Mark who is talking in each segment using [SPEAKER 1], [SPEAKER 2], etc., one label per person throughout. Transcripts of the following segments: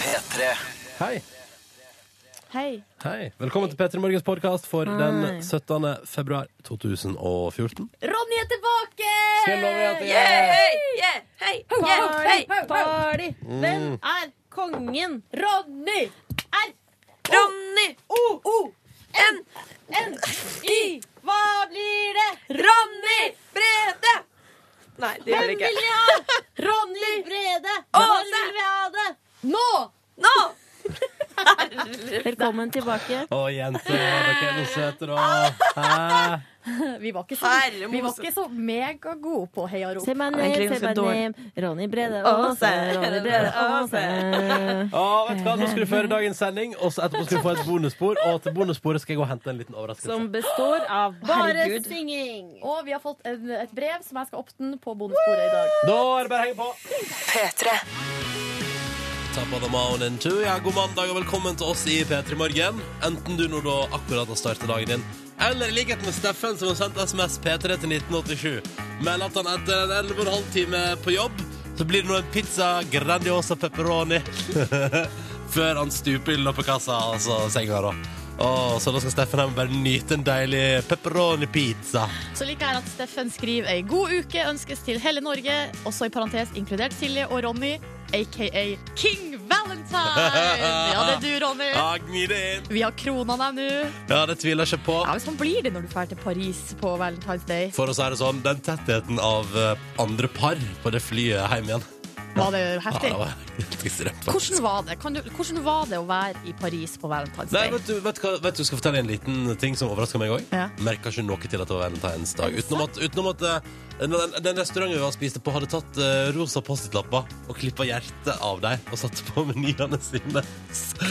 [SPEAKER 1] P3.
[SPEAKER 2] Hei.
[SPEAKER 3] Hei.
[SPEAKER 2] Hei. Velkommen til P3 Morgens podkast for den 17. februar 2014.
[SPEAKER 3] Ronny er tilbake!
[SPEAKER 2] Skal jeg love deg at jeg-
[SPEAKER 3] Yay!
[SPEAKER 4] Yeah, hei, yeah,
[SPEAKER 3] Party,
[SPEAKER 4] hei.
[SPEAKER 3] party! Hvem er kongen? Ronny er
[SPEAKER 4] Ronny O-O-N
[SPEAKER 3] i Hva blir det?
[SPEAKER 4] Ronny Brede Nei, det gjør
[SPEAKER 3] Hvem
[SPEAKER 4] det
[SPEAKER 3] vil
[SPEAKER 4] ikke
[SPEAKER 3] vi ha? Ronny Brede! Når
[SPEAKER 4] Åse!
[SPEAKER 3] vil vi ha det? Nå!
[SPEAKER 4] Nå!
[SPEAKER 3] Velkommen tilbake.
[SPEAKER 2] Å, jenter, dere er noe søte, da. Hæ?
[SPEAKER 5] Vi var ikke så,
[SPEAKER 4] Herre
[SPEAKER 5] vi var
[SPEAKER 4] mose
[SPEAKER 5] ikke så megagode på heiarop.
[SPEAKER 3] Se meg
[SPEAKER 4] Ja,
[SPEAKER 3] ned,
[SPEAKER 4] egentlig
[SPEAKER 3] se
[SPEAKER 4] ganske
[SPEAKER 3] meg
[SPEAKER 4] dårlig.
[SPEAKER 3] ned. Ronny Brede
[SPEAKER 4] Åse,
[SPEAKER 3] Åse, Ronny Brede Åse.
[SPEAKER 2] Å, vet du hva? Nå skal du føre dagens sending, og så etterpå skal du få et bonusspor. Og til bonussporet skal jeg gå og hente en liten overraskelse.
[SPEAKER 3] Som består av bare
[SPEAKER 4] Herregud.
[SPEAKER 3] synging.
[SPEAKER 5] Og vi har fått en, et brev som jeg skal åpne på bondesporet i dag.
[SPEAKER 2] Da er det bare å henge på.
[SPEAKER 4] P3
[SPEAKER 2] Top of the morning to you. Ja, god mandag og velkommen til oss i P3 Morgen. Enten du nå da akkurat har startet dagen din, eller i likhet med Steffen som har sendt SMS P3 til 1987, meld at han etter en 11 12 time på jobb, så blir det nå en pizza grandiosa pepperoni før han stuper i loppekassa, altså senga da. Åh, så da skal Steffen hjem og bare nyte en deilig pepperoni-pizza.
[SPEAKER 6] Så liker jeg at Steffen skriver ei god uke ønskes til hele Norge, også i parentes inkludert Silje og Ronny, aka King Valentine. Ja, det er du, Ronny.
[SPEAKER 2] Ja, gni det inn.
[SPEAKER 6] Vi har krona deg nå.
[SPEAKER 2] Ja, det tviler jeg ikke på.
[SPEAKER 6] Ja, men Sånn blir det når du drar til Paris på Valentine's Day.
[SPEAKER 2] For å si det sånn, den tettheten av eh, andre par på det flyet hjem igjen
[SPEAKER 6] Var det
[SPEAKER 2] Ja,
[SPEAKER 6] heftig?
[SPEAKER 2] det var helt ekstremt.
[SPEAKER 6] Hvordan var det? Kan du, hvordan var det å være i Paris på Valentine's
[SPEAKER 2] Nei,
[SPEAKER 6] Day?
[SPEAKER 2] vet du, vet, du hva, vet du, skal jeg fortelle en liten ting som overrasker meg òg.
[SPEAKER 6] Ja.
[SPEAKER 2] Merka ikke noe til at det var Valentine's dag. Utenom at, utenom at eh, den, den restauranten vi var og spiste på, hadde tatt eh, rosa Post-It-lapper og klippa hjertet av dem og satt på menyene sine.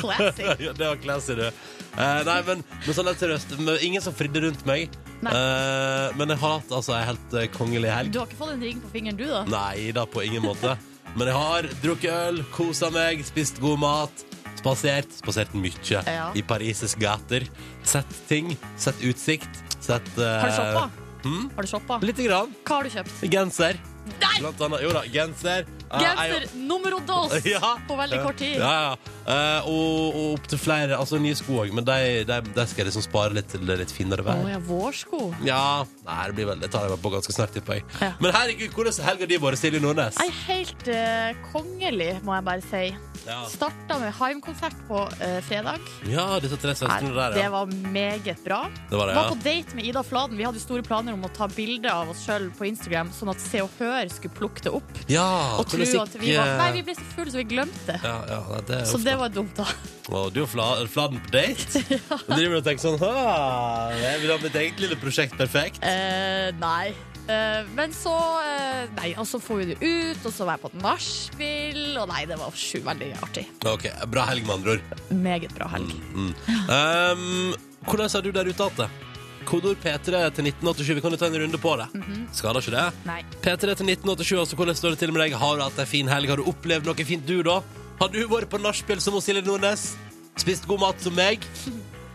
[SPEAKER 6] Classic.
[SPEAKER 2] ja, det var classy, du. Eh, nei, men, men sånn helt seriøst, men ingen som fridde rundt meg.
[SPEAKER 6] Nei.
[SPEAKER 2] Eh, men jeg har hatt altså, ei helt eh, kongelig helg.
[SPEAKER 6] Du har ikke fått en ring på fingeren, du, da?
[SPEAKER 2] Nei da, på ingen måte. Men jeg har drukket øl, kosa meg, spist god mat. Spasert. Spasert mye
[SPEAKER 6] Ja.
[SPEAKER 2] i Parises gater. Sett ting. Sett utsikt. Sett eh,
[SPEAKER 6] Har du shoppa?
[SPEAKER 2] hm?
[SPEAKER 6] Har du shoppa?
[SPEAKER 2] Lite grann.
[SPEAKER 6] Hva har du kjøpt?
[SPEAKER 2] Genser.
[SPEAKER 6] Nei!
[SPEAKER 2] Blant annet. Jo da, genser. Eh,
[SPEAKER 6] Genser
[SPEAKER 2] ei-
[SPEAKER 6] nummer dos
[SPEAKER 2] Ja.
[SPEAKER 6] på veldig kort tid.
[SPEAKER 2] Ja, ja. Eh, og, og opp til flere. Altså nye sko òg, men de, de, de skal jeg liksom spare litt til det litt finere
[SPEAKER 6] Å
[SPEAKER 2] vær.
[SPEAKER 6] ja, vårsko.
[SPEAKER 2] Ja, nei, det blir vel Det tar jeg vel på ganske snart, tipper jeg.
[SPEAKER 6] Ja.
[SPEAKER 2] Men herregud, hvordan har helga di vært, Silje Nordnes?
[SPEAKER 6] Nei, helt eh, kongelig, må jeg bare si.
[SPEAKER 2] Ja.
[SPEAKER 6] Starta med Haim-konsert på eh, fredag.
[SPEAKER 2] Ja, disse tre
[SPEAKER 6] Nei,
[SPEAKER 2] søstrene der,
[SPEAKER 6] det
[SPEAKER 2] ja.
[SPEAKER 6] var meget bra.
[SPEAKER 2] Det var det,
[SPEAKER 6] Var på
[SPEAKER 2] ja.
[SPEAKER 6] date med Ida Fladen. Vi hadde jo store planer om å ta bilde av oss sjøl på Instagram, sånn at Se og Hør skulle plukke det opp.
[SPEAKER 2] Ja,
[SPEAKER 6] Og tro
[SPEAKER 2] hvordan
[SPEAKER 6] at vi
[SPEAKER 2] gikk,
[SPEAKER 6] var
[SPEAKER 2] eh,
[SPEAKER 6] Nei, vi ble så fulle, så vi glemte det.
[SPEAKER 2] Ja, ja, nei, det er
[SPEAKER 6] Så
[SPEAKER 2] uff,
[SPEAKER 6] det
[SPEAKER 2] da.
[SPEAKER 6] var dumt, da.
[SPEAKER 2] Og du og fla, Fladen på date? Og driver og tenker sånn «Åh, Jeg vil ha mitt eget lille prosjekt perfekt.
[SPEAKER 6] Eh, nei. Eh, men så eh, Nei, og så får vi det ut, og så var jeg på et nachspiel, og nei, det var sju veldig artig.
[SPEAKER 2] Ok, Bra helg, med andre ord.
[SPEAKER 6] Meget bra helg.
[SPEAKER 2] Um, hvordan har du der ute hatt det? Kodord P3 til 1987. Vi kan jo ta en runde på det.
[SPEAKER 6] Mm.
[SPEAKER 2] Skader ikke det?
[SPEAKER 6] Mhm. Nei.
[SPEAKER 2] P3 til 1987, altså hvordan står det til med deg? Har du hatt ei en fin helg? Har du opplevd noe fint, du, da? Har du vært på nachspiel som hos Silje Nordnes? Spist god mat som meg?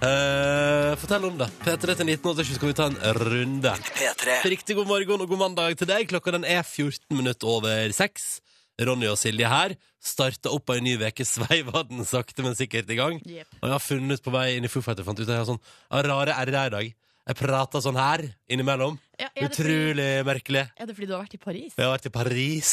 [SPEAKER 2] Eh, fortell om det. P3 til 1987 skal vi ta en runde.
[SPEAKER 1] P3.
[SPEAKER 2] Riktig god morgen og god mandag til deg. Klokka den er 14 minutter over seks. Ronny og Silje her. Starta opp ei ny uke, sveiva den sakte, men sikkert i gang.
[SPEAKER 6] Jepp.
[SPEAKER 2] Og jeg har funnet på vei inn i Foo Fighter, fant ut at jeg har sånn jeg har rare r-er i dag. Jeg prater sånn her innimellom.
[SPEAKER 6] Ja, er, det fordi,
[SPEAKER 2] Utrolig merkelig.
[SPEAKER 6] er det fordi du har vært i Paris?
[SPEAKER 2] Jeg har vært i Paris.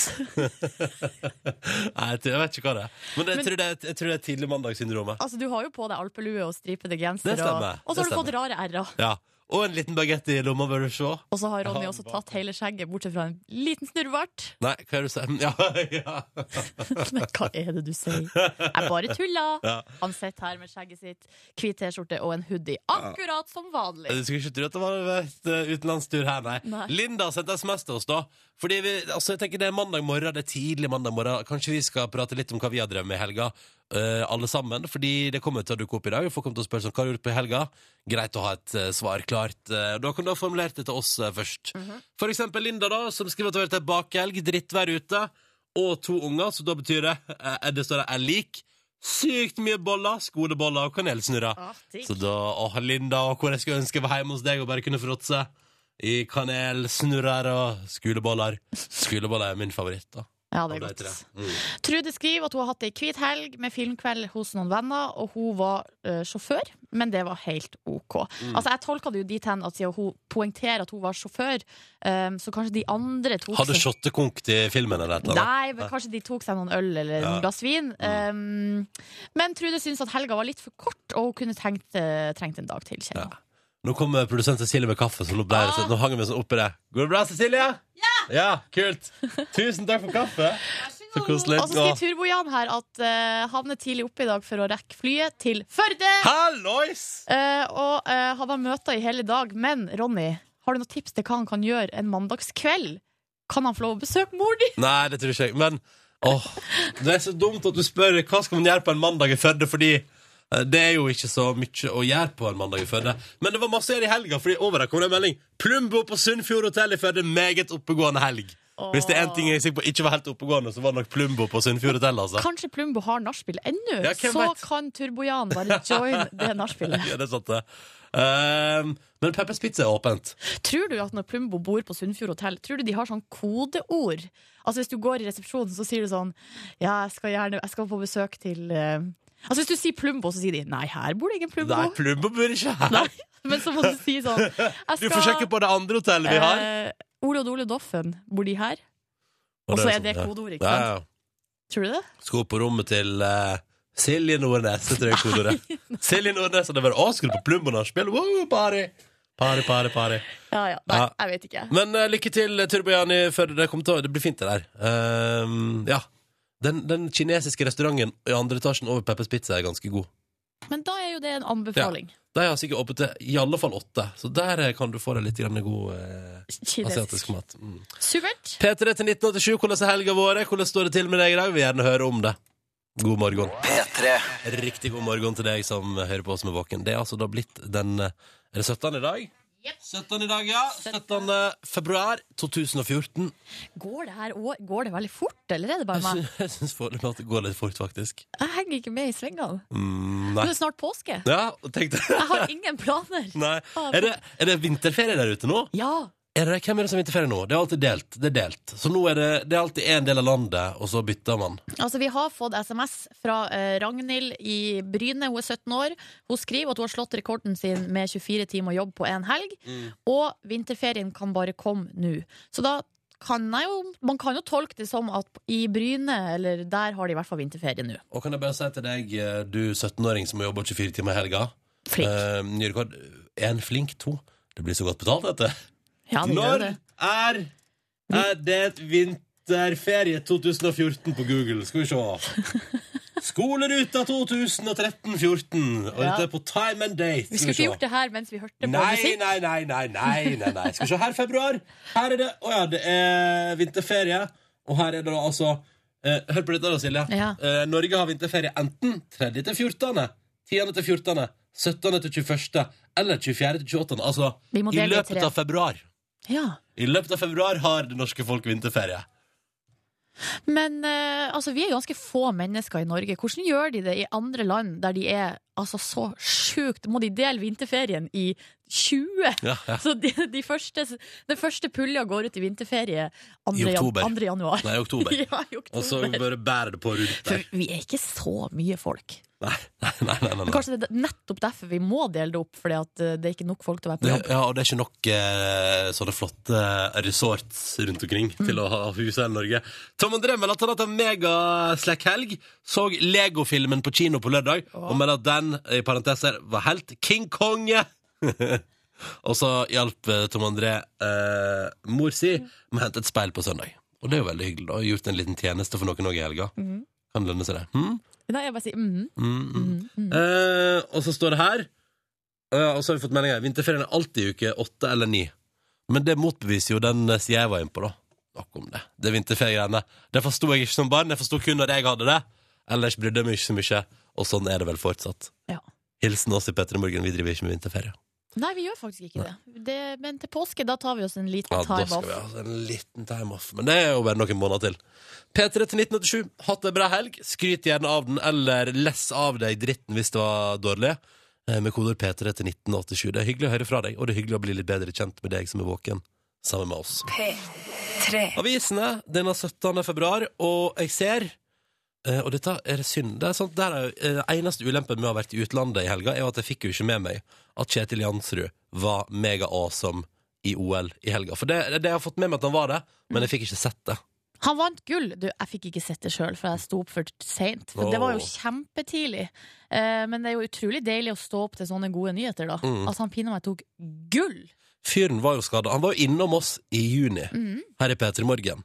[SPEAKER 2] Nei, jeg, tror, jeg vet ikke hva det er. Men det, jeg, tror det, er- jeg tror det er tidlig mandagssyndromet.
[SPEAKER 6] Altså, Du har jo på deg alpelue og stripete genser,
[SPEAKER 2] Det stemmer,
[SPEAKER 6] og, og så har
[SPEAKER 2] det
[SPEAKER 6] du fått rare r-er.
[SPEAKER 2] Ja. Og en liten bagett i lomma, bør du se.
[SPEAKER 6] Og så har Ronny
[SPEAKER 2] Ja,
[SPEAKER 6] også
[SPEAKER 2] hva?
[SPEAKER 6] tatt hele skjegget, bortsett fra en liten snurrebart.
[SPEAKER 2] Nei, hva er det du sier? Ja, ja.
[SPEAKER 6] Men hva er det du sier? Jeg bare tuller.
[SPEAKER 2] ja.
[SPEAKER 6] Han sitter her med skjegget sitt, hvit T-skjorte og en hoodie, akkurat som vanlig.
[SPEAKER 2] Du skulle ikke tro at det var et eh, utenlandstur her, nei.
[SPEAKER 6] Nei.
[SPEAKER 2] Linda sendte SMS til oss, da. Fordi vi, altså jeg tenker Det er mandag morgen, det er tidlig mandag morgen. Kanskje vi skal prate litt om hva vi har drevet med i helga, eh, alle sammen. Fordi det kommer til å dukke opp i dag. Folk kommer til å spørre sånn, hva har du gjort på i helga. Greit å ha et eh, svar klart. Eh, da kan du ha formulert det til oss eh, først. For eksempel Linda, da, som skriver at det har vært ei bakhelg, drittvær ute, og to unger, så da betyr det eh, Det står der 'er lik'. Sykt mye boller, skoleboller og kanelsnurrer.
[SPEAKER 6] Ah, digg.
[SPEAKER 2] Så da, åh, Linda, og hvor jeg skulle ønske jeg var hjemme hos deg og bare kunne fråtse i kanel, snurrer og skuleboller. Skuleboller er min favoritt, da.
[SPEAKER 6] Ja, det
[SPEAKER 2] av
[SPEAKER 6] er
[SPEAKER 2] de
[SPEAKER 6] godt.
[SPEAKER 2] tre. Mm.
[SPEAKER 6] Trude skriver at hun har hatt ei hvit helg med filmkveld hos noen venner, og hun var eh, sjåfør, men det var helt OK. Altså, Jeg tolka det jo dit hen at siden hun poengterer at hun var sjåfør, eh, så kanskje de andre tok
[SPEAKER 2] Hadde
[SPEAKER 6] seg
[SPEAKER 2] shottekonk til filmen eller et eller annet?
[SPEAKER 6] Nei, men kanskje de tok seg noen øl eller
[SPEAKER 2] Ja.
[SPEAKER 6] noen glass vin. Um, men Trude syntes at helga var litt for kort, og hun kunne tenkt, eh, trengt en dag til. Ja.
[SPEAKER 2] Nå kommer produsent Cecilie med kaffe, så nå,
[SPEAKER 6] Ah.
[SPEAKER 2] ble, det- nå hang vi sånn oppi det. Går det bra, Cecilie? Ja! ja! Kult. Tusen takk for kaffe. Så koselig.
[SPEAKER 6] Og så skriver Turbo-Jan her at uh, havner tidlig oppe i dag for å rekke flyet til Førde.
[SPEAKER 2] Hallois!
[SPEAKER 6] Eh, og uh, hadde møter i hele dag. Men Ronny, har du noen tips til hva han kan gjøre en mandagskveld? Kan han få lov å besøke mor di?
[SPEAKER 2] Nei, det tror ikke jeg. Men åh, det er så dumt at du spør hva skal man gjøre på en mandag i Førde, fordi eh, det er jo ikke så mye å gjøre på en mandag i Førde. Men det var masse å gjøre i helga, fordi over der kom det en melding. Plumbo på Sunnfjord hotell i Førde, meget oppegående helg. Hvis det er én ting jeg er sikker på ikke var helt oppegående, så var det nok Plumbo på Sunnfjord hotell, altså.
[SPEAKER 6] Kanskje Plumbo har nachspiel ennå?
[SPEAKER 2] Ja, hvem
[SPEAKER 6] så
[SPEAKER 2] vet?
[SPEAKER 6] kan Turbo-Jan bare joine det nachspielet.
[SPEAKER 2] Ja, det er sant, det. Ehm, men Peppers Pizza er åpent.
[SPEAKER 6] Tror du at når Plumbo bor på Sunnfjord hotell, tror du de har sånn kodeord? Altså Hvis du går i resepsjonen, så sier du sånn Ja, jeg skal gjerne Jeg skal på besøk til eh», Altså Hvis du sier Plumbo, så sier de nei, her bor det ingen Plumbo.
[SPEAKER 2] Nei, Plumbo bor ikke her.
[SPEAKER 6] Nei. Men så må du si sånn jeg skal,
[SPEAKER 2] Du får sjekke på det andre hotellet vi har.
[SPEAKER 6] eh, Ole og Dole Doffen, bor de her? Og så er det
[SPEAKER 2] sånn, ja.
[SPEAKER 6] kodeord, ikke
[SPEAKER 2] Ja,
[SPEAKER 6] sant?
[SPEAKER 2] ja.
[SPEAKER 6] Tror du det?
[SPEAKER 2] Skal opp på rommet til eh, Silje Nordnes, det tror jeg kodeordet. Silje Nordnes, og det var Å, skal du på Plumbo nachspiel? Wow, party! Party, party, party.
[SPEAKER 6] Ja ja. Nei,
[SPEAKER 2] Ja.
[SPEAKER 6] jeg vet ikke.
[SPEAKER 2] Men eh, lykke til, Turbojan, i Førde. Det, kommer til å- det blir fint, det der. Ehm, ja. Den, den kinesiske restauranten i andre etasjen over Peppers Pizza er ganske god.
[SPEAKER 6] Men da er jo det en anbefaling.
[SPEAKER 2] De har sikkert åpent til i alle fall åtte, så der eh, kan du få deg litt grann god eh, asiatisk
[SPEAKER 6] Kinesisk.
[SPEAKER 2] mat. Mm.
[SPEAKER 6] Supert.
[SPEAKER 2] P3 til 1987, hvordan er helga vår? Hvordan står det til med deg i dag? Vi vil gjerne høre om det. God morgen. P3. Riktig god morgen til deg som hører på oss med våken. Det er altså da blitt den eh, Er det 17. i dag? 17. i dag, ja. 17. februar 2014.
[SPEAKER 6] Går det her år, går det veldig fort, eller er det bare meg?
[SPEAKER 2] Jeg syns foreløpig at det går litt fort, faktisk.
[SPEAKER 6] Jeg henger ikke med i svingene.
[SPEAKER 2] Mm,
[SPEAKER 6] Nå
[SPEAKER 2] nei.
[SPEAKER 6] er det snart påske.
[SPEAKER 2] Ja, tenkte
[SPEAKER 6] Jeg har ingen planer.
[SPEAKER 2] Nei. Er det, er det vinterferie der ute nå?
[SPEAKER 6] Ja.
[SPEAKER 2] Er det, hvem er det som har vinterferie nå? Det er alltid delt. Det er delt. Så nå er det, det er alltid én del av landet, og så bytter man.
[SPEAKER 6] Altså, vi har fått SMS fra eh, Ragnhild i Bryne. Hun er 17 år. Hun skriver at hun har slått rekorden sin med 24 timer jobb på én helg.
[SPEAKER 2] Mm.
[SPEAKER 6] Og vinterferien kan bare komme nå. Så da kan jeg jo Man kan jo tolke det som at i Bryne, eller der har de i hvert fall vinterferie nå.
[SPEAKER 2] Og kan jeg bare si til deg, eh, du 17-åring som jobber 24 timer i helga
[SPEAKER 6] Flink.
[SPEAKER 2] eh, Ny rekord. En flink to. Det blir så godt betalt, dette.
[SPEAKER 6] Ja, det gjør
[SPEAKER 2] Når
[SPEAKER 6] det.
[SPEAKER 2] er, er det et vinterferie 2014 på Google? Skal vi se. Skoleruta 2013-14. Og
[SPEAKER 6] Ja.
[SPEAKER 2] dette er på time and date.
[SPEAKER 6] Vi skulle ikke gjort det her mens vi hørte på
[SPEAKER 2] Nei,
[SPEAKER 6] musikk.
[SPEAKER 2] nei, nei, nei, nei, nei, nei. Skal vi se her, februar. Her er det Å ja, det er vinterferie. Og her er det da altså eh, Hør på dette, da, Silje.
[SPEAKER 6] Ja.
[SPEAKER 2] Eh, Norge har vinterferie enten 3. til 14., 10. til 14., 17. til 21. eller 24. til 28. Altså
[SPEAKER 6] Vi må
[SPEAKER 2] i
[SPEAKER 6] dele i
[SPEAKER 2] løpet
[SPEAKER 6] tre.
[SPEAKER 2] av februar.
[SPEAKER 6] Ja.
[SPEAKER 2] I løpet av februar har det norske folk vinterferie.
[SPEAKER 6] Men eh, altså, vi er ganske få mennesker i Norge. Hvordan gjør de det i andre land der de er altså, så sjukt Må de dele vinterferien i 20?
[SPEAKER 2] Ja, ja.
[SPEAKER 6] Så de, de første, den første pulja går ut i vinterferie 2.
[SPEAKER 2] I oktober.
[SPEAKER 6] januar.
[SPEAKER 2] Nei, i oktober.
[SPEAKER 6] ja, i oktober.
[SPEAKER 2] Og så bare bærer det på rundt
[SPEAKER 6] For
[SPEAKER 2] der.
[SPEAKER 6] vi er ikke så mye folk.
[SPEAKER 2] Nei, nei, nei. nei, nei.
[SPEAKER 6] Kanskje det er nettopp derfor vi må dele det opp, fordi at eh, det er ikke nok folk til å være på
[SPEAKER 2] Det,
[SPEAKER 6] jobb.
[SPEAKER 2] ja, og det er ikke nok eh, sånne flotte resorts rundt omkring til å ha hus her i Norge. Tom André melder at han har hatt en megaslekkhelg. Så Lego-filmen på kino på lørdag, og melder at den i parenteser var helt King Konge. og så hjalp eh, Tom André eh, mor si med å hente et speil på søndag. Og det er jo veldig hyggelig. da, Gjort en liten tjeneste for noen òg i helga. Kan lønne seg, det. Hm?
[SPEAKER 6] Mhm. Nei, jeg bare sier mhm.
[SPEAKER 2] Mm, mm. Eh, og så står det her eh, Og så har vi fått melding her Vinterferien er alltid i uke 8 eller 9 Men det motbeviser jo den eh, siden jeg var inne på da Nok om det Det vinterferiegreiene Det forstod jeg ikke som barn Jeg forstod kun når jeg hadde det Ellers brydde jeg meg ikke så mye Og sånn er det vel fortsatt
[SPEAKER 6] Ja.
[SPEAKER 2] Hilsen oss i Petter i morgen Vi driver ikke med vinterferie
[SPEAKER 6] Nei, vi gjør faktisk ikke det. det. Men til påske, da tar vi oss en liten
[SPEAKER 2] Ja, da
[SPEAKER 6] time
[SPEAKER 2] skal
[SPEAKER 6] off.
[SPEAKER 2] vi ha oss en liten time off Men det er jo bare noen måneder til P3 til 1987 Hatt en bra helg Skryt gjerne av den Eller less av deg dritten hvis det var dårlig Eh, Med koder P3 til 1987 Det er hyggelig å høre fra deg Og det er hyggelig å bli litt bedre kjent med deg som er våken Sammen med oss
[SPEAKER 4] P3. Tre.
[SPEAKER 2] Avisene denne 17. februar, og jeg ser eh, Og dette er synd. Det er sånt, der er, jo- eh, eneste ulempen med å ha vært i utlandet i helga, er jo at jeg fikk jo ikke med meg at Kjetil Jansrud var mega-awesome i OL i helga. For det, det jeg har fått med meg at han var det, men jeg fikk ikke sett det.
[SPEAKER 6] Han vant gull. Du, jeg fikk ikke sett det sjøl, for jeg sto opp for seint. For det var jo
[SPEAKER 2] Åh.
[SPEAKER 6] kjempetidlig. Eh, men det er jo utrolig deilig å stå opp til sånne gode nyheter, da.
[SPEAKER 2] Mm.
[SPEAKER 6] At han pinadø meg tok gull!
[SPEAKER 2] Fyren var jo skada. Han var jo innom oss i juni
[SPEAKER 6] Mm.
[SPEAKER 2] her i P3 Morgen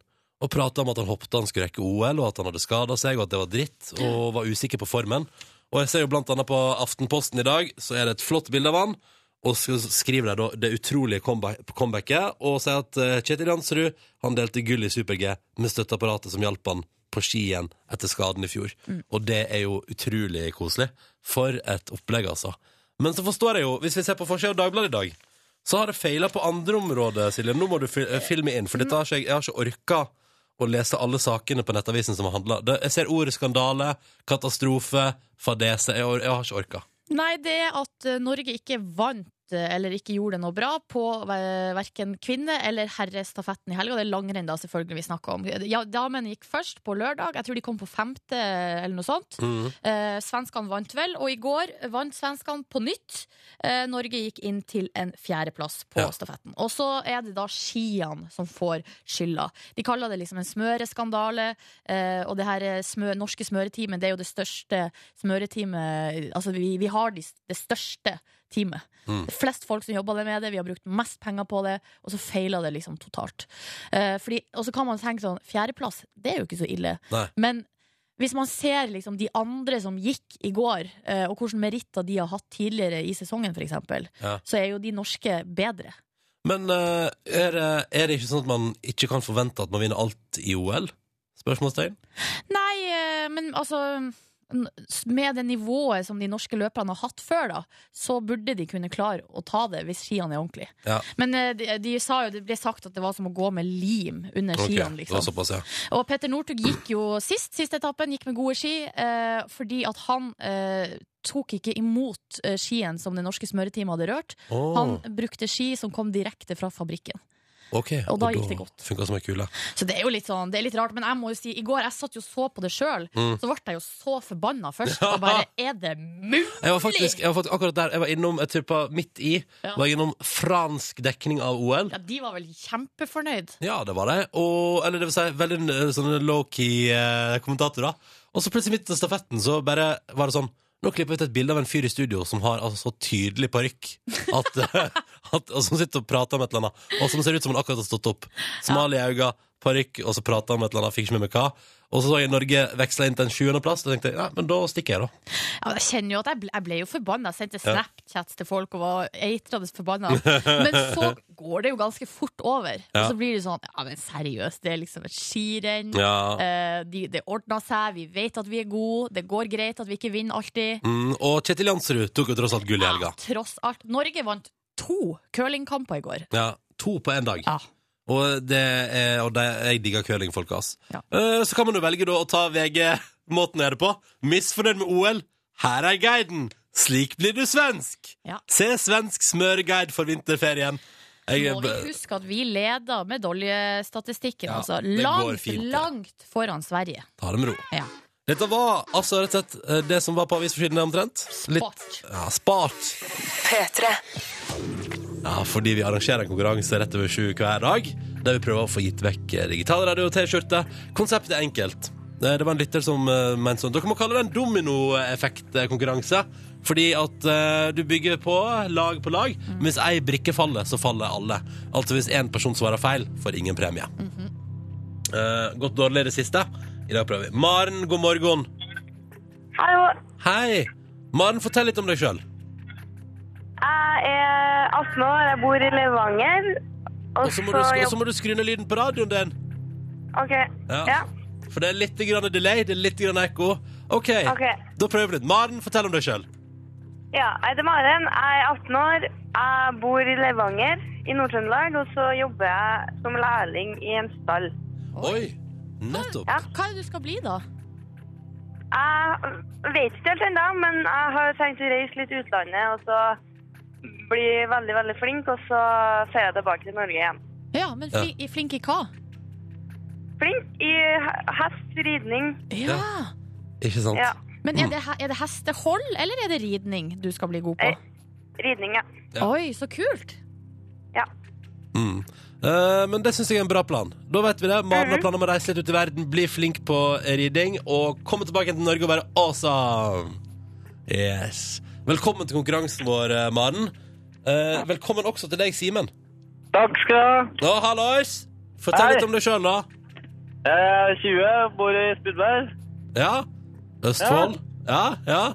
[SPEAKER 2] og prata om at han hoppet han skulle rekke OL, og at han hadde skada seg, og at det var dritt, og var usikker på formen. Og jeg ser jo blant annet på Aftenposten i dag, så er det et flott bilde av han. Og så skriver de da det utrolige comeback, comebacket, og sier at eh, Kjetil Jansrud han delte gull i Super-G med støtteapparatet som hjalp han på ski igjen etter skaden i fjor.
[SPEAKER 6] Mm.
[SPEAKER 2] Og det er jo utrolig koselig. For et opplegg, altså. Men så forstår jeg jo, hvis vi ser på forsida av Dagbladet i dag, så har det feila på andre områder, Silje. Nå må du fi- eh, filme inn, for dette har ikke, jeg- jeg har ikke orka å lese alle sakene på Nettavisen som har handla. Det- Jeg ser ordet skandale, katastrofe, fadese. Jeg, or- jeg har ikke orka.
[SPEAKER 6] Nei, det er at eh, Norge ikke vant eh, eller ikke gjorde det noe bra på eh, verken kvinne- eller herrestafetten i helga. Det er langrenn da selvfølgelig vi snakker om. Ja, Damene gikk først på lørdag. Jeg tror de kom på femte eller noe sånt.
[SPEAKER 2] Mm. Mm-hmm.
[SPEAKER 6] Eh, svenskene vant vel, og i går vant svenskene på nytt. Eh, Norge gikk inn til en fjerdeplass på
[SPEAKER 2] Ja.
[SPEAKER 6] stafetten. Og så er det da skiene som får skylda. De kaller det liksom en smøreskandale, eh, og det her er smø norske smøreteamet det er jo det største smøreteamet Altså, vi, vi har de, det største teamet.
[SPEAKER 2] Mm.
[SPEAKER 6] Det er flest folk som jobber med det, vi har brukt mest penger på det, og så feiler det liksom totalt. Eh, fordi, og så kan man tenke sånn, fjerdeplass, det er jo ikke så ille.
[SPEAKER 2] Nei.
[SPEAKER 6] Men hvis man ser liksom de andre som gikk i går, eh, og hvilke meritter de har hatt tidligere i sesongen, for eksempel,
[SPEAKER 2] Ja.
[SPEAKER 6] så er jo de norske bedre.
[SPEAKER 2] Men eh, er, det, er det ikke sånn at man ikke kan forvente at man vinner alt i OL? Spørsmålstegn?
[SPEAKER 6] Nei, eh, men altså n- med det nivået som de norske løperne har hatt før, da, så burde de kunne klare å ta det hvis skiene er ordentlig.
[SPEAKER 2] Ja.
[SPEAKER 6] Men eh, de, de sa jo, det ble sagt at det var som å gå med lim under
[SPEAKER 2] Ok,
[SPEAKER 6] skiene.
[SPEAKER 2] det
[SPEAKER 6] Liksom.
[SPEAKER 2] var såpass, ja.
[SPEAKER 6] Og Petter Northug gikk jo sist, siste etappen, gikk med gode ski, eh, fordi at han eh, tok ikke imot eh, skien som det norske smøreteamet hadde rørt.
[SPEAKER 2] Åh,
[SPEAKER 6] Han brukte ski som kom direkte fra fabrikken.
[SPEAKER 2] ok.
[SPEAKER 6] og da gikk det godt.
[SPEAKER 2] Funka som ei kule.
[SPEAKER 6] Så det er jo litt sånn, det er litt rart, men jeg må jo si, i går jeg satt jo og så på det sjøl,
[SPEAKER 2] Mm.
[SPEAKER 6] så ble jeg jo så forbanna først. Og bare, er det mulig?!
[SPEAKER 2] Jeg var faktisk jeg var faktisk akkurat der. Jeg var innom, jeg tippa midt i,
[SPEAKER 6] Ja.
[SPEAKER 2] var innom fransk dekning av OL.
[SPEAKER 6] Ja, de var vel kjempefornøyd.
[SPEAKER 2] Ja, det var det. Og, eller det vil si, veldig eh, sånne low-key eh, kommentatorer. Og så plutselig midt i stafetten så bare var det sånn Nå klipper vi ut et bilde av en fyr i studio som har altså, så tydelig parykk at, eh, at Og som sitter og prater om et eller annet. Og som ser ut som han akkurat har stått opp. Smal i øynene, parykk, og så prater han om et eller annet. Fikk ikke med meg hva. Og så så jeg Norge veksla inn til en sjuendeplass. Da tenkte jeg nei, men da stikker jeg, da.
[SPEAKER 6] Ja, jeg kjenner jo at jeg ble, jeg ble jo forbanna. Jeg sendte Snapchats til folk og var eitrende forbanna. Men så går det jo ganske fort over.
[SPEAKER 2] Ja.
[SPEAKER 6] Og så blir det sånn Ja, men seriøst, det er liksom et skirenn.
[SPEAKER 2] Ja.
[SPEAKER 6] Eh, de, det ordna seg, vi vet at vi er gode, det går greit at vi ikke vinner alltid.
[SPEAKER 2] Mm, og Kjetil Jansrud tok jo tross alt gull i helga.
[SPEAKER 6] Ja, tross alt. Norge vant to curlingkamper i går.
[SPEAKER 2] Ja, to på én dag.
[SPEAKER 6] Ja.
[SPEAKER 2] Og, det er, og det, jeg digger curlingfolk, ass.
[SPEAKER 6] Ja.
[SPEAKER 2] Eh, så kan man jo velge da å ta VG-måten å gjøre det på. Misfornøyd med OL? Her er guiden! Slik blir du svensk!
[SPEAKER 6] Ja.
[SPEAKER 2] Se svensk smørguide for vinterferien. Jeg, eh,
[SPEAKER 6] Må vi huske at vi leder medaljestatistikken,
[SPEAKER 2] Ja,
[SPEAKER 6] altså.
[SPEAKER 2] det går
[SPEAKER 6] Langt,
[SPEAKER 2] fint, det.
[SPEAKER 6] langt foran Sverige.
[SPEAKER 2] ta det med ro.
[SPEAKER 6] Ja.
[SPEAKER 2] Dette var altså rett og slett eh, det som var på avisforsidene omtrent.
[SPEAKER 6] Spart.
[SPEAKER 2] ja, spart.
[SPEAKER 4] P3.
[SPEAKER 2] Ja, fordi vi arrangerer en konkurranse rett over sju hver dag, der vi prøver å få gitt vekk eh, digital radio og T-skjorte. Konseptet er enkelt. Eh, Det var en lytter som eh, mente sånn Dere må kalle det en dominoeffektkonkurranse. Fordi at eh, du bygger på lag på lag. Men hvis ei brikke faller, så faller alle. Altså hvis én person svarer feil, får ingen premie.
[SPEAKER 6] Mhm.
[SPEAKER 2] Eh, gått dårlig i det siste. I dag prøver vi. Maren, god morgen.
[SPEAKER 1] Hallo.
[SPEAKER 2] Hei! Maren, fortell litt om deg sjøl.
[SPEAKER 1] Jeg er 18 år, jeg bor i Levanger. Og
[SPEAKER 2] Og så må, du- og så
[SPEAKER 1] jobb-
[SPEAKER 2] må du skru ned lyden på radioen din.
[SPEAKER 1] OK.
[SPEAKER 2] Ja.
[SPEAKER 1] Ja.
[SPEAKER 2] For det er litt grann delay, det er litt grann ekko. OK,
[SPEAKER 1] Ok.
[SPEAKER 2] da prøver vi litt. Maren, fortell om deg sjøl.
[SPEAKER 1] ja. Jeg heter Maren, jeg er 18 år. Jeg bor i Levanger i Nord-Trøndelag, og så jobber jeg som lærling i en stall.
[SPEAKER 2] Oi. Nettopp.
[SPEAKER 1] Ja.
[SPEAKER 6] Hva er det du skal bli, da?
[SPEAKER 1] Jeg vet ikke helt ennå, men jeg har tenkt å reise litt utlandet, og så bli veldig, veldig flink, og så ser jeg tilbake til Norge igjen.
[SPEAKER 6] Ja, men fli, flink i hva?
[SPEAKER 1] flink i he- hest, ridning.
[SPEAKER 6] Ja.
[SPEAKER 2] Ikke sant? Mm.
[SPEAKER 1] Ja.
[SPEAKER 6] Men er det, he- er det hestehold, eller er det ridning du skal bli god på?
[SPEAKER 1] Eh, Ridning, ja.
[SPEAKER 2] ja.
[SPEAKER 6] Oi, så kult!
[SPEAKER 2] Mm. Eh, men det syns jeg er en bra plan. Da vet vi det. Maren
[SPEAKER 7] Mhm.
[SPEAKER 2] har planer om å reise litt ut i verden, bli flink på riding og komme tilbake til Norge og være awesome. Yes. Velkommen til konkurransen vår, eh, Maren. Eh, velkommen også til deg, Simen.
[SPEAKER 7] Takk skal du ha.
[SPEAKER 2] Nå, hallois! Fortell
[SPEAKER 7] Hei.
[SPEAKER 2] litt om deg sjøl, da.
[SPEAKER 7] Jeg er 20, bor i Spudberg.
[SPEAKER 2] Ja. Østfold. Ja, ja.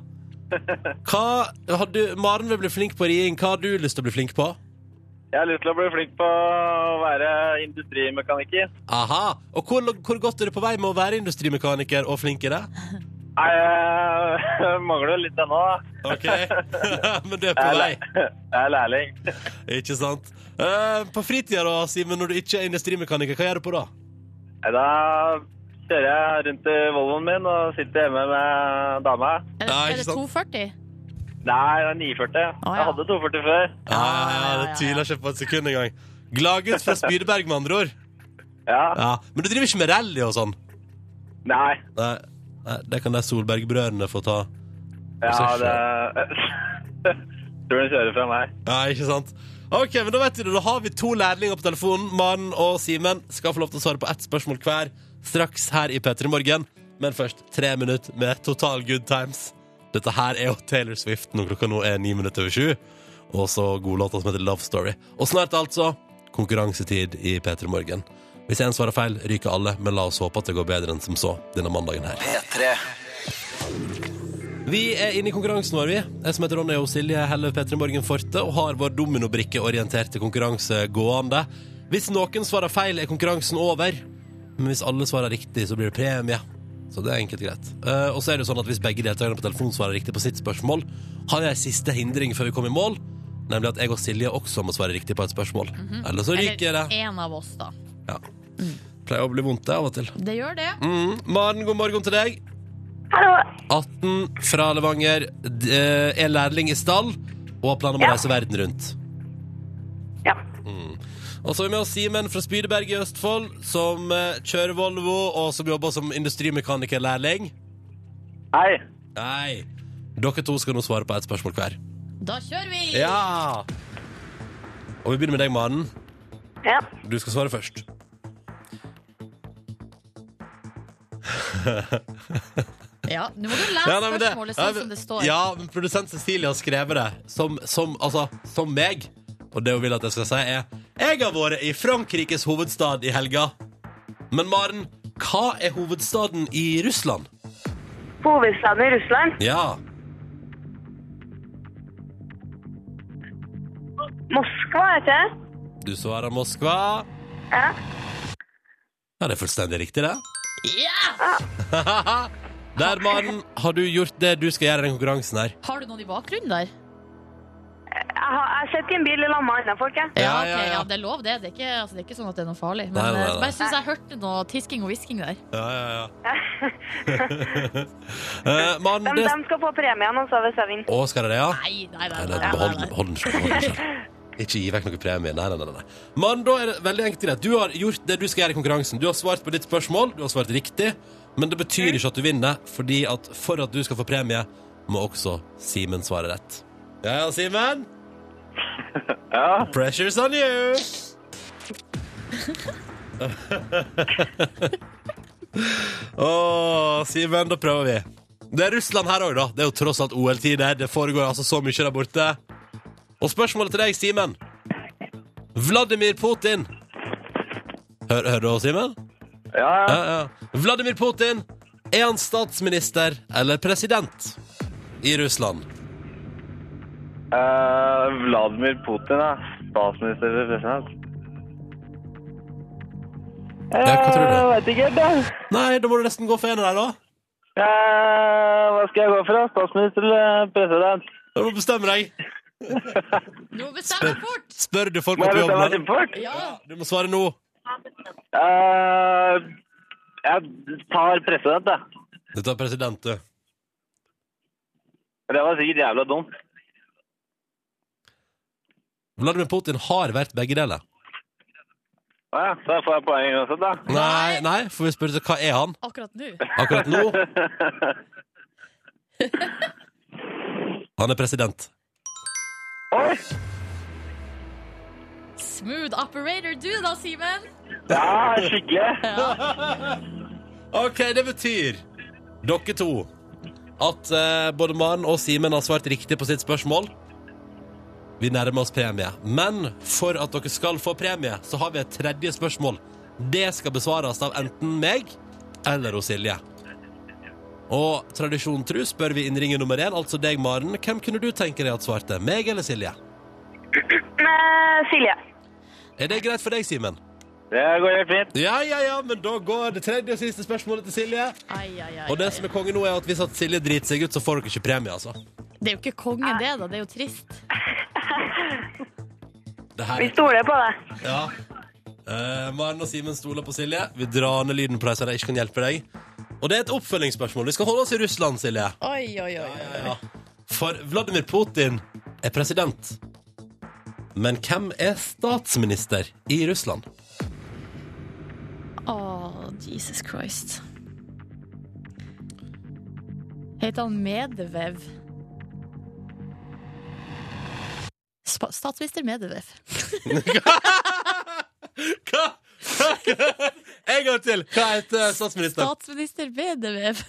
[SPEAKER 2] Hva har du, Maren vil bli flink på riding. Hva har du lyst til å bli flink på?
[SPEAKER 7] Jeg har lyst til å bli flink på å være industrimekaniker.
[SPEAKER 2] Aha. Og hvor, hvor godt er du på vei med å være industrimekaniker og flink i det?
[SPEAKER 7] Nei, jeg mangler litt ennå, da.
[SPEAKER 2] Ok, men du er på
[SPEAKER 7] Jeg er,
[SPEAKER 2] vei,
[SPEAKER 7] læ- jeg er lærling.
[SPEAKER 2] ikke sant? Eh, på fritida da, Simen, når du ikke er industrimekaniker, hva gjør du på da?
[SPEAKER 7] Nei, Da kjører jeg rundt i Volvoen min og sitter hjemme med dama.
[SPEAKER 6] Er det,
[SPEAKER 2] Ja,
[SPEAKER 6] er
[SPEAKER 2] ikke
[SPEAKER 6] det
[SPEAKER 2] sant?
[SPEAKER 6] 240?
[SPEAKER 7] Nei, det er 940.
[SPEAKER 6] Å, ja.
[SPEAKER 7] Jeg hadde 240 før.
[SPEAKER 2] Ja, ja, ja, Ah, det tviler ikke på et sekund engang. Gladgutt fra Spydeberg, med andre ord.
[SPEAKER 7] Ja.
[SPEAKER 2] Ja, men du driver ikke med rally og sånn?
[SPEAKER 7] Nei.
[SPEAKER 2] Nei, nei det kan de Solberg-brødrene få ta.
[SPEAKER 7] Ja,
[SPEAKER 2] Så
[SPEAKER 7] det Tror hun kjører fra meg.
[SPEAKER 2] Ja, ikke sant? Ok, men Da vet du det. Da har vi to lærlinger på telefonen. Maren og Simen skal få lov til å svare på ett spørsmål hver straks her i P3 Morgen. Men først tre minutter med total good times. Dette her er jo Taylor Swift når klokka nå er ni minutter over sju. Og så godlåta som heter Love Story. Og snart altså konkurransetid i P3 Morgen. Hvis én svarer feil, ryker alle, men la oss håpe at det går bedre enn som så denne mandagen her. Vi er inne i konkurransen vår, vi. Jeg som heter Ronny og Silje Helle Petre Morgen Forte og har vår dominobrikkeorienterte konkurranse gående. Hvis noen svarer feil, er konkurransen over. Men hvis alle svarer riktig, så blir det premie. Så det er enkelt og greit. Eh, og så er det jo sånn at hvis begge deltakerne på telefon svarer riktig på sitt spørsmål, har jeg en siste hindring før vi kommer i mål, nemlig at jeg og Silje også må svare riktig på et spørsmål. Mm. Eller så ryker
[SPEAKER 6] Mhm. Eller
[SPEAKER 2] det.
[SPEAKER 6] én av oss, da.
[SPEAKER 2] Ja. Pleier å bli vondt, det, av og til.
[SPEAKER 6] Det gjør det.
[SPEAKER 2] Mm. Maren, god morgen til deg.
[SPEAKER 1] Hallo!
[SPEAKER 2] 18 fra Levanger, d- eh, er lærling i stall og har planer om å
[SPEAKER 1] Ja.
[SPEAKER 2] reise verden rundt.
[SPEAKER 1] Ja.
[SPEAKER 2] Mm. Og så er vi med oss Simen fra Spydeberg i Østfold, som eh, kjører Volvo og som jobber som industrimekanikerlærling.
[SPEAKER 7] Hei.
[SPEAKER 2] Nei. Dere to skal nå svare på ett spørsmål hver.
[SPEAKER 6] Da kjører vi!
[SPEAKER 2] Ja! Og vi begynner med deg, Maren.
[SPEAKER 1] ja.
[SPEAKER 2] Du skal svare først.
[SPEAKER 6] Ja, Nå må du lese
[SPEAKER 2] Ja, nei, men det-
[SPEAKER 6] spørsmålet
[SPEAKER 2] ja,
[SPEAKER 6] sånn
[SPEAKER 2] men-
[SPEAKER 6] som det står.
[SPEAKER 2] Ja, men produsent Cecilie har skrevet det som, som, altså, som meg. Og det hun vil at jeg skal si, er Jeg har vært i Frankrikes hovedstad i helga. Men Maren, hva er hovedstaden i Russland?
[SPEAKER 1] Hovedstaden i Russland.
[SPEAKER 2] Ja.
[SPEAKER 1] Moskva, er det ikke det?
[SPEAKER 2] Du svarer Moskva.
[SPEAKER 1] Ja.
[SPEAKER 2] Ja, det er fullstendig riktig, det.
[SPEAKER 6] Ja!
[SPEAKER 2] Der, Maren, har du gjort det du skal gjøre i den konkurransen her.
[SPEAKER 6] Har du noen i bakgrunnen der?
[SPEAKER 1] Jeg har, jeg sitter i en bil i lag med andre folk, jeg.
[SPEAKER 2] Ja,
[SPEAKER 6] ok,
[SPEAKER 2] ja, ja.
[SPEAKER 6] det er lov, det. Det er, ikke, altså, det er ikke sånn at det er noe farlig. Men
[SPEAKER 2] Nei, nei,
[SPEAKER 6] eh,
[SPEAKER 2] nei.
[SPEAKER 6] bare syns jeg hørte noe tisking og hvisking der.
[SPEAKER 2] Ja, ja, ja. Eh, Maren,
[SPEAKER 1] De,
[SPEAKER 2] det
[SPEAKER 1] de skal få premien også hvis jeg vinner.
[SPEAKER 2] Å, skal det det, ja?
[SPEAKER 6] Nei, nei, nei.
[SPEAKER 2] Nei,
[SPEAKER 6] nei,
[SPEAKER 2] nei,
[SPEAKER 6] nei,
[SPEAKER 2] behold,
[SPEAKER 6] nei, nei.
[SPEAKER 2] behold den selv, behold den selv. Ikke gi vekk noen premie. Nei, nei, nei, nei. Men da er det veldig enkelt greit. Du har gjort det du skal gjøre i konkurransen. Du har svart på ditt spørsmål, du har svart riktig, men det
[SPEAKER 6] Mm.
[SPEAKER 2] betyr ikke at du vinner, fordi at for at du skal få premie, må også Simen svare rett. Ja, ja, Simen.
[SPEAKER 7] Ja.
[SPEAKER 2] Pressure's on you. Å, Simen, da prøver vi. Det er Russland her òg, da. Det er jo tross alt OL-tider. Det foregår altså så mye der borte. Og spørsmålet til deg, Simen. Vladimir Putin Hør, Hører du oss, Simen?
[SPEAKER 7] Ja, ja.
[SPEAKER 2] Ja, ja. Vladimir Putin, er han statsminister eller president i Russland?
[SPEAKER 7] Eh, Vladimir Putin, ja. Statsminister eller president?
[SPEAKER 2] Ja, hva tror du?
[SPEAKER 7] Eh, Jeg vet ikke helt, jeg.
[SPEAKER 2] Nei, da må du nesten gå for en av dem, da.
[SPEAKER 7] Eh, hva skal jeg gå for, da? Statsminister eller president?
[SPEAKER 2] Da må du bestemme deg.
[SPEAKER 6] Nå bestemmer jeg fort!
[SPEAKER 2] Spør du folk
[SPEAKER 7] Må
[SPEAKER 2] på
[SPEAKER 7] jeg bestemme meg
[SPEAKER 2] jobben?
[SPEAKER 7] kjempefort?
[SPEAKER 6] Ja.
[SPEAKER 2] Du må svare nå.
[SPEAKER 7] Eh, jeg tar president, jeg.
[SPEAKER 2] Du tar president, du.
[SPEAKER 7] Det var sikkert jævla dumt.
[SPEAKER 2] Vladimir Putin har vært begge deler.
[SPEAKER 7] Å ja, så da får jeg poeng uansett, da.
[SPEAKER 2] Nei, nei, for vi spurte hva er han
[SPEAKER 6] Akkurat nå.
[SPEAKER 2] akkurat nå. Han er president.
[SPEAKER 7] Oi!
[SPEAKER 6] Smooth operator du da, Simen.
[SPEAKER 7] Ja, skikkelig.
[SPEAKER 2] OK, det betyr, dere to, at eh, både Maren og Simen har svart riktig på sitt spørsmål. Vi nærmer oss premie. Men for at dere skal få premie, så har vi et tredje spørsmål. Det skal besvares av enten meg eller hos Silje. Og tradisjonen tru spør vi innringer nummer én, altså deg, Maren. Hvem kunne du tenke deg at svarte? Meg eller Silje?
[SPEAKER 1] Eh, Silje.
[SPEAKER 2] Er det greit for deg, Simen?
[SPEAKER 7] Det går helt fint.
[SPEAKER 2] Ja, ja, ja, men da går det tredje og siste spørsmålet til Silje.
[SPEAKER 6] Ai, ai, ai,
[SPEAKER 2] Og det
[SPEAKER 6] ai.
[SPEAKER 2] som er konge nå, er at hvis at Silje driter seg ut, så får dere ikke premie, altså.
[SPEAKER 6] det er jo ikke kongen, det, da. Det er jo trist.
[SPEAKER 2] Det her
[SPEAKER 1] Vi stoler på deg.
[SPEAKER 2] Ja. Eh, Maren og Simen stoler på Silje. Vi drar ned lyden på deg, så de ikke kan hjelpe deg. Og det er et oppfølgingsspørsmål. Vi skal holde oss i Russland, Silje.
[SPEAKER 6] Oi, oi, oi.
[SPEAKER 2] Ja, ja. For Vladimir Putin er president. Men hvem er statsminister i Russland?
[SPEAKER 6] Åh, Jesus Christ. Heter han Medvev? Spa statsminister Medvev.
[SPEAKER 2] Hva? en gang til! Hva heter statsministeren?
[SPEAKER 6] Statsminister Medvev.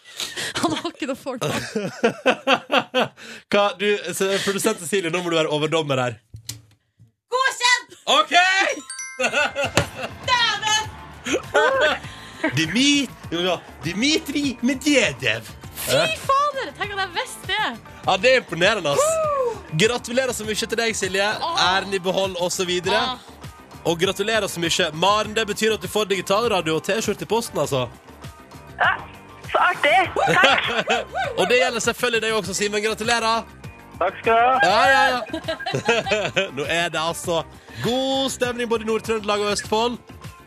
[SPEAKER 6] Han har ikke noe fornavn.
[SPEAKER 2] Hva, du, så produsent Cecilie, nå må du være overdommer her. Godkjent! OK! Dæven! Dimitri Medvedev.
[SPEAKER 6] Fy fader! Tenk at jeg visste det!
[SPEAKER 2] Ja, det er imponerende, ass. Gratulerer så mye til deg, Silje. Æren i behold, osv.
[SPEAKER 6] Ah,
[SPEAKER 2] Og gratulerer så mye. Maren, det betyr at du får digitalradio og T-skjorte i posten, altså.
[SPEAKER 1] Ja, så artig! Takk.
[SPEAKER 2] Og det gjelder selvfølgelig deg også, Simen. Gratulerer.
[SPEAKER 7] Takk skal du ha.
[SPEAKER 2] Ja, ja, ja. Nå er det altså god stemning både i Nord-Trøndelag og Østfold.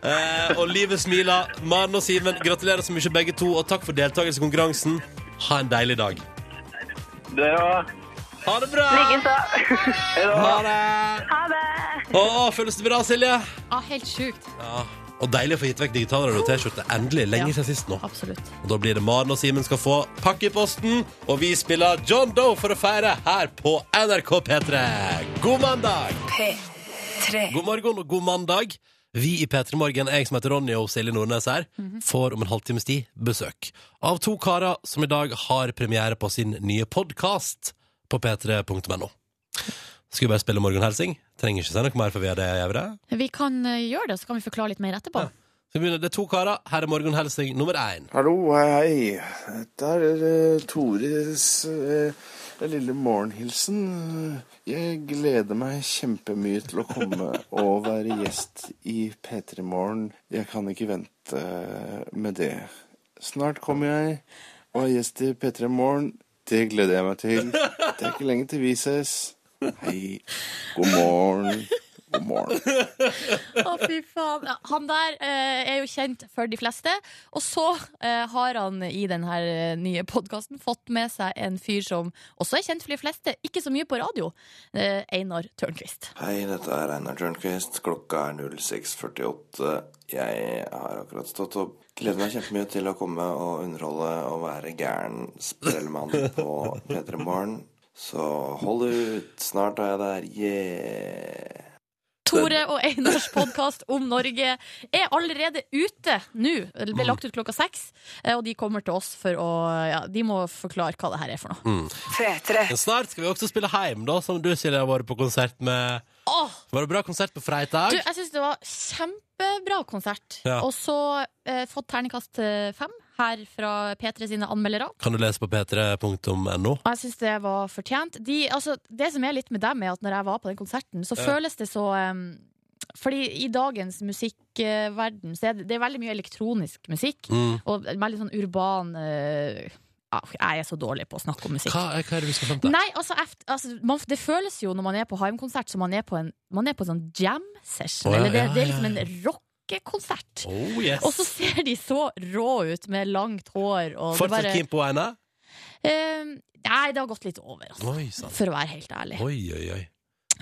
[SPEAKER 2] Eh, og livet smiler. Maren og Simen, gratulerer så mye begge to, og takk for deltakelse i konkurransen. Ha en deilig dag.
[SPEAKER 7] Dere òg.
[SPEAKER 2] Ha det bra!
[SPEAKER 1] Likeså.
[SPEAKER 2] Ha det!
[SPEAKER 1] Ha det.
[SPEAKER 2] Å, føles det bra, Silje?
[SPEAKER 6] ah, helt sjukt.
[SPEAKER 2] Ja. Og deilig å få gitt vekk digitalradio og T-skjorte. Endelig. Lenge siden sist nå.
[SPEAKER 6] Absolutt.
[SPEAKER 2] Og da blir det Maren og Simen skal få pakke i posten, og vi spiller John Doe for å feire her på NRK P3. God mandag!
[SPEAKER 4] P3.
[SPEAKER 2] God morgen og god mandag. Vi i P3 Morgen, jeg som heter Ronny og Silje Nordnes her, får om en halvtimes tid besøk av to karer som i dag har premiere på sin nye podkast på p3.no. Skulle bare spille morgenhelsing. Trenger ikke si noe mer for vi er det gjevere.
[SPEAKER 6] Vi kan eh, gjøre det, så kan vi forklare litt mer etterpå.
[SPEAKER 2] Så begynner det to karer. Her er morgenhelsing nummer én.
[SPEAKER 8] Hallo, hei, hei. Dette er eh, Tores eh, lille morgenhilsen. Jeg gleder meg kjempemye til å komme og være gjest i P3 Morgen. Jeg kan ikke vente eh, med det. Snart kommer jeg og er gjest i P3 Morgen. Det gleder jeg meg til. Det er ikke lenge til vi ses. Hei. God morgen. God morgen.
[SPEAKER 6] Å, fy faen. Ja, Han der eh, er jo kjent for de fleste. Og så eh, har han i denne eh, nye podkasten fått med seg en fyr som også er kjent for de fleste, ikke så mye på radio. Eh, Einar Tørnquist.
[SPEAKER 8] Hei, dette er Einar Tørnquist. Klokka er 06.48. Jeg har akkurat stått opp. Gleder meg kjempemye til å komme og underholde og være gæren sprellmann på P3 Morgen. Så hold ut. Snart er jeg der. Yeah!
[SPEAKER 6] Tore og Einars podkast om Norge er allerede ute nå. Det ble lagt ut klokka seks, eh, og de kommer til oss for å ja, De må forklare hva det her er for noe.
[SPEAKER 2] Mm. Men snart skal vi også spille Heim, da, som du Silje har vært på konsert med.
[SPEAKER 6] Åh,
[SPEAKER 2] Var det bra konsert på
[SPEAKER 6] du,
[SPEAKER 2] fredag?
[SPEAKER 6] jeg syns det var kjempebra konsert.
[SPEAKER 2] Ja.
[SPEAKER 6] Og så eh, fått terningkast eh, fem her fra P3 sine anmeldere.
[SPEAKER 2] Kan du lese på p3.no?
[SPEAKER 6] Og jeg syns det var fortjent. De, altså, det som er litt med dem, er at når jeg var på den konserten, så føles det så em, Fordi i dagens musikkverden så er det, det er veldig mye elektronisk musikk.
[SPEAKER 2] Mm.
[SPEAKER 6] Og veldig sånn urban eh, ja, Jeg er så dårlig på å snakke om musikk.
[SPEAKER 2] Hva, er- hva er det vi skal frem til?
[SPEAKER 6] Nei, altså, eft- altså man, Det føles jo når man er på Haim-konsert som man er på en, man er på en sånn jam-session.
[SPEAKER 2] Å, ja,
[SPEAKER 6] eller det,
[SPEAKER 2] ja,
[SPEAKER 6] det er
[SPEAKER 2] ja,
[SPEAKER 6] liksom
[SPEAKER 2] ja.
[SPEAKER 6] en rockekonsert.
[SPEAKER 2] Oh, yes.
[SPEAKER 6] Og så ser de så rå ut med langt hår. Og det
[SPEAKER 2] Fortsatt
[SPEAKER 6] bare,
[SPEAKER 2] keen på henne?
[SPEAKER 6] eh, nei, det har gått litt over, altså.
[SPEAKER 2] Oi sann.
[SPEAKER 6] For å være helt ærlig.
[SPEAKER 2] Oi, oi, oi.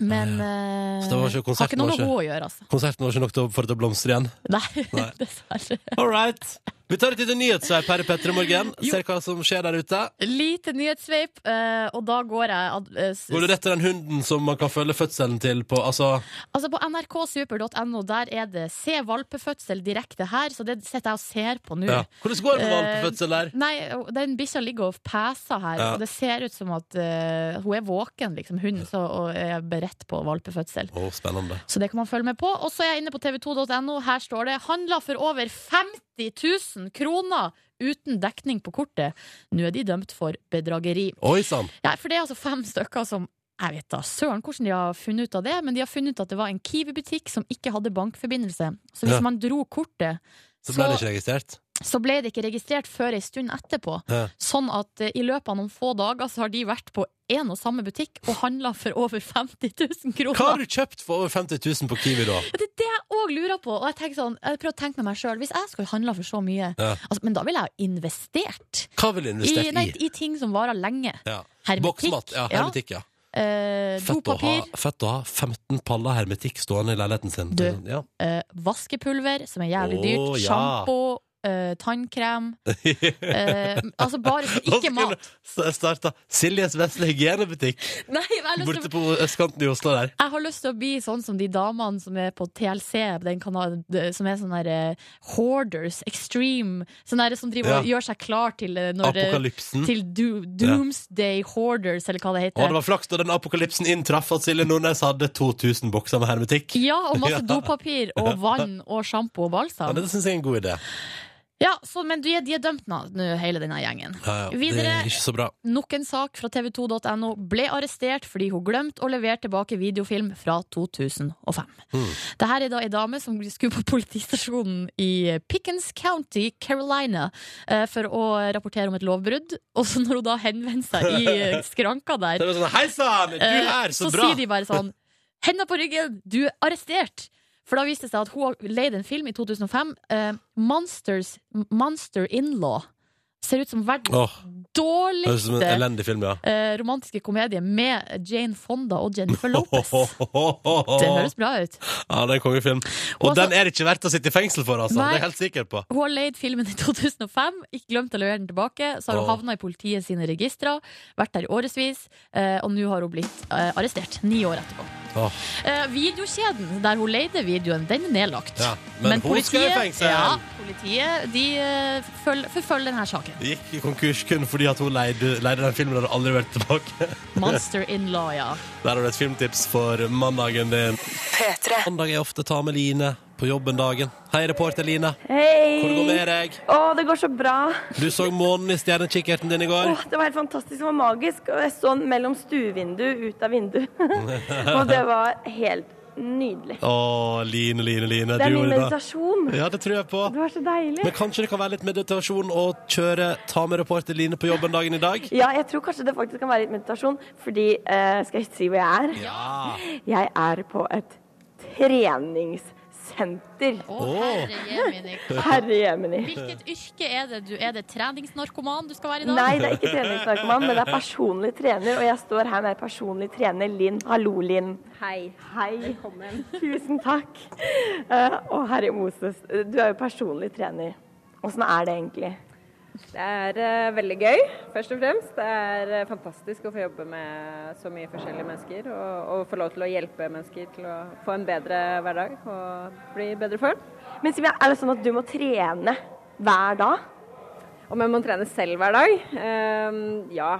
[SPEAKER 6] Men
[SPEAKER 2] Så
[SPEAKER 6] eh,
[SPEAKER 2] det var ikke
[SPEAKER 6] har
[SPEAKER 2] konserten
[SPEAKER 6] ikke noe
[SPEAKER 2] var
[SPEAKER 6] med
[SPEAKER 2] ikke-
[SPEAKER 6] henne å gjøre, altså.
[SPEAKER 2] Konserten var ikke nok til å få det til å blomstre igjen.
[SPEAKER 6] Nei,
[SPEAKER 2] Nei.
[SPEAKER 6] dessverre.
[SPEAKER 2] All right. Vi tar et lite nyhetssveip her i Petter i morgen. Ser hva som skjer der ute.
[SPEAKER 6] Lite nyhetssveip, eh, og da går jeg ad- eh, s-
[SPEAKER 2] Går du rett til den hunden som man kan følge fødselen til på Altså,
[SPEAKER 6] Altså På nrksuper.no der er det 'se valpefødsel' direkte her, så det sitter jeg og ser på nå.
[SPEAKER 2] ja.
[SPEAKER 6] Eh,
[SPEAKER 2] Hvordan går det med valpefødsel der?
[SPEAKER 6] Nei, og den bikkja ligger og peser her,
[SPEAKER 2] Ja.
[SPEAKER 6] og det ser ut som at eh, hun er våken, liksom, hunden, så, og er beredt på valpefødsel.
[SPEAKER 2] Å, spennende.
[SPEAKER 6] Så det kan man følge med på. Og så er jeg inne på tv2.no. Her står det 'handla for over 50 000 kroner uten dekning på kortet'. Nå er de dømt for bedrageri.
[SPEAKER 2] Oi sann.
[SPEAKER 6] Ja, for det er altså fem stykker som jeg vet da, søren hvordan de har funnet ut av det, men de har funnet ut at det var en Kiwi-butikk som ikke hadde bankforbindelse. Så hvis
[SPEAKER 2] Ja.
[SPEAKER 6] man dro kortet,
[SPEAKER 2] Så ble det ikke registrert.
[SPEAKER 6] så ble det ikke registrert før ei stund etterpå.
[SPEAKER 2] Ja.
[SPEAKER 6] Sånn at eh, i løpet av noen få dager så har de vært på én og samme butikk og handla for over 50 000
[SPEAKER 2] Hva har
[SPEAKER 6] kroner.
[SPEAKER 2] du kjøpt for over 50 000 på Kiwi, da?
[SPEAKER 6] Det er det jeg òg lurer på. Og jeg tenker sånn, jeg prøver å tenke med meg sjøl. Hvis jeg skulle handla for så mye,
[SPEAKER 2] Ja.
[SPEAKER 6] altså, men da ville jeg ha investert
[SPEAKER 2] Hva vil du
[SPEAKER 6] i,
[SPEAKER 2] investere
[SPEAKER 6] nei,
[SPEAKER 2] i?
[SPEAKER 6] i ting som varer lenge.
[SPEAKER 2] Ja.
[SPEAKER 6] Hermetikk.
[SPEAKER 2] Boksmat. Ja,
[SPEAKER 6] ja.
[SPEAKER 2] hermetikk, ja.
[SPEAKER 6] Eh,
[SPEAKER 2] Fett å, ha,
[SPEAKER 6] dopapir.
[SPEAKER 2] fett å ha 15 paller hermetikk stående i leiligheten sin.
[SPEAKER 6] Du.
[SPEAKER 2] Ja.
[SPEAKER 6] eh, vaskepulver, som er jævlig
[SPEAKER 2] Å,
[SPEAKER 6] dyrt,
[SPEAKER 2] ja.
[SPEAKER 6] sjampo, eh, tannkrem eh, Altså bare ikke mat.
[SPEAKER 2] Så jeg starta Siljes vesle hygienebutikk
[SPEAKER 6] Nei, jeg har, lyst
[SPEAKER 2] borte
[SPEAKER 6] til,
[SPEAKER 2] på østkanten i Oslo der.
[SPEAKER 6] jeg har lyst til å bli sånn som de damene som er på TLC, den kanalen, de- som er sånne der, eh, hoarders, extreme, sånne der, som driver og
[SPEAKER 2] Ja.
[SPEAKER 6] gjør seg klar til eh, når eh,
[SPEAKER 2] Apokalypsen.
[SPEAKER 6] til do, Doomsday Hoarders, eller hva det
[SPEAKER 2] Og det
[SPEAKER 6] heter.
[SPEAKER 2] var flaks da den apokalypsen inntraff at Silje Nordnes hadde 2000 bokser med hermetikk.
[SPEAKER 6] Ja, og masse
[SPEAKER 2] Ja.
[SPEAKER 6] dopapir og vann og sjampo og
[SPEAKER 2] Ja,
[SPEAKER 6] balsam.
[SPEAKER 2] det syns jeg er en god idé.
[SPEAKER 6] Ja, så, men de, er- de er dømt nå, nå, hele denne gjengen.
[SPEAKER 2] Ja, ja. Det
[SPEAKER 6] Videre-
[SPEAKER 2] er ikke så bra.
[SPEAKER 6] Nok en sak fra tv2.no ble arrestert fordi hun glemte å levere tilbake videofilm fra 2005.
[SPEAKER 2] Mm.
[SPEAKER 6] Dette er da ei dame som skulle på politistasjonen i Pickens County, Carolina, eh, for å rapportere om et lovbrudd. Og så når hun da henvender seg i eh, skranka
[SPEAKER 2] Det
[SPEAKER 6] der,
[SPEAKER 2] var sånn, Hei sann, er du
[SPEAKER 6] eh,
[SPEAKER 2] her, så,
[SPEAKER 6] så
[SPEAKER 2] bra!
[SPEAKER 6] sier de bare sånn Henda på ryggen, du er arrestert! For da viste det seg at hun har leid en film i 2005, eh, Monsters, Monster in Law. Ser ut som verdens
[SPEAKER 2] Åh, det høres ut som en
[SPEAKER 6] dårligste
[SPEAKER 2] elendig film, ja.
[SPEAKER 6] eh, romantiske komedie med Jane Fonda og Jennifer Lopez. Det høres bra ut.
[SPEAKER 2] Ja, det er en kongefilm. Og
[SPEAKER 6] Og altså-
[SPEAKER 2] den er det ikke verdt å sitte i fengsel for, altså. Det er
[SPEAKER 6] Nei.
[SPEAKER 2] jeg helt sikker på.
[SPEAKER 6] Hun har leid filmen i 2005, ikke glemt å levere den tilbake. Så har hun
[SPEAKER 2] Åh.
[SPEAKER 6] havna i politiet sine registre, vært der i årevis, eh, og nå har hun blitt eh, arrestert. Ni år etterpå.
[SPEAKER 2] Åh.
[SPEAKER 6] Eh, videokjeden der hun leide videoen, den er nedlagt.
[SPEAKER 2] Ja, men hun skal i fengsel.
[SPEAKER 6] Ja, politiet de eh, føl- forfølger denne saken.
[SPEAKER 2] Gikk i konkurs kun fordi at hun leide, leide den filmen og hadde aldri vært tilbake.
[SPEAKER 6] Monster in law, ja.
[SPEAKER 2] Der har du et filmtips for mandagen din.
[SPEAKER 4] P3.
[SPEAKER 2] Mandag er ofte ta med Line på jobben dagen. Hei, reporter Line. Hvordan går det
[SPEAKER 1] Hei!
[SPEAKER 2] med deg?
[SPEAKER 1] Å, det går så bra.
[SPEAKER 2] Du så månen i stjernekikkerten din i går.
[SPEAKER 1] Åh, det var helt fantastisk. Det var magisk. Og jeg så den mellom stuevindu ut av vindu. og det var helt nydelig.
[SPEAKER 2] Å, Line, Line, Line.
[SPEAKER 1] Det
[SPEAKER 2] du
[SPEAKER 1] er min
[SPEAKER 2] gjorde det bra.
[SPEAKER 1] meditasjon.
[SPEAKER 2] Ja, det tror jeg på.
[SPEAKER 1] Det var så deilig.
[SPEAKER 2] Men kanskje det kan være litt meditasjon å kjøre ta med reporter Line på jobben dagen i dag?
[SPEAKER 1] Ja, jeg tror kanskje det faktisk kan være litt meditasjon, fordi eh, Skal jeg si hvor jeg er?
[SPEAKER 2] Ja.
[SPEAKER 1] Jeg er på et treningssenter.
[SPEAKER 6] Å,
[SPEAKER 2] Åh.
[SPEAKER 6] herre jemini.
[SPEAKER 1] Herre jemini.
[SPEAKER 6] Hvilket yrke er det? Du, er det treningsnarkoman du skal være i dag?
[SPEAKER 1] Nei, det er ikke treningsnarkoman, men det er personlig trener. Og jeg står her med personlig trener Linn. Hallo, Linn. Hei. Hei. Velkommen. Tusen takk. Eh, og herre Moses, du er jo personlig trener. Åssen er det egentlig?
[SPEAKER 9] Det er eh, veldig gøy, først og fremst. Det er eh, fantastisk å få jobbe med så mye forskjellige mennesker. Og, og få lov til å hjelpe mennesker til å få en bedre hverdag og bli i bedre form.
[SPEAKER 1] Men Silvia, er det sånn at du må trene hver dag?
[SPEAKER 9] Om jeg må trene selv hver dag? Ehm, ja.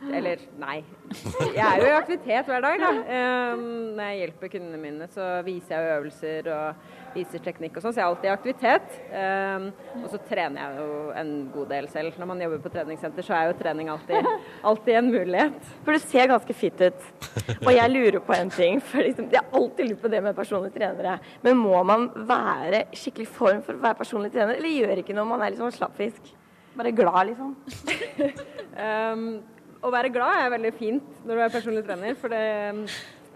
[SPEAKER 9] Eller nei. Jeg er jo i aktivitet hver dag, da. Ehm, når jeg hjelper kundene mine, så viser jeg jo øvelser og viser teknikk og sånn, så jeg er alltid i aktivitet. Ehm, og så trener jeg jo en god del selv. Når man jobber på treningssenter, så er jo trening alltid, alltid en mulighet.
[SPEAKER 1] For du ser ganske fit ut. Og jeg lurer på en ting. For liksom, jeg har alltid lurt på det med personlige trenere. Men må man være i skikkelig form for å være personlig trener, eller gjør ikke noe om man er litt sånn slappfisk? Bare glad, liksom.
[SPEAKER 9] Ehm, å være glad er veldig fint når du er personlig trener, for det,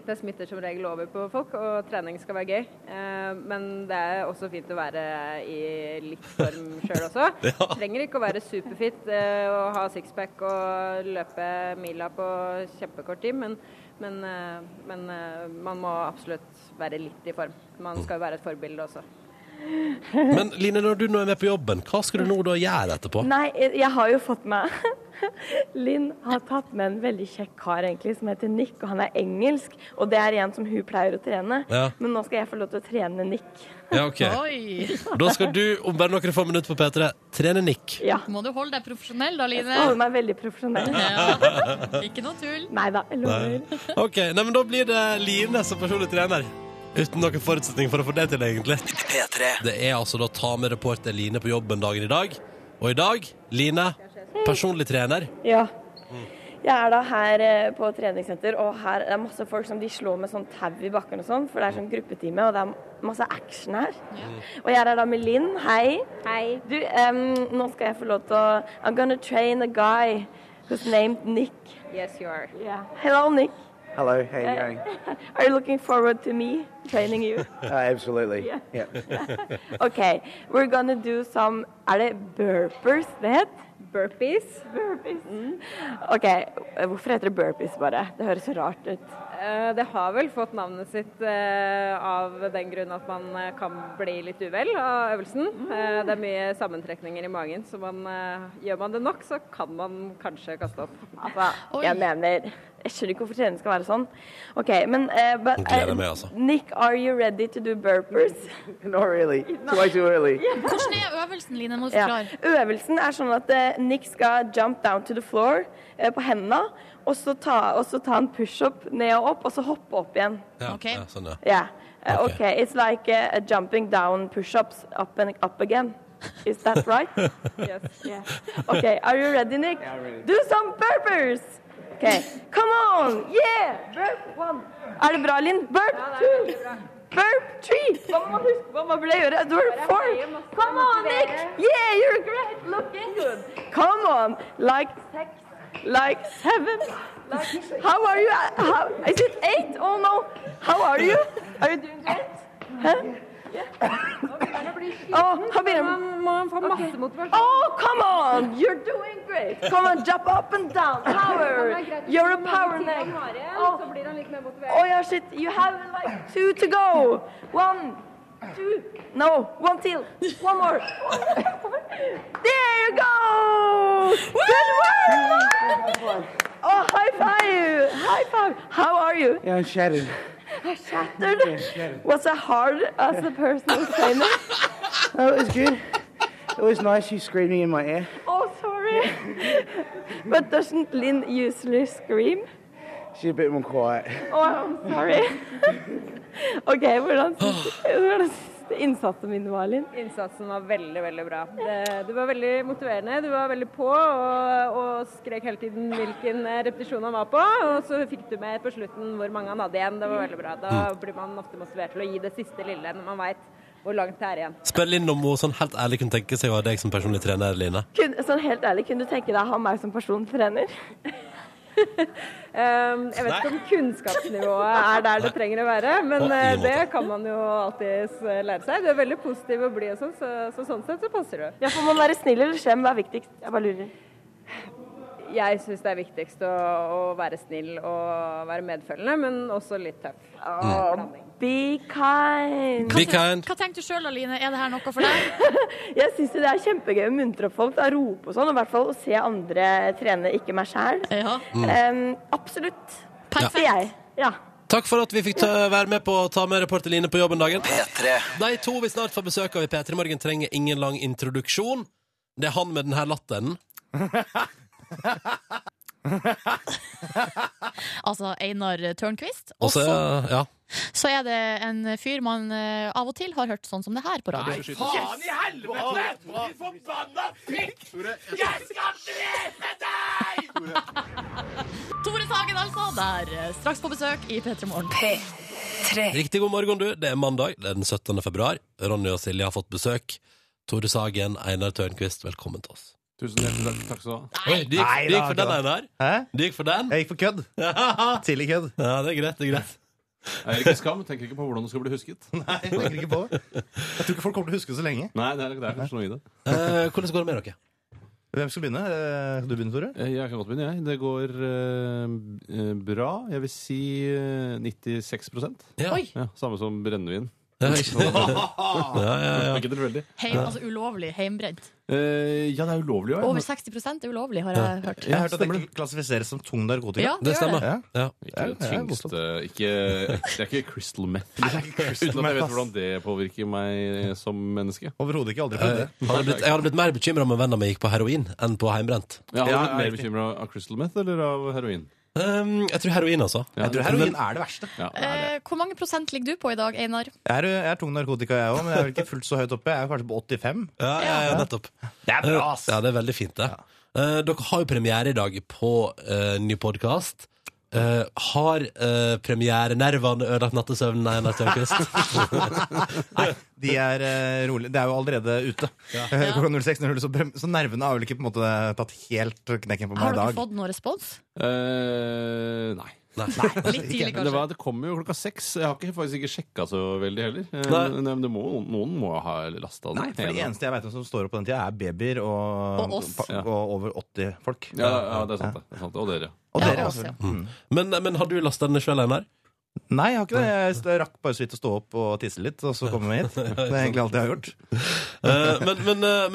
[SPEAKER 9] Det smitter som regel over på folk, og trening skal være gøy. Eh, Men det er også fint å være i litt form sjøl også. Trenger ikke å være superfit eh, og ha sixpack og løpe mila på kjempekort tid, men, men, eh, men eh, man må absolutt være litt i form. Man skal jo være et forbilde også.
[SPEAKER 2] Men Line, når du nå er med på jobben, hva skal du nå da gjøre etterpå?
[SPEAKER 4] Nei, jeg jeg har jo fått meg Linn har tatt med en veldig kjekk kar egentlig, som heter Nick, og han er engelsk. Og det er en som hun pleier å trene.
[SPEAKER 2] Ja.
[SPEAKER 4] Men nå skal jeg få lov til å trene Nick.
[SPEAKER 2] Ja, ok.
[SPEAKER 6] Oi!
[SPEAKER 2] Da skal du om bare noen få minutter på P3 trene Nick.
[SPEAKER 4] Ja.
[SPEAKER 6] Må du holde deg profesjonell da,
[SPEAKER 4] Jeg holder
[SPEAKER 6] Line?
[SPEAKER 4] meg veldig profesjonell.
[SPEAKER 6] Ja. Ikke noe tull.
[SPEAKER 4] Nei da, jeg lover.
[SPEAKER 2] Ok, nei, men Da blir det Line som personlig trener. Uten noen forutsetning for å få det til, egentlig. Det er altså da ta med reporter Line på jobben dagen i dag. Og i dag, Line, personlig trener.
[SPEAKER 4] Ja. Jeg er da her eh, på treningssenter, og her er det masse folk som de slår med sånn tau i bakken og sånn, for det er sånn gruppetime, og det er masse action her. Og jeg er da med Linn. Hei.
[SPEAKER 9] Hei.
[SPEAKER 4] Du, em, nå skal jeg få lov til å I'm gonna train a guy who's named Nick.
[SPEAKER 9] Yes, you are.
[SPEAKER 4] Hello, Nick.
[SPEAKER 3] Hello, how you going?
[SPEAKER 4] Are you looking forward to me training you?
[SPEAKER 3] Uh, absolutely. Yeah.
[SPEAKER 4] Okay, we're gonna do some Er det burpers det het?
[SPEAKER 9] Burpees.
[SPEAKER 4] Burpees. Mm. OK, hvorfor heter det burpees bare? Det høres så rart ut.
[SPEAKER 9] Eh, Det har vel fått navnet sitt eh, av den grunn at man eh, kan bli litt uvel av øvelsen. Eh, Det er mye sammentrekninger i magen, så man, eh, gjør man det nok, så kan man kanskje kaste opp.
[SPEAKER 4] Altså, jeg mener Jeg skjønner ikke hvorfor trening skal være sånn. OK, men eh, but,
[SPEAKER 2] Gleder
[SPEAKER 4] eh,
[SPEAKER 2] meg, altså.
[SPEAKER 4] Nick, are you ready to do burpers?
[SPEAKER 3] Not really. It's way too early.
[SPEAKER 6] Hvordan er øvelsen, Line? Må du
[SPEAKER 4] Ja.
[SPEAKER 6] forklare.
[SPEAKER 4] Øvelsen er sånn at eh, Nick skal jump down to the floor eh, på hendene, og så ta, og så ta en pushup ned og opp, og så hoppe opp igjen.
[SPEAKER 2] Ja,
[SPEAKER 6] Ok.
[SPEAKER 2] ja, sånn, ja.
[SPEAKER 4] Yeah. Uh,
[SPEAKER 2] Okay.
[SPEAKER 4] okay. it's like uh, a jumping down push-ups up and up again. Is that right? yes. Yeah. Okay, are you ready, Nick? Yeah, ready. Do some burpers! Okay, come on! Yeah! Burp one. Er det bra, Linn? Burp two! Burp three! Hva må man huske? Hva man burde gjøre? Burp four! Come on, Nick! Yeah, you're great! Looking good! Come on! Like six, like seven, like How are you? How, is it eight? Oh no! How are you? Are you doing great? Huh? Oh, how many?
[SPEAKER 9] Man må få masse motivasjon.
[SPEAKER 4] Oh, come on! You're doing great! Come on, jump up and down. Power! You're a power neck.
[SPEAKER 9] Så blir han litt mer motivert.
[SPEAKER 4] Oh, yeah, shit. You have like two to go. One, two. No, one till. One more. There you go! Good work! Oh, high five! High five! How are you?
[SPEAKER 3] Yeah, I'm shattered.
[SPEAKER 4] Shattered? Was I hard uh, as a personal trainer?
[SPEAKER 3] Oh, it was good. It was nice you screaming in my ear.
[SPEAKER 4] Oh, sorry. But doesn't Lynn usually scream?
[SPEAKER 3] She's a bit more quiet.
[SPEAKER 4] Å, I'm sorry. OK, hvordan syns hvordan syns du innsatsen min var, Linn?
[SPEAKER 9] Innsatsen var veldig, veldig bra. Det, du var veldig motiverende, du var veldig på og, og skrek hele tiden hvilken eh, repetisjon han var på. Og så fikk du med på slutten hvor mange han hadde igjen. Det var veldig bra. Da blir man ofte motivert til å gi det siste lille når man veit hvor langt det er igjen.
[SPEAKER 2] Spør Line om hun sånn helt ærlig kunne tenke seg å ha deg som personlig trener, Line.
[SPEAKER 4] Kun, sånn helt ærlig, kunne du tenke deg å ha meg som persontrener? Um,
[SPEAKER 9] Ehm, jeg vet ikke om kunnskapsnivået er der det trenger å være, men
[SPEAKER 2] På ingen
[SPEAKER 9] eh, det
[SPEAKER 2] måte.
[SPEAKER 9] kan man jo alltids eh, lære seg. Du er veldig positiv og blid og sånn, så, så sånn sett så passer du.
[SPEAKER 4] Ja, får man være snill eller slem? Hva er viktigst? Jeg bare lurer.
[SPEAKER 9] Jeg syns det er viktigst å, å være snill og være medfølende, men også litt tøff.
[SPEAKER 3] Mm.
[SPEAKER 4] Be Mm. kind.
[SPEAKER 2] Be kind.
[SPEAKER 6] Hva tenker du sjøl, Line? Er det her noe for deg?
[SPEAKER 4] Jeg syns jo det er kjempegøy å muntre opp folk, da, rope og sånn, og i hvert fall å se andre trene, ikke meg sjæl.
[SPEAKER 6] Ja.
[SPEAKER 4] Em, absolutt.
[SPEAKER 6] Perfekt.
[SPEAKER 4] Sier jeg. Ja.
[SPEAKER 2] Takk for at vi fikk ta, være med på å ta med reporter Line på jobben dagen. De to vi snart får besøk av i P3 Morgen, trenger ingen lang introduksjon. Det er han med den her latteren.
[SPEAKER 6] Altså Einar Tørnquist.
[SPEAKER 2] Og så,
[SPEAKER 6] Også
[SPEAKER 2] ja.
[SPEAKER 6] så er det en fyr man eh, av og til har hørt sånn som det her på radio. Tore Sagen, altså, der eh, straks på besøk i P3 Morgen.
[SPEAKER 2] Riktig god morgen, du. Det er mandag, det er den 17. februar. Ronny og Silje har fått besøk. Tore Sagen, Einar Tørnquist, velkommen til oss.
[SPEAKER 10] Tusen hjertelig takk. Takk skal du ha.
[SPEAKER 2] Oi, du gikk,
[SPEAKER 10] Nei,
[SPEAKER 2] du gikk
[SPEAKER 10] da,
[SPEAKER 2] for den,
[SPEAKER 10] ikke
[SPEAKER 2] Einar.
[SPEAKER 10] Hæ?
[SPEAKER 2] Du gikk for den.
[SPEAKER 10] Jeg gikk for kødd.
[SPEAKER 2] Ja,
[SPEAKER 10] Tidlig kødd.
[SPEAKER 2] det er greit, det er greit.
[SPEAKER 10] Jeg er ikke skam, tenker ikke på hvordan du skal bli husket. Nei,
[SPEAKER 11] jeg tenker ikke på det. Jeg tror ikke folk kommer til å huske det så lenge.
[SPEAKER 10] Nei, det er, det er kanskje noe i det.
[SPEAKER 2] Eh, hvordan går det med dere?
[SPEAKER 11] Hvem skal begynne? Eh, Skal du begynne, Tore?
[SPEAKER 10] Eh, Jeg kan godt begynne, jeg. Det går eh, eh, bra. Jeg vil si eh, 96
[SPEAKER 2] ja.
[SPEAKER 10] Ja, Samme som brennevin.
[SPEAKER 2] Ja, ikke ja.
[SPEAKER 10] Ikke tilfeldig.
[SPEAKER 6] Heim, altså ulovlig heimbrent.
[SPEAKER 10] Eh, ja, det er ulovlig òg.
[SPEAKER 6] Over 60 er ulovlig, har jeg hørt.
[SPEAKER 11] Jeg har hørt at det klassifiseres som tung narkotika.
[SPEAKER 6] Ja, det Det gjør det. stemmer.
[SPEAKER 2] Ja.
[SPEAKER 10] Ikke det tyngste ikke, Det er ikke crystal meth.
[SPEAKER 11] crystal
[SPEAKER 10] Uten at jeg
[SPEAKER 11] meth,
[SPEAKER 10] vet
[SPEAKER 11] ass.
[SPEAKER 10] hvordan det påvirker meg som menneske.
[SPEAKER 11] Overhodet ikke. Aldri prøvd
[SPEAKER 2] Eh,
[SPEAKER 11] det.
[SPEAKER 2] jeg hadde blitt, jeg hadde blitt mer bekymra om en venn av meg gikk på heroin enn på heimbrent.
[SPEAKER 10] Ja, er
[SPEAKER 11] Ja,
[SPEAKER 10] du mer
[SPEAKER 11] riktig.
[SPEAKER 10] bekymra av crystal meth eller av heroin?
[SPEAKER 2] Um, jeg tror heroin, altså.
[SPEAKER 10] Ja.
[SPEAKER 11] Jeg tror heroin er det verste.
[SPEAKER 10] Ja, det er det.
[SPEAKER 6] Eh, hvor mange prosent ligger du på i dag, Einar?
[SPEAKER 11] Jeg er, jeg er tung narkotika, jeg òg, men jeg er vel ikke fullt så høyt oppe. Jeg er kanskje på 85.
[SPEAKER 2] Ja, ja, ja nettopp.
[SPEAKER 11] Det er bra, ass!
[SPEAKER 2] Ja, det er veldig fint, det. Eh, dere har jo premiere i dag på eh, ny podkast. har eh, premierenervene ødelagt nattesøvnen, Einar Tørnquist?
[SPEAKER 11] De er eh, rolig. Det er jo allerede ute. Eh, Klokka 06.00, så, brem- så nervene har vel ikke på en måte tatt helt knekken på meg
[SPEAKER 6] Har
[SPEAKER 11] i
[SPEAKER 6] dere
[SPEAKER 11] dag.
[SPEAKER 6] fått noen respons?
[SPEAKER 10] Eh, nei.
[SPEAKER 6] Litt tidlig,
[SPEAKER 10] Men Det,
[SPEAKER 6] kanskje.
[SPEAKER 10] var, det kommer jo klokka seks. Jeg har ikke, faktisk ikke sjekka så veldig heller. Eh,
[SPEAKER 2] Nei.
[SPEAKER 10] Men men det må, noen må ha lasta den.
[SPEAKER 11] Nei, for Det
[SPEAKER 10] ene.
[SPEAKER 11] eneste jeg vet om som står opp på den tida, er babyer og,
[SPEAKER 6] Og oss.
[SPEAKER 11] pa- og over 80 folk.
[SPEAKER 10] Ja, ja, det er sant, det. det, er sant, det. Og dere.
[SPEAKER 11] Og
[SPEAKER 6] Ja,
[SPEAKER 11] dere,
[SPEAKER 6] oss,
[SPEAKER 11] altså.
[SPEAKER 6] ja.
[SPEAKER 11] Mm.
[SPEAKER 2] men, men har du lasta den sjøl, Einar?
[SPEAKER 11] Nei, jeg har ikke det. Jeg st- rakk bare så vidt å stå opp og tisse litt, og så komme meg hit. Det er egentlig alt jeg har gjort.
[SPEAKER 2] Eh, men men, eh,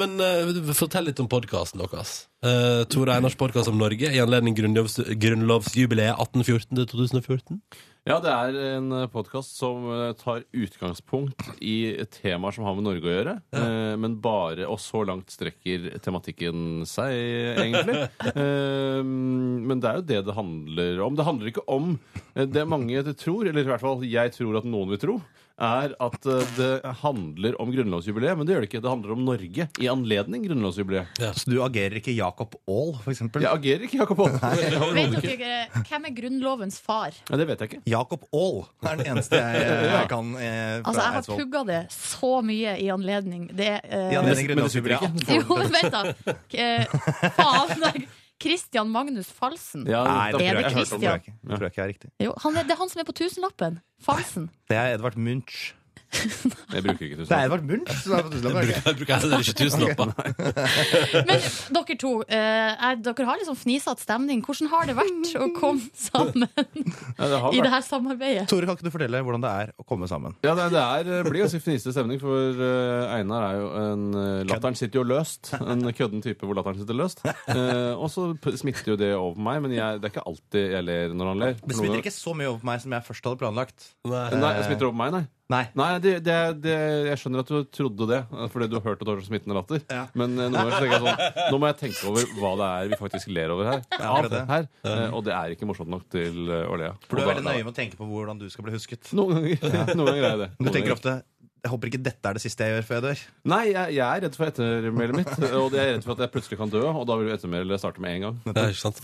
[SPEAKER 2] men eh, fortell litt om podkasten deres. Uh, Tore Einars podkast om Norge i anledning grunnlovs, grunnlovsjubileet 1814 til 2014.
[SPEAKER 10] Ja, det er en podkast som eh, tar utgangspunkt i temaer som har med Norge å gjøre, eh, men bare Og så langt strekker tematikken seg, egentlig. Eh, Men det er jo det det handler om. Det handler ikke om eh, det mange tror, eller i hvert fall jeg tror at noen vil tro. Er at eh, det handler om grunnlovsjubileet, men det gjør det ikke. Det handler om Norge i anledning grunnlovsjubileet.
[SPEAKER 11] Så du agerer ikke Jacob Aall, for eksempel?
[SPEAKER 10] Jeg agerer ikke, Jakob Holm.
[SPEAKER 6] Vet
[SPEAKER 10] Overhodet ikke.
[SPEAKER 6] dere, eh, hvem er Grunnlovens far?
[SPEAKER 10] Ja, det vet jeg ikke.
[SPEAKER 11] Jacob Aall er den eneste jeg, jeg kan eh, fra
[SPEAKER 6] Altså, Jeg har
[SPEAKER 11] Eidsvoll.
[SPEAKER 6] pugga det så mye i anledning. Det eh,
[SPEAKER 11] I anledning
[SPEAKER 10] Men- men det supper
[SPEAKER 11] grunnlovsjubileet.
[SPEAKER 10] ikke.
[SPEAKER 6] Jo, men vent da. Eh, Faen. Christian Magnus Falsen.
[SPEAKER 10] Ja,
[SPEAKER 11] Nei,
[SPEAKER 10] da-
[SPEAKER 11] det tror jeg,
[SPEAKER 6] Er det
[SPEAKER 11] jeg, tror
[SPEAKER 6] Christian?
[SPEAKER 11] jeg, ikke. Det tror jeg ikke er riktig.
[SPEAKER 6] Jo, han er, det er han som er på tusenlappen. Falsen.
[SPEAKER 11] Det er Edvard Munch.
[SPEAKER 10] jeg bruker ikke
[SPEAKER 11] Det er
[SPEAKER 10] tusen.
[SPEAKER 11] Edvard Munch som er på Tusenland. er det ikke?
[SPEAKER 2] Jeg bruker heller ikke tusenlapper.
[SPEAKER 6] Men dere to, eh, er, dere har liksom fnisete stemning. Hvordan har det vært å komme sammen
[SPEAKER 10] Ja, det har
[SPEAKER 6] i
[SPEAKER 10] vært-
[SPEAKER 6] det her samarbeidet?
[SPEAKER 11] Tore, kan ikke du fortelle hvordan det er å komme sammen?
[SPEAKER 10] Ja, det, det er, det blir ganske fniste stemning, for eh, Einar er jo en eh, Latteren sitter jo løst. En kødden type hvor latteren sitter løst. Eh, og så p- smitter jo det over på meg, men jeg, det er ikke alltid jeg ler når han ler.
[SPEAKER 11] Det smitter ikke så mye over på meg som jeg først hadde planlagt.
[SPEAKER 10] Nei, det
[SPEAKER 11] Eh,
[SPEAKER 10] smitter over på meg, nei.
[SPEAKER 11] Nei.
[SPEAKER 10] Nei, det, det, det, Jeg skjønner at du trodde det, eh, fordi du har hørt at du har så smittende latter.
[SPEAKER 11] Ja.
[SPEAKER 10] Men eh, nå, tenker jeg sånn, nå må jeg tenke over hva det er vi faktisk ler over her.
[SPEAKER 11] Ja, det
[SPEAKER 10] Av
[SPEAKER 11] er det.
[SPEAKER 10] her. Eh, og det er ikke morsomt nok til eh, å le av.
[SPEAKER 11] For du
[SPEAKER 10] Og
[SPEAKER 11] er
[SPEAKER 10] da-
[SPEAKER 11] veldig nøye med å tenke på hvordan du skal bli husket.
[SPEAKER 10] Noen ganger, noen ganger er jeg det.
[SPEAKER 11] Du
[SPEAKER 10] Noen
[SPEAKER 11] tenker
[SPEAKER 10] ganger.
[SPEAKER 11] ofte jeg håper ikke dette er det siste jeg gjør før jeg dør.
[SPEAKER 10] Nei, jeg, jeg er redd for ettermælet mitt. Og jeg er redd for at jeg plutselig kan dø, og da vil jo ettermælet starte med en gang.
[SPEAKER 2] Ja, ikke sant?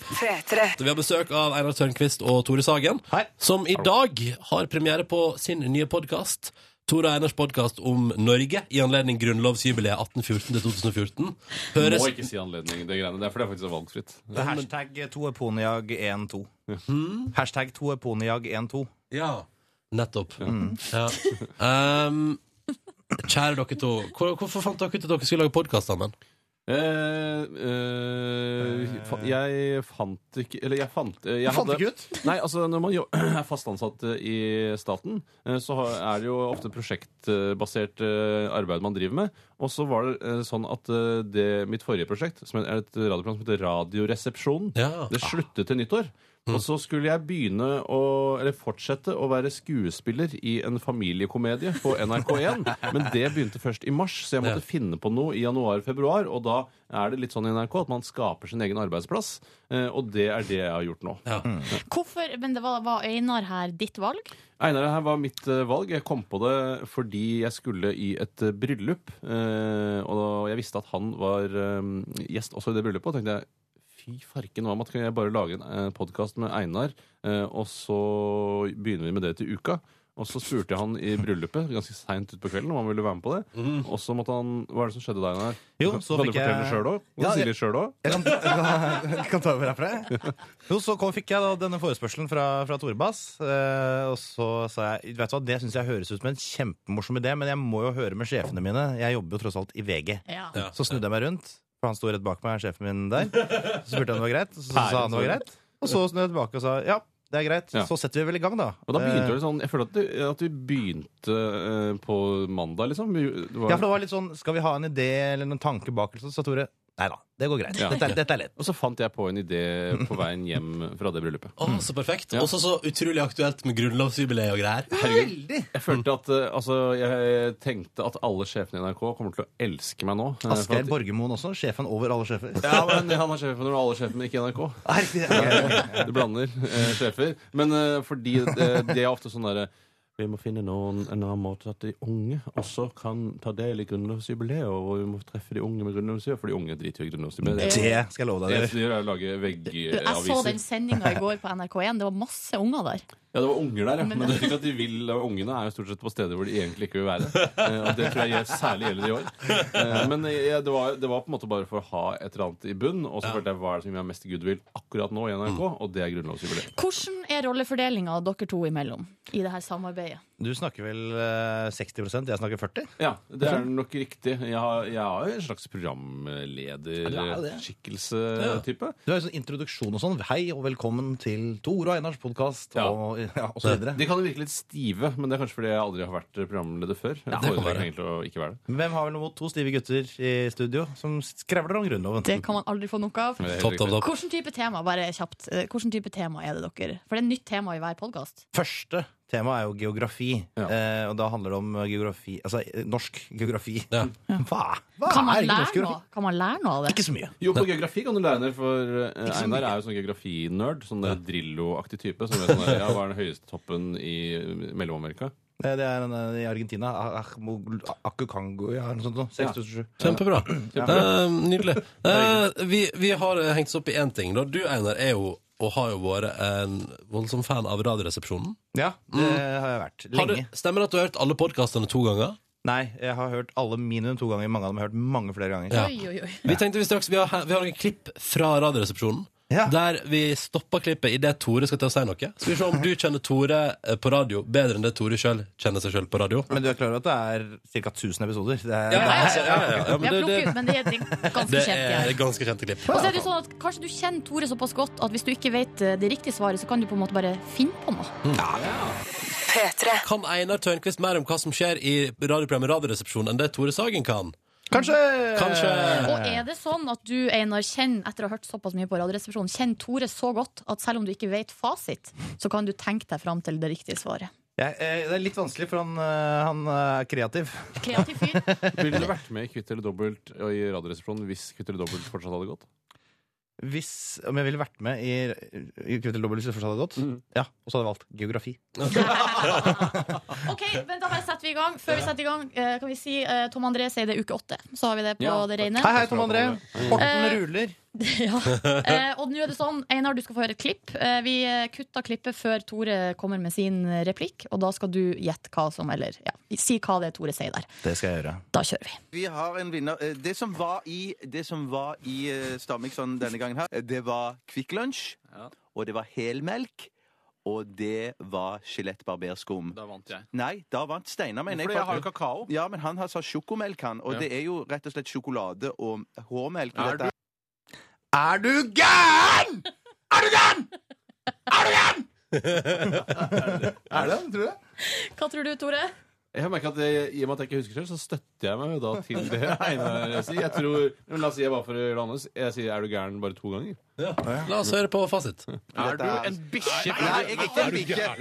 [SPEAKER 2] Vi har besøk av Einar Tørnquist og Tore Sagen, som i dag har premiere på sin nye podkast. Tore og Einars podkast om Norge i anledning grunnlovsjubileet 1814 til 2014. Høres
[SPEAKER 10] Må ikke si anledning, det greiene der, for det er faktisk valgfritt.
[SPEAKER 11] Det er hashtag 2eponiag12.
[SPEAKER 10] Hmm?
[SPEAKER 11] Hashtag 2eponiag12.
[SPEAKER 2] Ja, nettopp. Ja.
[SPEAKER 10] Eh,
[SPEAKER 2] Um, kjære dere to, hvor, hvorfor fant dere ut at dere skulle lage podkast sammen?
[SPEAKER 10] Eh, eh, fa- jeg fant ikke Eller jeg fant eh, jeg
[SPEAKER 11] Fant ikke ut?
[SPEAKER 10] Nei, altså Når man jo, er fast ansatt eh, i staten, eh, så har- er det jo ofte prosjektbasert eh, arbeid man driver med. Og så var det eh, sånn at eh, det, mitt forrige prosjekt, som er et radioprogram som heter Radioresepsjonen,
[SPEAKER 2] Ja. Mm.
[SPEAKER 10] det sluttet til nyttår. Og så skulle jeg begynne å, eller fortsette å være skuespiller i en familiekomedie på NRK1. Men det begynte først i mars, så jeg måtte finne på noe i januar-februar. Og da er det litt sånn i NRK at man skaper sin egen arbeidsplass. eh, Og det er det jeg har gjort nå.
[SPEAKER 2] Ja.
[SPEAKER 6] Hvorfor, men det var, var Einar her ditt valg?
[SPEAKER 10] Einar, det her var mitt eh, valg. Jeg kom på det fordi jeg skulle i et eh, bryllup. eh, Og da- jeg visste at han var eh, gjest også i det bryllupet. Og tenkte jeg fy farken, hva med at eh, jeg bare lager en podkast med Einar, eh, og så begynner vi med det til uka. Og så spurte jeg han i bryllupet ganske seint utpå kvelden om han ville være med på det. Og så måtte han Hva er det som skjedde deg, Einar?
[SPEAKER 11] Mhm. Jo,
[SPEAKER 10] Kan-
[SPEAKER 11] så
[SPEAKER 10] kan
[SPEAKER 11] fikk
[SPEAKER 10] du fortelle
[SPEAKER 11] jeg-
[SPEAKER 10] sjøl òg?
[SPEAKER 11] Ja,
[SPEAKER 10] Kan du si
[SPEAKER 11] jeg-
[SPEAKER 10] litt sjøl òg?
[SPEAKER 11] Jeg kan, jeg kan ta over herfra. jeg. Jo, så kom, fikk jeg da denne forespørselen fra, fra Tore Bass. eh, og så sa jeg vet du hva, det syns jeg høres ut som en kjempemorsom idé, men jeg må jo høre med sjefene mine. Jeg jobber jo tross alt i VG.
[SPEAKER 6] Ja.
[SPEAKER 11] Så snudde jeg meg rundt, for han sto rett bak meg, sjefen min der. Så spurte jeg om det var greit, og så sa han det var greit. Og så snudde jeg tilbake og sa ja, det er greit.
[SPEAKER 10] Ja.
[SPEAKER 11] Så setter vi vel i gang, da.
[SPEAKER 10] Og da begynte
[SPEAKER 11] Eh,
[SPEAKER 10] det litt sånn Jeg føler at, du, at vi begynte eh, på mandag, liksom. Vi- Det
[SPEAKER 11] Ja, for det var litt sånn, Skal vi ha en idé eller noen tanke bak? eller sånn, Så sa Tore nei da, det går greit.
[SPEAKER 10] Ja.
[SPEAKER 11] Dette, er- dette er lett.
[SPEAKER 10] Og så fant jeg på en idé på veien hjem fra det bryllupet.
[SPEAKER 2] Å, så perfekt. Også så utrolig aktuelt med grunnlovsjubileet og greier.
[SPEAKER 10] Herregud. Jeg følte at eh, altså, jeg tenkte at alle sjefene i NRK kommer til å elske meg nå. eh, for
[SPEAKER 11] Asgeir
[SPEAKER 10] at-
[SPEAKER 11] Borgermoen også. Sjefen over alle sjefer.
[SPEAKER 10] Ja, men han er sjefen når alle sjefene ikke i NRK. Du blander eh, sjefer. Men eh, fordi eh, det er ofte sånn derre vi må finne noen, en annen måte at de unge også kan ta del i grunnlovsjubileet. Og vi må treffe de unge med grunnlovsjubileet, for de unge driter jo i grunnlovsjubileet.
[SPEAKER 11] Det skal jeg love deg,
[SPEAKER 10] Det
[SPEAKER 11] dere.
[SPEAKER 10] eneste de gjør, er å lage
[SPEAKER 11] Eh,
[SPEAKER 6] Du, jeg så den
[SPEAKER 10] veggaviser.
[SPEAKER 6] sendinga i går på NRK1. Det var masse unger der.
[SPEAKER 10] Ja, det var unger der, ja. Men det er ikke at de vil Ungene er jo stort sett på steder hvor de egentlig ikke vil være. Eh, Og det tror jeg gjel- særlig gjelder i år. Eh, Men jeg- det var, det var på en måte bare for å ha et eller annet i bunn. Og så følte jeg hva er det som gir meg mest goodwill akkurat nå i
[SPEAKER 11] Mm.
[SPEAKER 10] NRK, og det er grunnlovsjubileet.
[SPEAKER 6] Hvordan er rollefordelinga dere to imellom i det her samarbeidet?
[SPEAKER 11] Du snakker vel eh, 60 jeg snakker 40
[SPEAKER 10] Ja, det er nok riktig. Jeg har, jeg har jo en slags programlederskikkelse-type.
[SPEAKER 11] Du har jo sånn introduksjon og sånn. Hei og velkommen til Tor og Einars podkast og, ja, og så videre.
[SPEAKER 10] De kan jo virke litt stive, men det er kanskje fordi jeg aldri har vært programleder før. Jeg
[SPEAKER 11] Ja, det kan
[SPEAKER 10] foretrekker
[SPEAKER 11] være.
[SPEAKER 10] egentlig å ikke være det.
[SPEAKER 11] Hvem har vel noe mot to stive gutter i studio som skrevler om Grunnloven?
[SPEAKER 6] Det kan man aldri få nok av.
[SPEAKER 11] Det er helt Topp, riktig. topp, topp.
[SPEAKER 6] Hvilken type tema bare kjapt, eh, hvordan type tema er det dere For det er nytt tema i hver podkast.
[SPEAKER 11] Første tema er jo geografi. Eh, og da handler det om geografi Altså eh, norsk geografi. Hva? Hva
[SPEAKER 6] Kan, man
[SPEAKER 11] er ikke norsk
[SPEAKER 6] lære
[SPEAKER 11] geografi?
[SPEAKER 6] noe- kan man lære noe av det?
[SPEAKER 11] Ikke så mye.
[SPEAKER 10] Jo, på geografi kan du lære det, for eh,
[SPEAKER 6] Ikke så
[SPEAKER 10] Einar
[SPEAKER 6] mye.
[SPEAKER 10] er jo sånn geografinerd. Sånn der Drillo-aktig type. Som er sånn der, ja, hva er den høyeste toppen i Mellom-Amerika?
[SPEAKER 11] Eh, Det er den eh, i Argentina. Ah- Ahmo- Akukango, ja, noe sånt. noe. 6007.
[SPEAKER 2] Kjempebra.
[SPEAKER 11] Ja.
[SPEAKER 2] Eh, nydelig. Eh, vi, vi har eh, hengt oss opp i én ting. Da. Du, Einar, er jo og har jo vært en voldsom fan av Radioresepsjonen.
[SPEAKER 11] Ja, det har jeg vært.
[SPEAKER 2] Mm. Har du-
[SPEAKER 11] Lenge.
[SPEAKER 2] Stemmer det at du har hørt alle podkastene to ganger?
[SPEAKER 11] Nei, jeg har hørt alle minimum to ganger. Mange av dem har jeg hørt mange flere ganger.
[SPEAKER 2] Ja. Oi, Vi tenkte vi straks, vi har, vi har noen klipp fra Radioresepsjonen. Der vi stopper klippet idet Tore skal til å si noe. Skal vi se om du kjenner Tore eh, på radio bedre enn det Tore sjøl kjenner seg sjøl på radio.
[SPEAKER 11] Men du er klar over at det er ca. 1000 episoder? Det er,
[SPEAKER 2] Ja, ja, ja, ja, ja, men det,
[SPEAKER 6] Vi har plukket ut,
[SPEAKER 2] det,
[SPEAKER 6] men det er det er ganske
[SPEAKER 2] det
[SPEAKER 6] kjent. ja.
[SPEAKER 2] er ganske kjente klipp.
[SPEAKER 6] Og så er det jo sånn at Kanskje du kjenner Tore såpass godt at hvis du ikke vet eh, det riktige svaret, så kan du på en måte bare finne på noe.
[SPEAKER 2] Kan Einar Tørnquist mer om hva som skjer i radioprogrammet Radioresepsjonen enn det Tore Sagen kan?
[SPEAKER 11] Kanskje!
[SPEAKER 6] Og er det sånn at du, Einar, kjenner, etter å ha hørt såpass mye på Radioresepsjonen, kjenner Tore så godt at selv om du ikke vet fasit, så kan du tenke deg fram til det riktige svaret?
[SPEAKER 11] Jeg, eh, det er litt vanskelig, for han, eh, han er kreativ.
[SPEAKER 6] Kreativ fyr.
[SPEAKER 10] Ville du vært med i Kvitt eller dobbelt og i Radioresepsjonen hvis Kvitt eller dobbelt fortsatt hadde gått?
[SPEAKER 11] Hvis om jeg ville vært med i, i Kvitt eller dobbelt, hvis jeg forstår det godt, ja, og så hadde jeg valgt geografi.
[SPEAKER 6] Ok, men da bare setter vi i gang. Før vi setter i gang, eh, kan vi si eh, Tom André sier det er uke åtte. Så har vi det på
[SPEAKER 11] Ja.
[SPEAKER 6] det rene. Eh,
[SPEAKER 11] Hei, hei, Tom André. Horten ruler.
[SPEAKER 6] ja. Eh, og nå er det sånn, Einar, du skal få høre et klipp. Eh, vi eh, kutter klippet før Tore kommer med sin eh, replikk. Og da skal du gjette hva som Eller ja, si hva det er Tore sier der.
[SPEAKER 11] Det skal jeg gjøre.
[SPEAKER 6] Da kjører vi.
[SPEAKER 12] Vi har en vinner. Eh, Det som var i, det som var i eh, Stamikson denne gangen her, eh, det var Kvikk Lunsj, og det var helmelk, og det var Skjelett barberskum.
[SPEAKER 10] Da vant jeg.
[SPEAKER 12] Nei, da vant Steinar, mener
[SPEAKER 10] Fordi jeg har jo kakao.
[SPEAKER 12] Ja, men han har sa sjokomelk, han. Og
[SPEAKER 10] Ja.
[SPEAKER 12] det er jo rett og slett sjokolade og hårmelk.
[SPEAKER 10] Er du-
[SPEAKER 12] er du gæren?!
[SPEAKER 10] Er det tror jeg?
[SPEAKER 6] Hva tror du, Tore?
[SPEAKER 10] Jeg merker at jeg, I og med at jeg ikke husker selv, så støtter jeg meg jo da til det Einar sier. Jeg tror, men La oss si jeg bare for å gjøre det annerledes. Jeg sier 'er du gæren' bare to ganger.
[SPEAKER 2] La oss høre på fasit.
[SPEAKER 10] Er du en bikkje?
[SPEAKER 12] Nei, jeg er ikke en bikkje.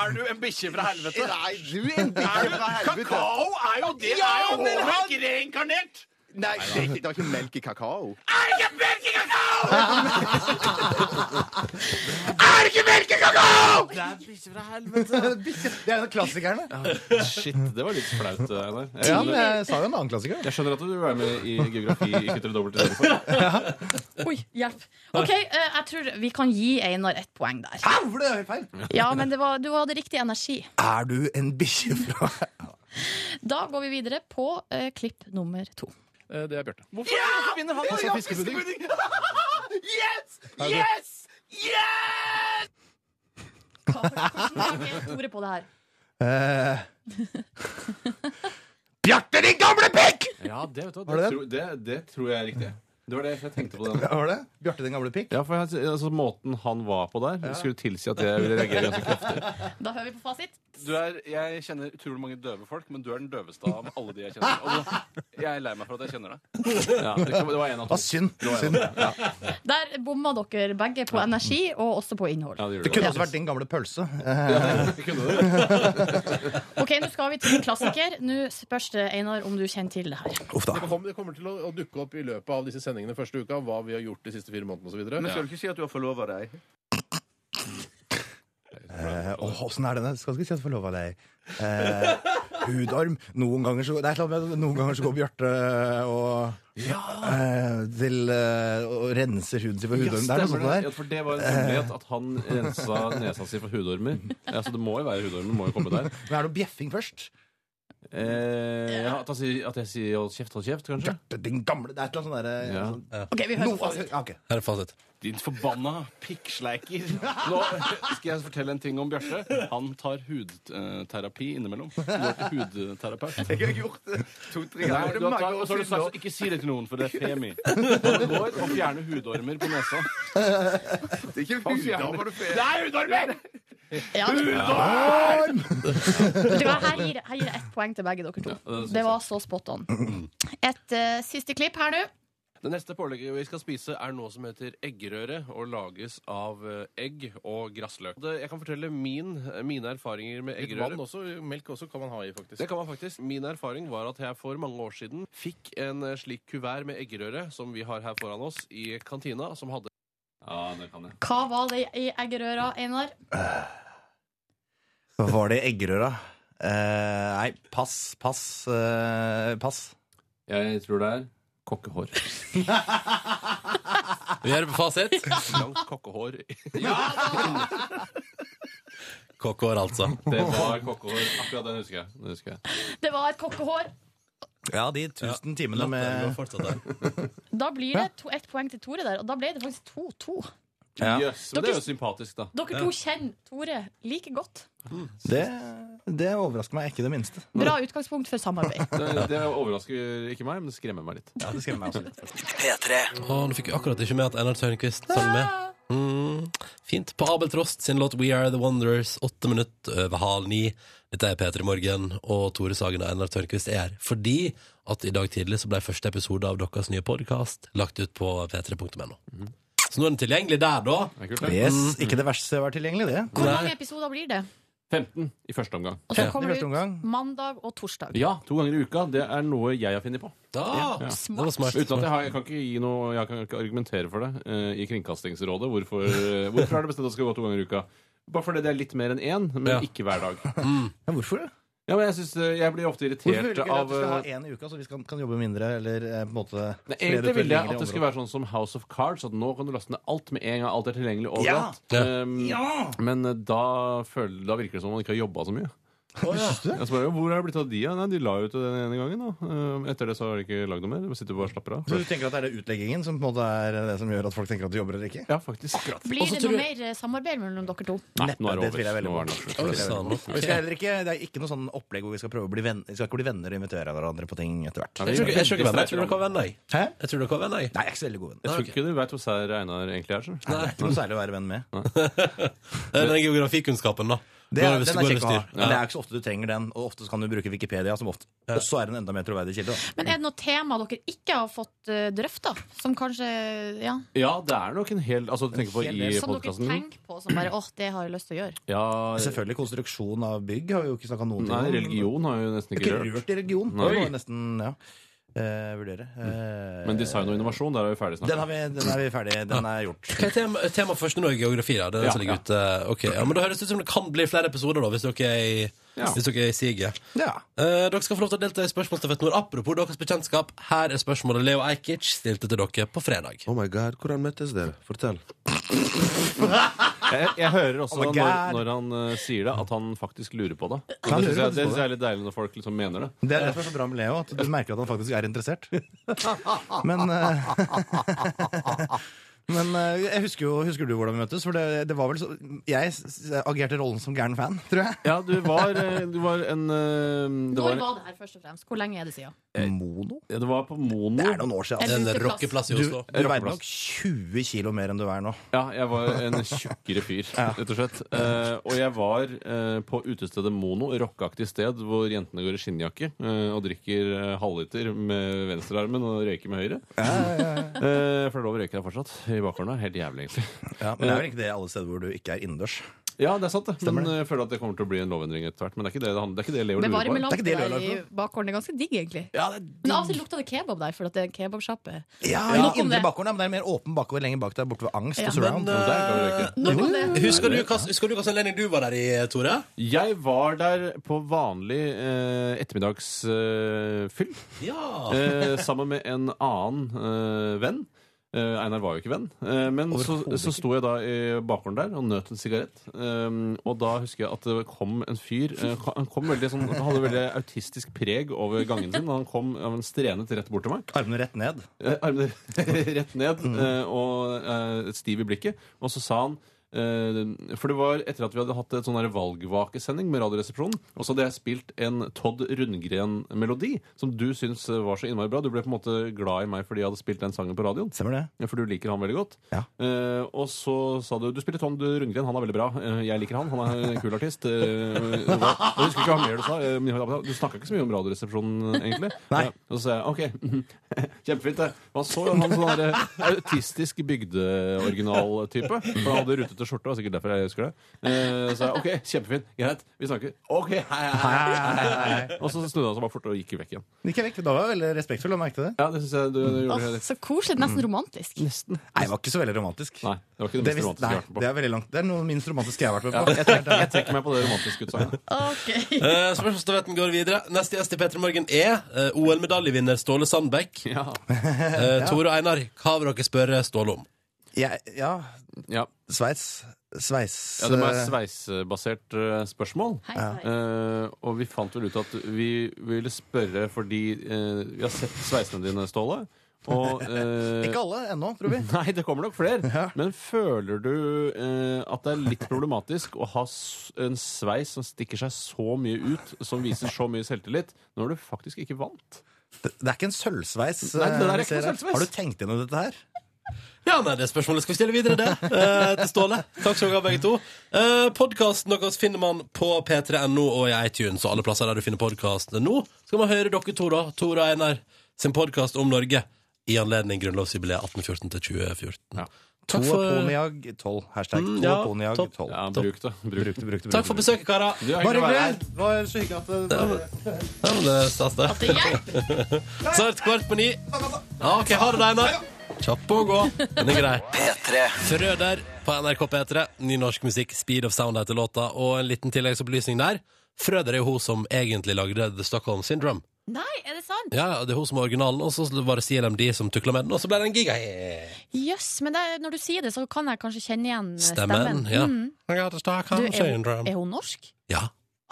[SPEAKER 10] Er du en bikkje fra helvete?
[SPEAKER 12] Nei, du er en bikkje fra helvete.
[SPEAKER 13] Kakao er jo det! det
[SPEAKER 12] Ja,
[SPEAKER 13] er jo
[SPEAKER 12] men han-
[SPEAKER 13] hårmelk reinkarnert!
[SPEAKER 12] Nei, det er ikke, det er ikke melk i kakao.
[SPEAKER 13] Er det ikke melk i kakao?! Er det ikke melk i Kakao!
[SPEAKER 11] Det er bikkje fra helvete. Det er en av klassikerne.
[SPEAKER 10] Shit, det var litt flaut, eh, Einar.
[SPEAKER 11] Ja, men jeg sa jo en annen klassiker.
[SPEAKER 10] Jeg skjønner at du vil være med i geografi i Kutter og dobbelt. i stedet for.
[SPEAKER 6] Oi, hjelp. OK, eh, jeg tror vi kan gi Einar ett poeng der.
[SPEAKER 11] det er feil?
[SPEAKER 6] Ja, men det var, du hadde riktig energi.
[SPEAKER 11] Er du en bikkje fra
[SPEAKER 6] Da går vi videre på eh, klipp nummer to.
[SPEAKER 10] Eh, Det er Bjarte.
[SPEAKER 13] Hvorfor ja! vinner han
[SPEAKER 10] altså fiskepudding?
[SPEAKER 13] yes! Yes! Yes!
[SPEAKER 6] Hvordan er ordet på det her?
[SPEAKER 11] Eh,
[SPEAKER 13] Bjarte, din gamle pikk!
[SPEAKER 10] Ja, det, vet du,
[SPEAKER 11] Var
[SPEAKER 10] hva, det,
[SPEAKER 11] det den?
[SPEAKER 10] tror, det, det tror jeg er riktig. Det var det jeg tenkte på. Den.
[SPEAKER 11] Var det? Bjarte den gamle pikk?
[SPEAKER 10] Ja, for jeg, altså, Måten han var på der, skulle tilsi at jeg ville reagere ganske kraftig.
[SPEAKER 6] Da hører vi på fasit.
[SPEAKER 14] Du er, jeg kjenner utrolig mange døve folk, men du er den døveste av alle de jeg kjenner. Og nå- jeg er lei meg for at jeg kjenner deg.
[SPEAKER 10] Ja, det, kan- det var en av to.
[SPEAKER 11] synd.
[SPEAKER 10] Det var en av to. Ja.
[SPEAKER 6] Der bomma dere begge på energi og også på innhold.
[SPEAKER 11] Det kunne også vært din gamle pølse.
[SPEAKER 6] Ok, Nå skal vi til en klassiker. Nå spørs det, Einar, om du kjenner til det her.
[SPEAKER 14] da.
[SPEAKER 15] Det, kom, det kommer til å, å dukke opp i løpet av disse sendingene første uka, hva vi har gjort de siste fire månedene osv.
[SPEAKER 12] Men skal du ikke si at du har forlova deg?
[SPEAKER 11] Eh, Åh, åssen er den? Skal ikke si at jeg får lov av deg. Eh, hudarm. Noen ganger så, det er et eller annet med at noen ganger så går Bjarte og eh, til, eh, og renser huden sin for hudarm. det er noe sånt
[SPEAKER 10] det.
[SPEAKER 11] der. Eh,
[SPEAKER 10] Ja, for det var en hemmelighet at han rensa nesa si for hudormer. Ja, så det må jo være hudormer. må jo komme der.
[SPEAKER 11] Men er det noe bjeffing først?
[SPEAKER 10] Eh, ja, at, han sier, at jeg sier 'hold kjeft, hold kjeft', kanskje?
[SPEAKER 11] Den gamle, Det er et eller annet sånn derre
[SPEAKER 6] Ok, vi hører på fasit.
[SPEAKER 12] altså,
[SPEAKER 2] Her er fasit.
[SPEAKER 14] Din forbanna pikksleiker. Nå skal jeg fortelle en ting om Bjarte. Han tar hudterapi innimellom. Du er ikke hudterapeut.
[SPEAKER 12] Jeg har gjort det to-tre
[SPEAKER 14] Nei,
[SPEAKER 12] ganger. Det
[SPEAKER 14] du har
[SPEAKER 12] er mange
[SPEAKER 14] tatt,
[SPEAKER 12] år
[SPEAKER 14] og så har du
[SPEAKER 12] siden
[SPEAKER 14] sagt
[SPEAKER 12] nå.
[SPEAKER 14] så ikke si det til noen, for det er femi. Han går og fjerner hudormer på nesa.
[SPEAKER 12] Det er ikke
[SPEAKER 14] Han fjerner-
[SPEAKER 12] hudormer du fjerner.
[SPEAKER 14] Det er hudormer!
[SPEAKER 6] Ja.
[SPEAKER 14] Hudorm!
[SPEAKER 6] Vet du hva, Her gir her gir jeg ett poeng til begge dere to.
[SPEAKER 14] synes
[SPEAKER 6] Det var så spot on. Et eh, siste klipp her nå.
[SPEAKER 14] Det neste pålegget vi skal spise, er noe som heter eggerøre, og lages av eh, egg og grassløk. Det- Jeg kan fortelle min, mine erfaringer med
[SPEAKER 15] Litt
[SPEAKER 14] eggerøre.
[SPEAKER 15] vann også, melk også kan man ha i, faktisk.
[SPEAKER 14] Det kan man faktisk. Min erfaring var at jeg for mange år siden fikk en eh, slik kuvert med eggerøre, som vi har her foran oss, i kantina, som hadde
[SPEAKER 10] Ja, det kan jeg.
[SPEAKER 6] Hva var det i eggerøra, Einar?
[SPEAKER 11] Hva var det i eggerøra? Eh, nei, pass, pass, eh, pass.
[SPEAKER 10] Jeg tror det er kokkehår.
[SPEAKER 2] Vi gjør det på fasit.
[SPEAKER 14] Langt kokkehår.
[SPEAKER 2] Kokkehår, altså.
[SPEAKER 10] Det var kokkehår. Akkurat den husker jeg. Den husker jeg.
[SPEAKER 6] Det var et kokkehår.
[SPEAKER 11] Ja, de tusen timene
[SPEAKER 2] det
[SPEAKER 11] med
[SPEAKER 2] går
[SPEAKER 6] Da blir det to, ett poeng til Tore der, og da ble det faktisk 2-2.
[SPEAKER 10] Jøss, men det er
[SPEAKER 6] Dere-
[SPEAKER 10] jo sympatisk, da.
[SPEAKER 6] Dere to kjenner Tore like godt.
[SPEAKER 11] Det, det overrasker meg ikke det minste.
[SPEAKER 6] Bra utgangspunkt for samarbeid.
[SPEAKER 10] Det, det overrasker ikke meg, men det skremmer meg litt.
[SPEAKER 11] Ja, det skremmer meg også litt.
[SPEAKER 2] P3. nå fikk jeg akkurat ikke med at Einar Tørnquist sang med. Mm, fint. På Abel Trost sin låt We Are The Wonders, åtte minutter over halv ni. Dette er P3 Morgen, og Tore Sagen og Einar Tørnquist er her. Fordi at i dag tidlig så ble første episode av deres nye podkast lagt ut på p3.no. Så nå er den tilgjengelig der, da.
[SPEAKER 14] Mm.
[SPEAKER 2] Mm.
[SPEAKER 11] Yes, ikke det verste var tilgjengelig, det.
[SPEAKER 6] Hvor mange episoder blir det?
[SPEAKER 10] 15 i første omgang.
[SPEAKER 6] Og så kommer det ut mandag og torsdag.
[SPEAKER 10] Ja, to ganger i uka. Det er noe jeg har funnet på.
[SPEAKER 6] Da,
[SPEAKER 10] Ja.
[SPEAKER 6] smart. Det var smart.
[SPEAKER 10] Uten at jeg, har, jeg kan ikke gi noe Jeg kan ikke argumentere for det eh, i Kringkastingsrådet. Hvorfor, eh, hvorfor er det bestemt at det skal gå to ganger i uka? Bare fordi det er litt mer enn én, men ikke hver dag.
[SPEAKER 6] Mm.
[SPEAKER 11] Ja, hvorfor det?
[SPEAKER 10] Ja, men jeg, synes, eh, jeg blir ofte
[SPEAKER 11] Hvorfor vil
[SPEAKER 10] irritert
[SPEAKER 11] du ikke at
[SPEAKER 10] av
[SPEAKER 11] vi skal ha
[SPEAKER 10] eh,
[SPEAKER 11] én i uka, så vi skal, kan jobbe mindre? Eller eh, på en måte
[SPEAKER 10] Nei, Egentlig ville jeg at det skulle være sånn som House of Cards, at nå kan du laste ned alt med en gang. Alt er tilgjengelig overalt.
[SPEAKER 11] Ja.
[SPEAKER 10] Ehm,
[SPEAKER 11] Ja.
[SPEAKER 10] Men eh, da, føler, da virker det som om man ikke har jobba så mye. Jeg spør, jo, Hvor er det blitt av de? Ja? Nei, de la jo ut den ene gangen. Da. Ehm, Etter det så har de ikke lagd noe mer. De sitter bare og slapper av.
[SPEAKER 11] Så du tenker at det er det utleggingen som på en måte er det som gjør at folk tenker at du jobber eller ikke?
[SPEAKER 10] Ja, faktisk.
[SPEAKER 6] Blir det noe mer eh, samarbeid mellom dere to?
[SPEAKER 10] Nei, nå er det
[SPEAKER 11] det
[SPEAKER 10] over.
[SPEAKER 11] tviler jeg veldig
[SPEAKER 10] Nå er
[SPEAKER 11] på.
[SPEAKER 10] det
[SPEAKER 11] Det
[SPEAKER 10] absolutt over.
[SPEAKER 11] tviler jeg veldig
[SPEAKER 10] Sånn.
[SPEAKER 11] på. Vi skal heller ikke, det er ikke noe sånn opplegg hvor vi skal prøve å bli venner Vi skal ikke bli venner og invitere hverandre på ting etter hvert.
[SPEAKER 2] Jeg tror ikke- jeg tror ikke venner. Jeg tror dere er venner, jeg.
[SPEAKER 11] Hæ?
[SPEAKER 2] Jeg tror dere er venner, jeg.
[SPEAKER 11] Nei, jeg er ikke så veldig god venn.
[SPEAKER 10] Jeg tror ikke du veit hvor sær Einar egentlig er.
[SPEAKER 11] Nei, det er ikke noe særlig å være venn med.
[SPEAKER 2] Det er Eh, Den geografikunnskapen, da.
[SPEAKER 11] Det
[SPEAKER 2] Går
[SPEAKER 11] er,
[SPEAKER 2] over-
[SPEAKER 11] den
[SPEAKER 2] går
[SPEAKER 11] er kjekk å ha,
[SPEAKER 2] over styr.
[SPEAKER 11] men det er ikke så ofte du trenger den. Og ofte kan du bruke Wikipedia, som ofte også er en enda mer troverdig kilde. da.
[SPEAKER 6] Men er det noe tema dere ikke har fått uh, drøfta? Som kanskje Ja.
[SPEAKER 10] Ja, det er nok en hel Altså, du tenker på i
[SPEAKER 6] Som dere
[SPEAKER 10] podkasten
[SPEAKER 6] tenker på som bare åh, det har jeg lyst til å gjøre.
[SPEAKER 11] Selvfølgelig konstruksjon av bygg har vi jo ikke snakka noen ting
[SPEAKER 10] Nei, religion har jeg jo nesten
[SPEAKER 11] Jeg
[SPEAKER 10] ikke
[SPEAKER 11] har ikke
[SPEAKER 10] rørt.
[SPEAKER 11] rørt i religion.
[SPEAKER 10] Nei. Mm.
[SPEAKER 11] Det var nesten, ja. eh, vurdere. Eh,
[SPEAKER 10] Men design og innovasjon, der er vi ferdig snart.
[SPEAKER 11] den, har vi, den er vi ferdig. Den er gjort.
[SPEAKER 2] Hva er tema, tema første nå? Geografi, da? Det er den
[SPEAKER 11] Ja,
[SPEAKER 2] som
[SPEAKER 11] ja.
[SPEAKER 2] ligger ute. Eh, Ok, ja, men Da høres det ut som det kan bli flere episoder, da, hvis dere er i,
[SPEAKER 11] Ja.
[SPEAKER 2] hvis dere er i siget. Eh, dere skal få lov til å delta i spørsmålsstafetten vår. Apropos deres bekjentskap, her er spørsmålet Leo Ajkic stilte til dere på fredag.
[SPEAKER 16] Oh my god, hvordan møttes dere? Fortell.
[SPEAKER 10] Jeg, jeg hører også
[SPEAKER 2] Oh my
[SPEAKER 10] når,
[SPEAKER 2] God.
[SPEAKER 10] når han eh, sier det, at han faktisk lurer på det. Og
[SPEAKER 11] Han
[SPEAKER 10] det
[SPEAKER 11] lurer
[SPEAKER 10] syns jeg,
[SPEAKER 11] faktisk
[SPEAKER 10] det
[SPEAKER 11] på
[SPEAKER 10] synes jeg er litt deilig når folk liksom mener det.
[SPEAKER 11] Det er det som er så bra med Leo, at du merker at han faktisk er interessert. Men, eh, men eh, jeg husker jo Husker du hvordan vi møttes? For det, det var vel så Jeg s- agerte rollen som gæren fan, tror jeg.
[SPEAKER 10] Ja, du var, eh, du var en eh, det
[SPEAKER 6] Når
[SPEAKER 10] var, Eh,
[SPEAKER 6] var det her, først og fremst? Hvor lenge er det siden?
[SPEAKER 11] Mono?
[SPEAKER 10] Ja, det var på Mono.
[SPEAKER 11] Det er noen år
[SPEAKER 6] En
[SPEAKER 11] siden.
[SPEAKER 6] En uteplass. rockeplass i Oslo.
[SPEAKER 11] Du, du veide
[SPEAKER 10] Rockeplass.
[SPEAKER 11] nok 20 kilo mer enn du er nå.
[SPEAKER 10] Ja, jeg var en tjukkere fyr, rett og slett. Eh, og jeg var eh, på utestedet Mono, rockeaktig sted hvor jentene går i skinnjakke eh, og drikker eh, halvliter med venstrearmen og røyker med høyre. Eh, for det er lov å røyke der fortsatt, i bakgården. Helt jævlig, egentlig. Eh,
[SPEAKER 11] Ja, men det er vel ikke det alle steder hvor du ikke er innendørs.
[SPEAKER 10] Ja, det er sant, det. Men eh, jeg føler at det kommer til å bli en lovendring etter hvert. Men det er ikke det det, handler- det, er ikke det Leo lurer
[SPEAKER 6] Bevare
[SPEAKER 10] på.
[SPEAKER 6] med lampe der i bakgården. Det er ganske digg, egentlig. Men av og til lukta det kebab der, for at det er en kebabsjappe.
[SPEAKER 11] Ja,
[SPEAKER 6] Nok
[SPEAKER 11] i
[SPEAKER 6] om
[SPEAKER 11] indre
[SPEAKER 6] det.
[SPEAKER 11] bakgården, ja, men det er en mer åpen bakgård lenger bak der borte ved angst
[SPEAKER 6] Ja.
[SPEAKER 11] og surround.
[SPEAKER 2] Men, eh,
[SPEAKER 11] Jo, jo, jo.
[SPEAKER 2] Husker du hva- husker du hva slags anledning du var der i, Tore?
[SPEAKER 10] Jeg var der på vanlig eh, ettermiddagsfyll.
[SPEAKER 2] Ja.
[SPEAKER 10] eh, sammen med en annen eh, venn. Eh, Einar var jo ikke venn. Eh, men så, så sto jeg da i bakgården der og nøt en sigarett. Um, og da husker jeg at det kom en fyr eh, ka- Han kom veldig sånn, han hadde veldig autistisk preg over gangen sin. og Han kom han strenet rett bort til meg.
[SPEAKER 11] Armene rett ned. Mm.
[SPEAKER 10] Eh, armene rett ned eh, og eh, stiv i blikket. Og så sa han eh, For det var etter at vi hadde hatt et sånn her valgvakesending med Radioresepsjonen, og så hadde jeg spilt en Todd Rundgren-melodi som du syns var så innmari bra. Du ble på en måte glad i meg fordi jeg hadde spilt den sangen på radioen. Ja, For du liker han veldig godt. Eh, og så sa du du spiller Todd Rundgren, han er veldig bra. Eh, jeg liker han, han er en kul artist. Eh, hva- jeg husker ikke hva mer du sa. eh, men Du snakka ikke så mye om Radioresepsjonen, egentlig.
[SPEAKER 11] Nei.
[SPEAKER 10] Ja, og så sa jeg OK. mhm. Kjempefint, det. Man så jo han sånn der, eh, autistisk bygdeoriginaltype. For han hadde rutete skjorte, og sikkert derfor jeg husker det. Eh, Så jeg, ok, kjempefint, greit, vi snakker. Ok, hei, hei, hei, hei, hei, hei. Og så snudde han seg bare fort og gikk vekk igjen.
[SPEAKER 11] Gikk jeg vekk? Da var jeg veldig respektfull og merket det.
[SPEAKER 10] Ja, det Mm. synes jeg du, du gjorde helt rett.
[SPEAKER 6] Så koselig. Nesten romantisk.
[SPEAKER 10] Nesten.
[SPEAKER 11] Nei, det var ikke så veldig romantisk.
[SPEAKER 10] Nei, det var ikke det mest
[SPEAKER 11] visste-
[SPEAKER 10] romantiske jeg har vært
[SPEAKER 11] nei, det er veldig langt. Det er noe av det minst romantiske jeg har vært med
[SPEAKER 10] Ja,
[SPEAKER 11] på.
[SPEAKER 10] jeg, trekker, jeg trekker meg på det romantiske utsagnet.
[SPEAKER 2] Eh, Spørsmålsstafetten går videre. Neste gjest i P3 Morgen er eh, OL-medaljevinner Ståle Sandbekk. Eh, Tore og Einar, hva vil dere spørre Ståle om?
[SPEAKER 11] Jeg, ja.
[SPEAKER 10] Ja.
[SPEAKER 11] Sveits. eh, Sveis.
[SPEAKER 10] Ja, det var et sveisbasert eh, spørsmål. Eh, og vi fant vel ut at vi ville spørre fordi eh, vi har sett sveisene dine, Ståle. Og, eh,
[SPEAKER 11] Ikke alle ennå, tror vi.
[SPEAKER 10] Nei, det kommer nok flere. Men føler du eh, at det er litt problematisk å ha s en sveis som stikker seg så mye ut, som viser så mye selvtillit, når du faktisk ikke vant?
[SPEAKER 11] Det, det er ikke en sølvsveis.
[SPEAKER 10] Nei, det der er
[SPEAKER 11] eh, vi
[SPEAKER 10] ikke
[SPEAKER 11] ser
[SPEAKER 10] en
[SPEAKER 11] her.
[SPEAKER 10] sølvsveis.
[SPEAKER 11] Har du tenkt gjennom dette her?
[SPEAKER 2] Ja, nei, det spørsmålet skal vi stille videre, det. eh, til Ståle. Takk skal dere ha, begge to. Eh, Podkasten deres finner man på p3.no og i iTunes og alle plasser der du finner podkast. Nå skal man høre dere to, da. Tore og Einar sin podkast om Norge i anledning grunnlovsjubileet 1814 til 2014.
[SPEAKER 11] To
[SPEAKER 2] Takk for,
[SPEAKER 11] Poniag 12. Hashtag
[SPEAKER 2] Mm,
[SPEAKER 11] to
[SPEAKER 2] ja,
[SPEAKER 11] Poniag
[SPEAKER 2] topp.
[SPEAKER 11] 12.
[SPEAKER 10] Ja, bruk det. Bruk det, bruk det.
[SPEAKER 2] Takk for besøket, karer.
[SPEAKER 10] Du er
[SPEAKER 11] Bare
[SPEAKER 10] hyggelig å være her.
[SPEAKER 11] hyggelig! Det var så hyggelig at
[SPEAKER 10] eh,
[SPEAKER 11] det
[SPEAKER 2] Ja, men det er stas, det. Snart kvart på ni. Ja, OK, ha det, da, Einar. Kjapp på å gå. Den er grei. Frøder på NRK P3. Ny norsk musikk, Speed of Sound heter låta. Og en liten tilleggsopplysning der. Frøder er jo hun som egentlig lagde The Stockholm Syndrome.
[SPEAKER 6] Nei, er det sant?
[SPEAKER 2] Ja, ja, det er hun som er originalen, og så var det CLMD som tukla med den, og så ble det en gigahit.
[SPEAKER 6] Jøss, men det, er- når du sier det, så kan jeg kanskje kjenne igjen eh,
[SPEAKER 2] Stemmen, ja.
[SPEAKER 6] Mm.
[SPEAKER 2] I got the
[SPEAKER 6] Du,
[SPEAKER 2] Stockholm
[SPEAKER 6] er, hun,
[SPEAKER 2] Syndrome.
[SPEAKER 6] er hun norsk?
[SPEAKER 2] Ja.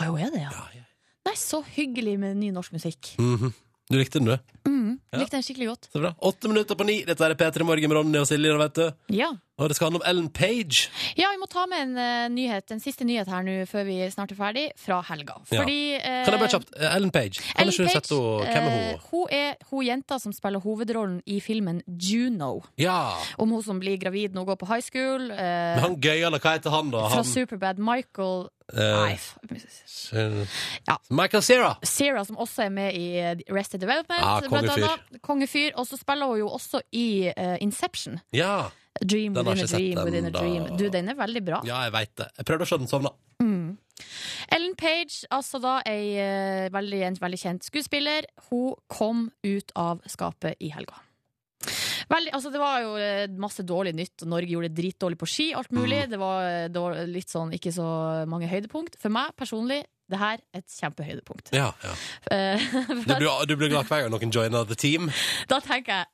[SPEAKER 6] Å, hun er det, ja. Nei, så hyggelig med ny norsk musikk.
[SPEAKER 2] Mhm. Du likte den, du?
[SPEAKER 6] Mm.
[SPEAKER 2] Ja.
[SPEAKER 6] Likte den skikkelig godt.
[SPEAKER 2] Så bra. Åtte minutter på ni. Dette er P3 Morgen med Ronny og Silje, vet du.
[SPEAKER 6] Ja.
[SPEAKER 2] Og det skal handle om Ellen Page.
[SPEAKER 6] Ja, vi må ta med en eh, nyhet, en siste nyhet her nå før vi snart er ferdig, fra helga. Fordi eh,
[SPEAKER 2] Kan jeg bare kjapt eh, Ellen Page. Kan
[SPEAKER 6] Ellen
[SPEAKER 2] ikke du
[SPEAKER 6] Page,
[SPEAKER 2] sette henne Hvem er
[SPEAKER 6] eh,
[SPEAKER 2] hun?
[SPEAKER 6] hun er hun jenta som spiller hovedrollen i filmen Juno.
[SPEAKER 2] Ja.
[SPEAKER 6] Om hun som blir gravid når hun går på high school. eh,
[SPEAKER 2] Men han gøyale, hva heter han, da?
[SPEAKER 6] fra
[SPEAKER 2] Han,
[SPEAKER 6] Superbad. Michael
[SPEAKER 2] eh, s- Michael Cera.
[SPEAKER 6] Sierra, som også er med i eh, Arrested Development.
[SPEAKER 2] Ah,
[SPEAKER 6] blant
[SPEAKER 2] kongefyr.
[SPEAKER 6] annet. Kongefyr. Og så spiller hun jo også i eh, Inception.
[SPEAKER 2] Ja.
[SPEAKER 6] Dream
[SPEAKER 2] Den har
[SPEAKER 6] within a
[SPEAKER 2] ikke sett
[SPEAKER 6] dream
[SPEAKER 2] den
[SPEAKER 6] within a
[SPEAKER 2] da.
[SPEAKER 6] dream. Du, den er veldig bra.
[SPEAKER 2] sånn, ja, jeg veit det. Jeg prøvde å se den sovna.
[SPEAKER 6] Mm. Ellen Page, altså da ei eh, veldig, en veldig kjent skuespiller, hun kom ut av skapet i helga. Veldig, altså det var jo eh, masse dårlig nytt. Norge gjorde det dritdårlig på ski. Alt
[SPEAKER 2] Mm.
[SPEAKER 6] mulig. Det var eh, dår- litt sånn ikke så mange høydepunkt. For meg personlig, det her et kjempehøydepunkt.
[SPEAKER 2] Ja, ja.
[SPEAKER 6] Eh,
[SPEAKER 2] Du blir, du blir glad hver gang noen joiner the team.
[SPEAKER 6] da tenker jeg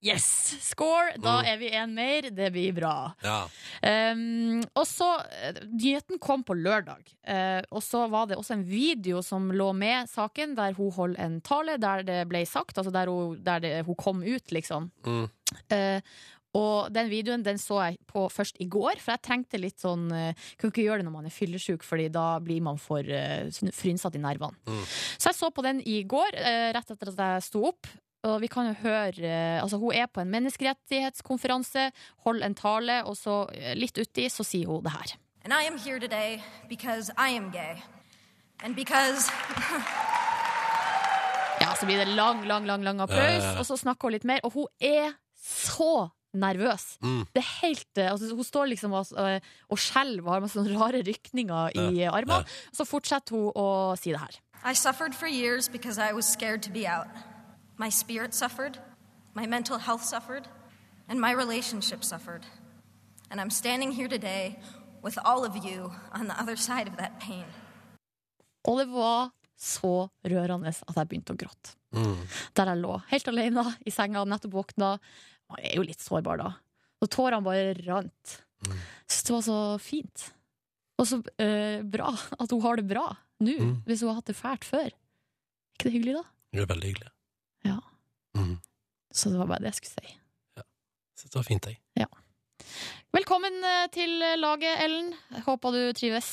[SPEAKER 6] Yes! Score! Da
[SPEAKER 2] Mm.
[SPEAKER 6] er vi én mer. Det blir bra.
[SPEAKER 2] Ja.
[SPEAKER 6] Um, og så eh, Nyheten kom på lørdag. Eh, og så var det også en video som lå med saken, der hun holdt en tale der det ble sagt, altså der hun, der det, hun kom ut, liksom.
[SPEAKER 2] Mm.
[SPEAKER 6] Eh, og den videoen den så jeg på først i går, for jeg trengte litt sånn eh, Kunne ikke gjøre det når man er fyllesyk, Fordi da blir man for eh, sn- frynsatt i nervene. Så jeg så på den i går, eh, rett etter at jeg sto opp. Og vi kan jo høre eh, Altså, hun er på en menneskerettighetskonferanse, holder en tale, og så eh, litt uti så sier hun det her.
[SPEAKER 17] And I am here today because I am gay. And because.
[SPEAKER 6] Ja, så blir det lang, lang, lang, lang applaus,
[SPEAKER 17] Ja, ja, ja.
[SPEAKER 6] og så snakker hun litt mer, og hun er så nervøs.
[SPEAKER 17] Mm.
[SPEAKER 6] Det er helt, eh, altså, hun står liksom og, eh, og skjelver og har masse sånne rare rykninger i
[SPEAKER 17] Ja,
[SPEAKER 6] armene. Så fortsetter hun å si det her.
[SPEAKER 17] I suffered for years because I was scared to be out. My spirit suffered, my mental health suffered, and my relationship suffered. And I'm standing here today with all of you on the other side of that pain.
[SPEAKER 6] Og det var så rørende at jeg begynte å gråte.
[SPEAKER 3] Mm.
[SPEAKER 6] Der jeg lå, helt alene i senga, nettopp våkna. Man er jo litt sårbar da. Og tårene bare rant.
[SPEAKER 2] Mm.
[SPEAKER 6] Så det var så fint. Og så eh, bra at hun har det bra nå,
[SPEAKER 2] Mm.
[SPEAKER 6] hvis hun har hatt det fælt før. ikke det hyggelig, da?
[SPEAKER 2] Det er veldig hyggelig.
[SPEAKER 6] Ja.
[SPEAKER 2] Mhm.
[SPEAKER 6] Så det var bare det jeg skulle si.
[SPEAKER 2] Så det var fint, jeg.
[SPEAKER 6] Velkommen eh, til laget, Ellen. Jeg Håper du trives.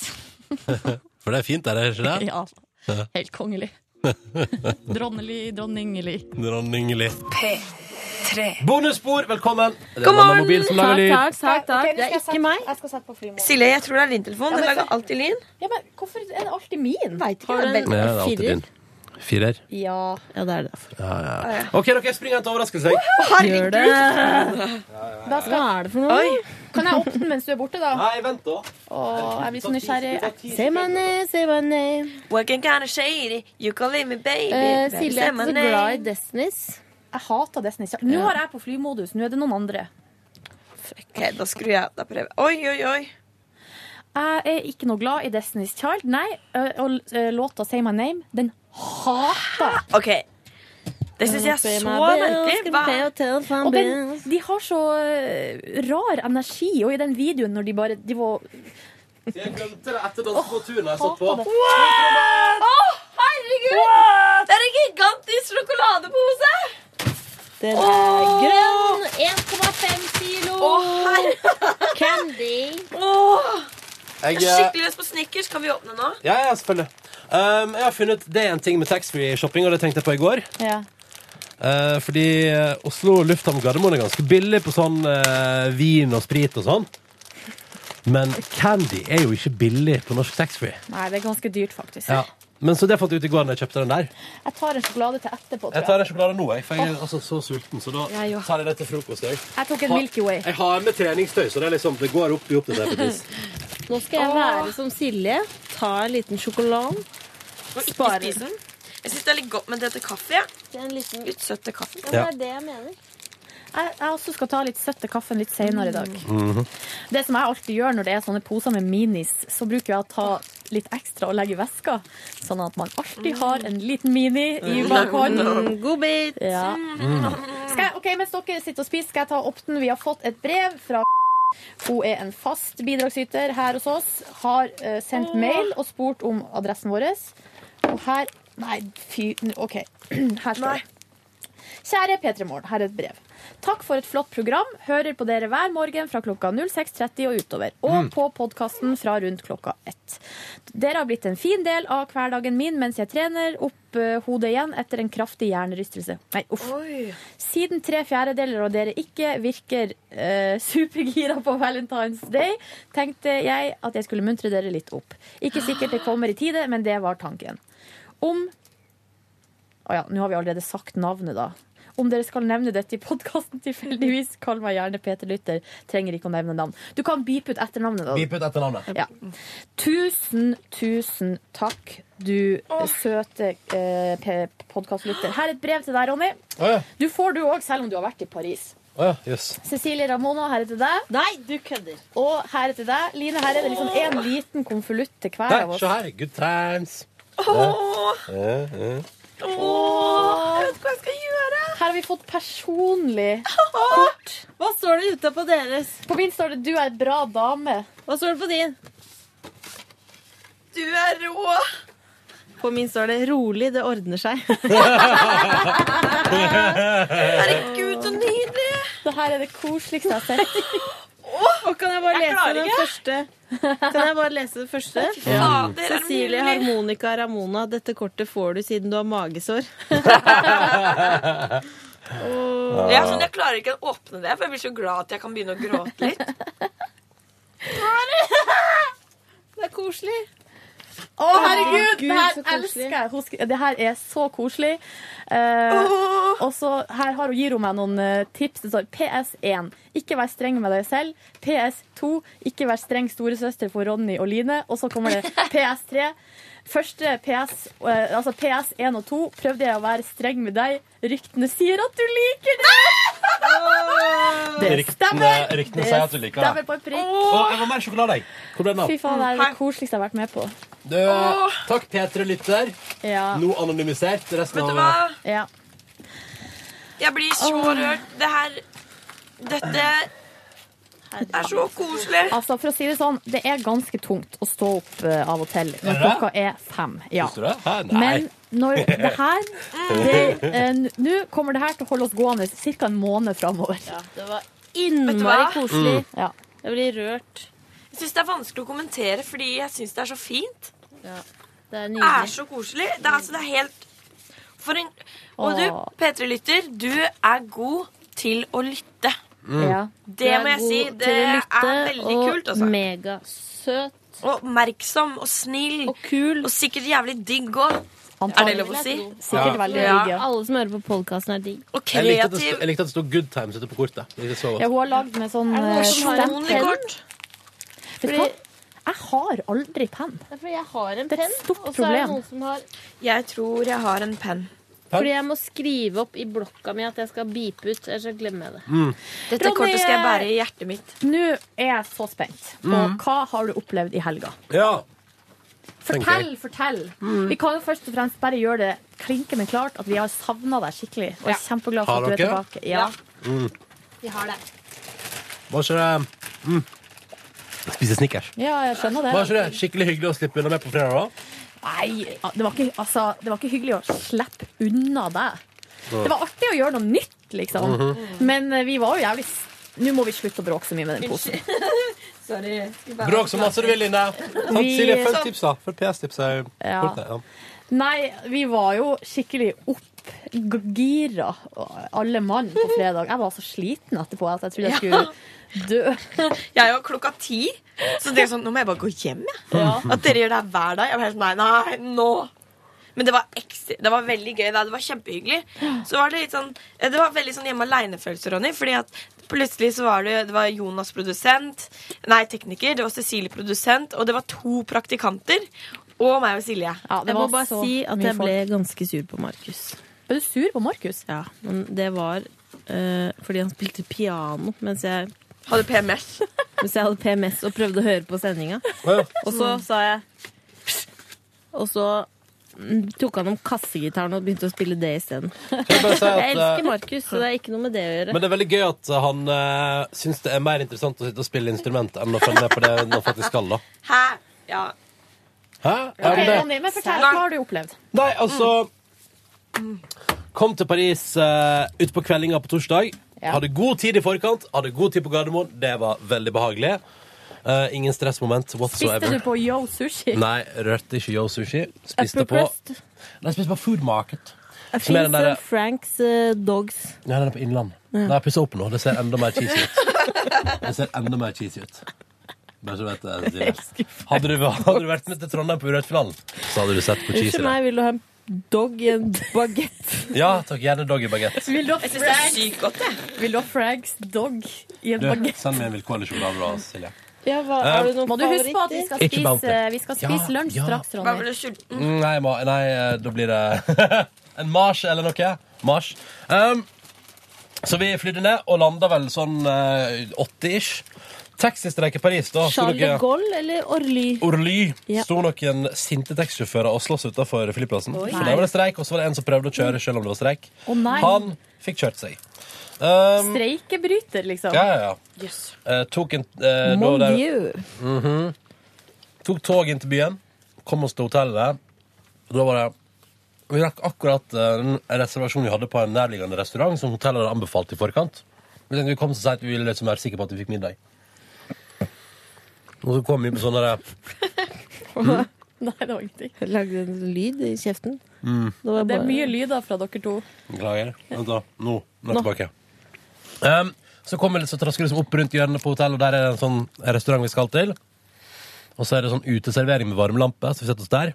[SPEAKER 2] For det er fint der, er det ikke det?
[SPEAKER 6] Ja. Helt kongelig. Dronnelig, dronningelig.
[SPEAKER 2] Dronningelig.
[SPEAKER 6] P3.
[SPEAKER 2] Bonusspor, velkommen!
[SPEAKER 6] God morgen!
[SPEAKER 3] Takk, takk, takk.
[SPEAKER 5] Ok, nå
[SPEAKER 3] Det er
[SPEAKER 5] skal jeg
[SPEAKER 3] ikke meg.
[SPEAKER 5] Jeg skal sette på flymodus.
[SPEAKER 3] Silje, jeg tror det er din telefon. Den lager
[SPEAKER 5] alltid lyd. Ja, men hvorfor er det alltid min?
[SPEAKER 3] Har du
[SPEAKER 2] Ja,
[SPEAKER 3] en
[SPEAKER 2] det er alltid din. Firer.
[SPEAKER 5] Ja.
[SPEAKER 3] Ja, det er det derfor.
[SPEAKER 2] Ja, ja. OK, dere, spring og hent overraskelse. jeg.
[SPEAKER 3] Herregud!
[SPEAKER 5] Da skal... Hva er det for noe? Kan jeg åpne den mens du er borte, da?
[SPEAKER 2] Nei, vent da.
[SPEAKER 5] Åh, jeg blir så nysgjerrig. Say my name, say my name.
[SPEAKER 3] Working kind of shady, you can leave me baby.
[SPEAKER 5] Eh, Silje er ikke så glad i Destinies. Jeg hater Destinies. Ja. Nå
[SPEAKER 3] Ja.
[SPEAKER 5] har jeg på flymodus. Nå er det noen andre.
[SPEAKER 3] Ok, da skrur jeg av. Da prøver jeg. Oi, oi, oi.
[SPEAKER 5] Jeg er ikke noe glad i Destiny's Child. Nei, ø, og ø, låta Say My Name, den hater jeg.
[SPEAKER 3] Ok. Det syns jeg er så merkelig. Hva?
[SPEAKER 5] Og den, de har så ø, rar energi, og i den videoen når de bare De var
[SPEAKER 2] Jeg glemte det etter Danse på tunet jeg satt
[SPEAKER 5] hater det.
[SPEAKER 2] på.
[SPEAKER 5] What?
[SPEAKER 3] Å, herregud!
[SPEAKER 5] What?
[SPEAKER 3] Det er en gigantisk sjokoladepose!
[SPEAKER 5] Den
[SPEAKER 3] er grønn.
[SPEAKER 5] 1,5 kilo.
[SPEAKER 3] Candy.
[SPEAKER 2] Jeg, eh,
[SPEAKER 3] Jeg er skikkelig lyst på Snickers. Kan vi åpne nå?
[SPEAKER 2] Ja, ja, selvfølgelig. Um, jeg har funnet ut det er en ting med taxfree-shopping, og det tenkte jeg på i går.
[SPEAKER 5] Ja.
[SPEAKER 2] Eh, fordi eh, Oslo lufthavn Gardermoen er ganske billig på sånn eh, vin og sprit og sånn. Men candy er jo ikke billig på norsk taxfree.
[SPEAKER 5] Nei, det er ganske dyrt, faktisk.
[SPEAKER 2] Ja. Men så det fant jeg ut i går da jeg kjøpte den der.
[SPEAKER 5] Jeg tar en sjokolade til etterpå,
[SPEAKER 2] Jeg
[SPEAKER 5] tror
[SPEAKER 2] tar
[SPEAKER 5] jeg.
[SPEAKER 2] en sjokolade nå, jeg, for jeg er altså så sulten. Så da
[SPEAKER 5] Jeg òg.
[SPEAKER 2] tar jeg det til frokost. Jeg,
[SPEAKER 5] Jeg tok en Milky Way.
[SPEAKER 2] jeg har med treningstøy, så det, er liksom, det går opp i opp. Det der, på et vis.
[SPEAKER 3] Nå skal jeg være som Silje. Ta en liten sjokolade. Og ikke spise den. Jeg syns det er litt godt med det til kaffe. Ja. Det er en liten Litt søtt til kaffe.
[SPEAKER 5] Ja, men det er det jeg mener. Jeg, jeg også skal ta litt søtt til kaffen litt senere i dag. Det som jeg alltid gjør når det er sånne poser med minis, så bruker jeg å ta litt ekstra og legge i veska, sånn at man alltid har en liten mini i bakhånd.
[SPEAKER 3] Mm, God bit.
[SPEAKER 5] Ja.
[SPEAKER 6] Mm-hmm.
[SPEAKER 3] Mm.
[SPEAKER 5] Skal jeg, ok, Mens dere sitter og spiser, skal jeg ta opp den. Vi har fått et brev fra hun er en fast bidragsyter her hos oss. Har eh, sendt mail og spurt om adressen vår. Og her Nei, fy n- OK. Her står det. Kjære P3 Morgen, her er et brev. Takk for et flott program. Hører på dere hver morgen fra klokka 06.30 og utover. Og
[SPEAKER 3] Mm.
[SPEAKER 5] på podkasten fra rundt klokka ett. Dere har blitt en fin del av hverdagen min mens jeg trener opp eh, hodet igjen etter en kraftig hjernerystelse. Nei, uff. Siden tre fjerdedeler av dere ikke virker eh, supergira på Valentine's Day, tenkte jeg at jeg skulle muntre dere litt opp. Ikke sikkert det kommer i tide, men det var tanken. Om Å ja, nå har vi allerede sagt navnet, da.
[SPEAKER 6] Om dere skal nevne dette i podkasten tilfeldigvis, kall meg gjerne Peter Lytter. Trenger ikke å nevne navn. Du kan beepe ut etternavnet. da.
[SPEAKER 2] Beep ut etternavnet.
[SPEAKER 6] Ja. Tusen, tusen takk, du søte eh, podkastlytter. Her er et brev til deg, Ronny.
[SPEAKER 2] Å ja.
[SPEAKER 6] Du får du òg, selv om du har vært i Paris.
[SPEAKER 2] Å ja, jøss.
[SPEAKER 6] Cecilie Ramona, her er til deg. Nei, du kødder. Og her er til deg. Line, her er det liksom én liten konvolutt til hver
[SPEAKER 2] Der,
[SPEAKER 6] av oss.
[SPEAKER 2] se her. Good times. Ja, ja, ja.
[SPEAKER 6] jeg vet hva jeg skal gjøre. Her har vi fått personlig kort. Hva står det ute på deres? På min står det 'Du er en bra dame'. Hva står det på din?
[SPEAKER 3] Du er rå! På min står det 'rolig, det ordner seg'.
[SPEAKER 6] Herregud, så nydelig! Det her er det koseligste jeg har sett.
[SPEAKER 3] Og kan jeg bare
[SPEAKER 6] Jeg
[SPEAKER 3] lese
[SPEAKER 6] klarer
[SPEAKER 3] den
[SPEAKER 6] ikke.
[SPEAKER 3] første? Kan jeg bare lese det første?
[SPEAKER 6] Ja. Fader, er det
[SPEAKER 3] Cecilie
[SPEAKER 6] mulig?
[SPEAKER 3] Harmonica Ramona, dette kortet får du siden du har magesår.
[SPEAKER 2] Åh.
[SPEAKER 4] Ja, sånn, jeg klarer ikke å åpne det, for jeg blir så glad at jeg kan begynne å gråte litt.
[SPEAKER 3] Det er koselig.
[SPEAKER 6] Å, herregud! Det her
[SPEAKER 3] Herregud, så koselig.
[SPEAKER 6] elsker jeg. Hun sk- Det her er så koselig. Eh, Og så her har hun, gir hun meg noen eh, tips. Det står PS1 ikke vær streng med deg selv. PS2 ikke vær streng storesøster for Ronny og Line. Og så kommer det PS3. Første PS, eh, altså PS1 og 2 prøvde jeg å være streng med deg. Ryktene sier at du liker det! Det
[SPEAKER 2] Ryktene-
[SPEAKER 6] stemmer!
[SPEAKER 2] ryktene sier at du liker det.
[SPEAKER 6] stemmer på en prikk.
[SPEAKER 2] Åh, jeg var mer sjokolade, jeg. Hvor ble den av?
[SPEAKER 6] Fy faen, det er det koseligste jeg har vært med på.
[SPEAKER 2] Du, takk, Petre Lytter.
[SPEAKER 6] Ja.
[SPEAKER 2] Nå anonymisert. Resten
[SPEAKER 4] Vet du
[SPEAKER 2] av
[SPEAKER 4] hva?
[SPEAKER 6] Ja.
[SPEAKER 4] Jeg blir så rørt. Det her Dette er så koselig.
[SPEAKER 6] Altså, for å si det sånn, det er ganske tungt å stå opp eh, av og til
[SPEAKER 4] Er det
[SPEAKER 6] når klokka er fem. Ja.
[SPEAKER 2] Syns du det? Hæ, nei.
[SPEAKER 6] Men når det her det, eh, n- Nå kommer det her til å holde oss gående ca. en måned framover.
[SPEAKER 3] Det var
[SPEAKER 4] Vet du hva?
[SPEAKER 3] innmari koselig.
[SPEAKER 6] Mm. Ja.
[SPEAKER 3] Jeg blir rørt.
[SPEAKER 4] Jeg syns det er vanskelig å kommentere fordi jeg syns det er så fint.
[SPEAKER 3] Det er
[SPEAKER 4] Det er
[SPEAKER 3] nydelig.
[SPEAKER 4] så koselig. Det er, altså, det er helt For en Og du,
[SPEAKER 3] Åh.
[SPEAKER 4] P3-lytter, du er god til å lytte.
[SPEAKER 3] Mm. Ja, du
[SPEAKER 4] Det
[SPEAKER 3] er
[SPEAKER 4] må jeg si.
[SPEAKER 3] god
[SPEAKER 4] Det
[SPEAKER 3] til å
[SPEAKER 4] er
[SPEAKER 3] lytte,
[SPEAKER 4] veldig
[SPEAKER 3] og
[SPEAKER 4] kult, altså. Megasøt. Og oppmerksom og snill. Og
[SPEAKER 3] kul.
[SPEAKER 4] Og sikkert jævlig digg òg. Er det lov å si?
[SPEAKER 2] Sikkert veldig digg, ja.
[SPEAKER 3] Alle som hører på podkasten, er digg.
[SPEAKER 4] Og
[SPEAKER 2] Jeg likte, at det sto, jeg likte at det sto 'Good Times' ute på kortet. Det likte jeg så godt.
[SPEAKER 6] Ja, hun har lagd med sånn
[SPEAKER 3] Er det noen
[SPEAKER 6] eh,
[SPEAKER 3] som har en
[SPEAKER 6] stempenn.
[SPEAKER 3] vanlig kort?
[SPEAKER 6] Vet du hva? Jeg har aldri penn.
[SPEAKER 3] Det er fordi jeg har en penn, og så er det
[SPEAKER 6] problem.
[SPEAKER 3] noen som har
[SPEAKER 4] Jeg tror jeg har en penn.
[SPEAKER 3] Fordi jeg må skrive opp i blokka mi at jeg skal beepe ut, ellers så glemmer jeg det.
[SPEAKER 2] Mm.
[SPEAKER 4] Dette
[SPEAKER 6] Ronny,
[SPEAKER 4] kortet skal jeg bære i
[SPEAKER 6] eh,
[SPEAKER 4] hjertet mitt.
[SPEAKER 6] Nå er jeg så spent på
[SPEAKER 4] Mm.
[SPEAKER 6] hva har du opplevd i helga.
[SPEAKER 2] Ja.
[SPEAKER 6] Fortell, fortell.
[SPEAKER 2] Mm.
[SPEAKER 6] Vi kan jo først og fremst bare gjøre det klinkende klart at vi har savna deg skikkelig. Og er
[SPEAKER 2] Har
[SPEAKER 6] kjempeglad for at du er
[SPEAKER 2] dere?
[SPEAKER 6] tilbake. Ja.
[SPEAKER 2] Mm.
[SPEAKER 6] Vi har det.
[SPEAKER 2] Var ikke det mm. Spise Snickers.
[SPEAKER 6] Ja, jeg skjønner det.
[SPEAKER 2] Var ikke det skikkelig hyggelig å slippe unna meg på fredag? da?
[SPEAKER 6] Nei, det var, ikke, altså, det var ikke hyggelig å slippe unna deg.
[SPEAKER 2] Nei.
[SPEAKER 6] Det var artig å gjøre noe nytt, liksom.
[SPEAKER 2] Mhm.
[SPEAKER 6] Men eh, vi var jo jævlig s- Nå må vi slutte å bråke så mye med den posen.
[SPEAKER 4] Sorry.
[SPEAKER 2] Bråk så masse du vil, Line. Sant,
[SPEAKER 6] Vi-
[SPEAKER 2] Silje, følg tipsa. Følg PS-tipsa. i
[SPEAKER 6] Ja.
[SPEAKER 2] kortet, Ja.
[SPEAKER 6] Nei, vi var jo skikkelig oppgira, alle mann, på fredag. Jeg var så sliten etterpå at jeg trodde jeg skulle dø.
[SPEAKER 4] Jeg er jo klokka ti, så det er sånn, nå må jeg bare gå hjem. Jeg. At dere gjør det her hver dag. Jeg var helt sånn, nei, nei, nå. Men det var, ekstra, det var veldig gøy. Da. Det var kjempehyggelig. Så var det litt sånn eh, Det var veldig sånn hjemme aleine-følelse, Ronny. Fordi at plutselig så var det, det var Jonas produsent, nei, tekniker, det var Cecilie produsent, og det var to praktikanter. Og meg og Silje.
[SPEAKER 3] jeg må bare si at jeg ble ganske sur på Markus.
[SPEAKER 6] Ble du sur på Markus?
[SPEAKER 3] Ja, men det var eh, fordi han spilte piano mens jeg
[SPEAKER 4] Hadde PMS.
[SPEAKER 3] mens jeg hadde PMS og prøvde å høre på sendinga. Og så
[SPEAKER 4] Mm.
[SPEAKER 3] sa jeg Og så mm, tok han om kassegitaren og begynte å spille det isteden.
[SPEAKER 2] jeg bare si at,
[SPEAKER 3] jeg elsker
[SPEAKER 2] eh,
[SPEAKER 3] Markus, så det er ikke noe med det å gjøre.
[SPEAKER 2] Men det er veldig gøy at han uh, syns det er mer interessant å sitte og spille instrument enn å følge med på det han faktisk skal, da.
[SPEAKER 4] Hæ? Ja.
[SPEAKER 2] Hæ? Ja, men det-
[SPEAKER 6] Ronny, men fortell, hva har du opplevd?
[SPEAKER 2] Nei, altså Kom til Paris uh, utpå kveldinga på torsdag.
[SPEAKER 6] Ja.
[SPEAKER 2] Hadde god tid i forkant, hadde god tid på Gardermoen. Det var veldig behagelig. Eh, ingen stressmoment
[SPEAKER 6] Spiste
[SPEAKER 2] whatsoever.
[SPEAKER 6] du på Yo Sushi?
[SPEAKER 2] Nei, rørte ikke Yo Sushi. Spiste
[SPEAKER 3] Upper
[SPEAKER 2] på
[SPEAKER 3] crust.
[SPEAKER 2] Nei, spiste på Food Market. Som er
[SPEAKER 3] Fins
[SPEAKER 2] den derre-
[SPEAKER 3] Franks eh, Dogs.
[SPEAKER 2] Nei, den er på Innland.
[SPEAKER 3] Ja.
[SPEAKER 2] Den er pussa opp nå. Det ser enda mer cheesy ut. Det ser enda mer cheesy ut. Bare så du vet det. Cecilie. Hadde du, hadde du vært med til Trondheim på Urørt-finalen, så hadde du sett hvor cheesy
[SPEAKER 3] Unnskyld
[SPEAKER 2] det er.
[SPEAKER 3] meg, vil du ha en dog i en bagett.
[SPEAKER 2] Ja takk, gjerne doggy-bagett.
[SPEAKER 3] Vil du ha
[SPEAKER 4] Jeg synes det er
[SPEAKER 3] Frags-
[SPEAKER 4] sykt godt, jeg.
[SPEAKER 3] Vil du ha Frags dog i en
[SPEAKER 2] Du,
[SPEAKER 3] bagett?
[SPEAKER 2] send meg en vilkårlig sjokolade, da, Silje.
[SPEAKER 3] Ja, hva,
[SPEAKER 2] Eh,
[SPEAKER 3] har du noen
[SPEAKER 5] Må du huske på at vi
[SPEAKER 3] favoritter?
[SPEAKER 5] skal
[SPEAKER 2] Ikke
[SPEAKER 5] spise,
[SPEAKER 2] bounty.
[SPEAKER 5] vi skal
[SPEAKER 2] Ja,
[SPEAKER 5] spise lunsj
[SPEAKER 2] ja.
[SPEAKER 5] straks, Ronny.
[SPEAKER 2] Mm, Nei, ma nei, eh, da blir det en marsj eller noe. Marsj. Um, så vi flydde ned og landa vel sånn eh, 80-ish. Taxistreik i Paris, da. sto
[SPEAKER 3] Charles de
[SPEAKER 2] noen-
[SPEAKER 3] Gaulle eller Orly?
[SPEAKER 2] Orly
[SPEAKER 3] Ja.
[SPEAKER 2] sto noen sinte taxisjåfører og sloss utafor flyplassen.
[SPEAKER 3] Oi.
[SPEAKER 2] For der var det streik, og så var det en som prøvde å kjøre selv om det var streik.
[SPEAKER 3] Å, nei.
[SPEAKER 2] Han fikk kjørt seg. Um,
[SPEAKER 3] Streikebryter, liksom.
[SPEAKER 2] Ja, ja, ja. Eh, tok en eh,
[SPEAKER 3] Mon
[SPEAKER 2] da-
[SPEAKER 3] Dieu.
[SPEAKER 2] Mhm. Tok tog inn til byen, kom oss til hotellet. Da var det Vi rakk akkurat eh, en reservasjon vi hadde på en nærliggende restaurant som hotellet hadde anbefalt i forkant. Vi tenkte vi kom så seint vi ville liksom være sikre på at vi fikk middag. Og så kom vi på sånn derre
[SPEAKER 3] Nei, det var ingenting. Jeg lagde en lyd i kjeften.
[SPEAKER 2] mm,
[SPEAKER 3] Det, er mye lyd da fra dere to.
[SPEAKER 2] Beklager. Vent, da. Nå. Nå er jeg tilbake. Ehm, så kommer det, så trasker det liksom opp rundt hjørnet på hotellet, og der er det en sånn restaurant vi skal til. Og så er det sånn uteservering med varmelampe, så vi setter oss der.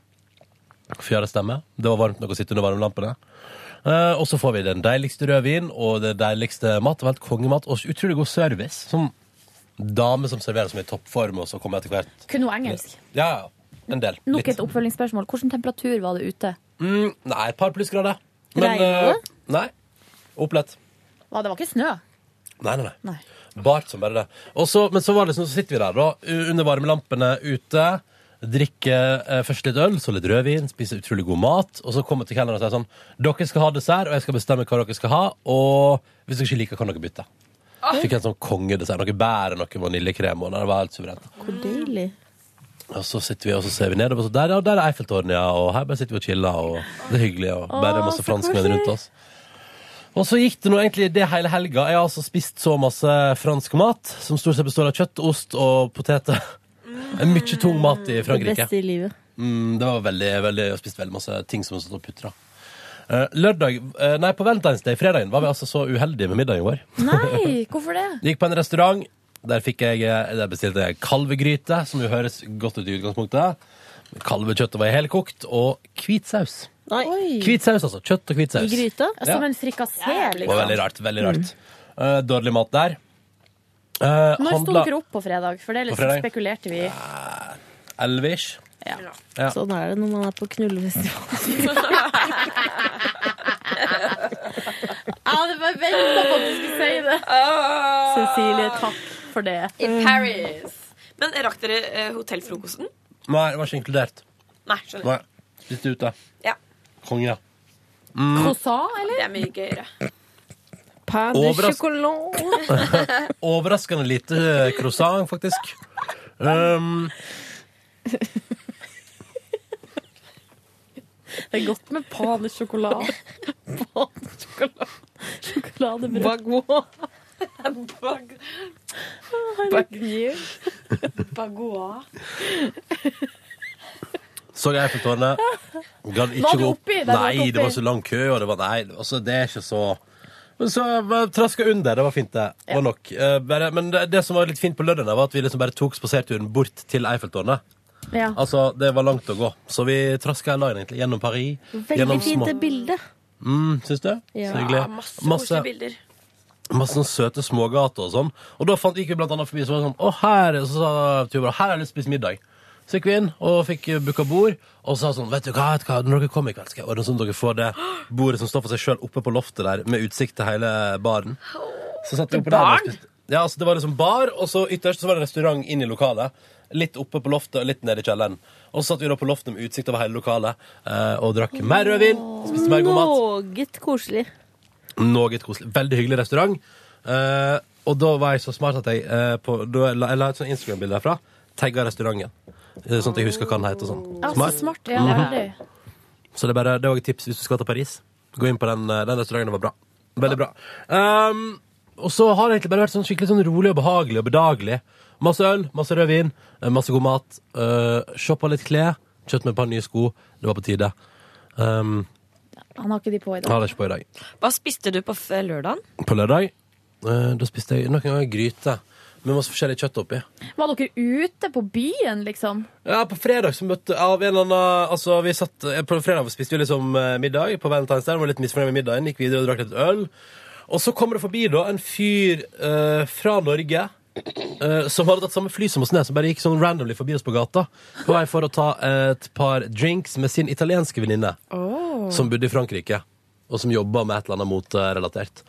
[SPEAKER 2] Fjerde stemme. Det var varmt nok å sitte under varmelampene. Eh, og så får vi den deiligste rødvin og det deiligste mat. Det var helt kongemat og utrolig god service. Sånn dame som serverer som er i toppform, og så kommer etter hvert
[SPEAKER 6] Kun noe engelsk.
[SPEAKER 2] Ja, ja. En del.
[SPEAKER 6] Nok et oppfølgingsspørsmål. Hvilken temperatur var det ute?
[SPEAKER 2] Mm, nei, et par plussgrader.
[SPEAKER 6] Regnet
[SPEAKER 2] eh, nei. Opplett.
[SPEAKER 6] Hva, det var ikke snø?
[SPEAKER 2] Nei, nei, nei. Bart som bare det. Og så, men så, var det, liksom- så sitter vi der, da, u- under varmelampene ute. Drikker eh, først litt øl, så litt rødvin, spiser utrolig god mat. Og så kommer til kelneren og sier sånn Dere skal ha dessert, og jeg skal bestemme hva dere skal ha. Og hvis dere ikke liker, kan dere bytte. Fikk en sånn kongedessert. Noe bær og noe vaniljekrem. Og det var helt suverent.
[SPEAKER 3] Hvor deilig.
[SPEAKER 2] Og så sitter vi og så ser vi nedover, så der, ja, der er Eiffeltårnet, ja, og her bare sitter vi og chiller, og det er hyggelig, og bare
[SPEAKER 13] Åh,
[SPEAKER 2] masse
[SPEAKER 13] så
[SPEAKER 2] franskmenn
[SPEAKER 13] koselig.
[SPEAKER 2] rundt oss. Og så gikk det nå egentlig det hele helga. Jeg har altså spist så masse fransk mat, som stort sett består av kjøtt, ost og poteter. Det er Mye tung mat i
[SPEAKER 3] Det
[SPEAKER 2] Frankrike.
[SPEAKER 3] beste i livet.
[SPEAKER 2] Mm, det var veldig, veldig, jeg har spist veldig masse ting som har stått og putra. Eh, Lørdag, eh, nei, på Valentine's Day, fredagen, var vi altså så uheldige med middagen vår.
[SPEAKER 6] Nei, hvorfor det?
[SPEAKER 2] Gikk på en restaurant. Der, fikk jeg, eh, der bestilte jeg kalvegryte, som jo høres godt ut i utgangspunktet. Kalvekjøttet var helkokt, og hvit saus. Hvit saus, altså. Kjøtt og hvit saus.
[SPEAKER 5] Ja,
[SPEAKER 2] Ja.
[SPEAKER 5] Som en frikassé,
[SPEAKER 2] Det var veldig
[SPEAKER 5] liksom.
[SPEAKER 2] rart. veldig
[SPEAKER 3] Mm.
[SPEAKER 2] rart. Eh, dårlig mat der. Uh,
[SPEAKER 5] Mm. Når sto dere opp på fredag? For det
[SPEAKER 2] På
[SPEAKER 5] liksom
[SPEAKER 2] fredag?
[SPEAKER 5] spekulerte vi.
[SPEAKER 2] Elvish.
[SPEAKER 5] Ja.
[SPEAKER 2] Ja.
[SPEAKER 3] Sånn er det når man er på knullefestival.
[SPEAKER 5] Jeg hadde bare venta på at du skulle si det.
[SPEAKER 6] Ah.
[SPEAKER 3] Cecilie, takk for det.
[SPEAKER 4] I
[SPEAKER 6] Mm.
[SPEAKER 4] Paris. Men rakk dere eh, hotellfrokosten?
[SPEAKER 2] Nei, det var ikke inkludert.
[SPEAKER 4] Nei, skjønner.
[SPEAKER 2] Nei. Litt ute.
[SPEAKER 4] Ja.
[SPEAKER 2] Konge. Mm.
[SPEAKER 4] Croissant, eller? Det er mye gøyere.
[SPEAKER 3] Pain
[SPEAKER 2] de Overras-
[SPEAKER 3] chocolat.
[SPEAKER 2] Overraskende lite eh, croissant, faktisk. Um,
[SPEAKER 3] Det er godt med pain de chocolat. Pain de chocolat. Sjokoladebrød.
[SPEAKER 4] Bag- Bagua.
[SPEAKER 2] Så jeg Eiffeltårnet. Gadd ikke
[SPEAKER 4] Var du
[SPEAKER 2] gå
[SPEAKER 4] oppi? Der var du
[SPEAKER 2] Nei, det var
[SPEAKER 4] oppi.
[SPEAKER 2] så lang kø, og det var Nei, altså, det er ikke så men så jeg traska under. Det var fint, det. Det Var nok. Eh, bare, men det, det som var litt fint på lørdagen, var at vi liksom bare tok spaserturen bort til Eiffeltårnet.
[SPEAKER 3] Ja.
[SPEAKER 2] Altså, det var langt å gå, så vi traska hele dagen, egentlig. Gjennom Paris.
[SPEAKER 3] Veldig
[SPEAKER 2] gjennom
[SPEAKER 3] fint
[SPEAKER 2] små-
[SPEAKER 3] det bildet.
[SPEAKER 2] Mm, syns du?
[SPEAKER 3] Ja,
[SPEAKER 2] Så hyggelig.
[SPEAKER 4] Masse koselige bilder.
[SPEAKER 2] Masse sånne søte smågater og sånn. Og da fant, gikk vi blant annet forbi så var det sånn, å her, og så sa Tuva, her har jeg lyst til å spise middag. Så gikk vi inn og fikk eh, booka bord, og sa sånn, vet du hva, vet du hva, når dere kommer i kveld, skal jeg ordne sånn at dere får det bordet som står for seg selv oppe på loftet der, med utsikt til hele baren. Så satt vi oppe der. og
[SPEAKER 13] barn?
[SPEAKER 2] spiste- Ja, altså det var liksom bar, og så ytterst så var det restaurant inn i lokalet. Litt oppe på loftet og litt nede i kjelleren. Og så satt vi da på loftet med utsikt over hele lokalet, eh, og drakk mer rødvin, spiste mer god mat.
[SPEAKER 3] Meget koselig.
[SPEAKER 2] Noget koselig. Veldig hyggelig restaurant. Eh, og da var jeg så smart at jeg, eh, på, da jeg, la, jeg la et sånt Instagram-bilde derfra. Tagga restauranten. Eh, Sånn at jeg husker hva den heter. og Sånn.
[SPEAKER 5] Ja, så
[SPEAKER 2] Smart.
[SPEAKER 5] smart. Ja,
[SPEAKER 3] Mm.
[SPEAKER 2] Mhm.
[SPEAKER 5] veldig.
[SPEAKER 2] Så det er bare det var et tips hvis du skal til Paris. Gå inn på den, eh, den restauranten. var bra. Veldig bra. Um, og så har det egentlig bare vært sånn skikkelig sånn rolig og behagelig og bedagelig. Masse øl, masse rødvin, eh, masse god mat. Uh, Shoppa litt klær. Kjøpt meg et par nye sko. Det var på tide. Um,
[SPEAKER 6] Han har ikke de på i
[SPEAKER 2] jeg har det ikke på i dag.
[SPEAKER 4] Hva spiste du på f- lørdagen?
[SPEAKER 2] På lørdag eh, Da spiste jeg noen ganger gryte med masse forskjellig kjøtt oppi.
[SPEAKER 6] Var dere ute på byen, liksom?
[SPEAKER 2] Ja, på fredag så møtte av en eller annen Altså, vi satt eh, På fredag spiste vi liksom eh, middag på Valentine's der, var litt misfornøyd med middagen, gikk videre og drakk litt øl. Og så kommer det forbi da en fyr eh, fra Norge eh, som hadde tatt samme fly som oss ned, som bare gikk sånn randomly forbi oss på gata. På vei for å ta et par drinks med sin italienske venninne, som bodde i Frankrike, og som jobba med et eller annet moterelatert.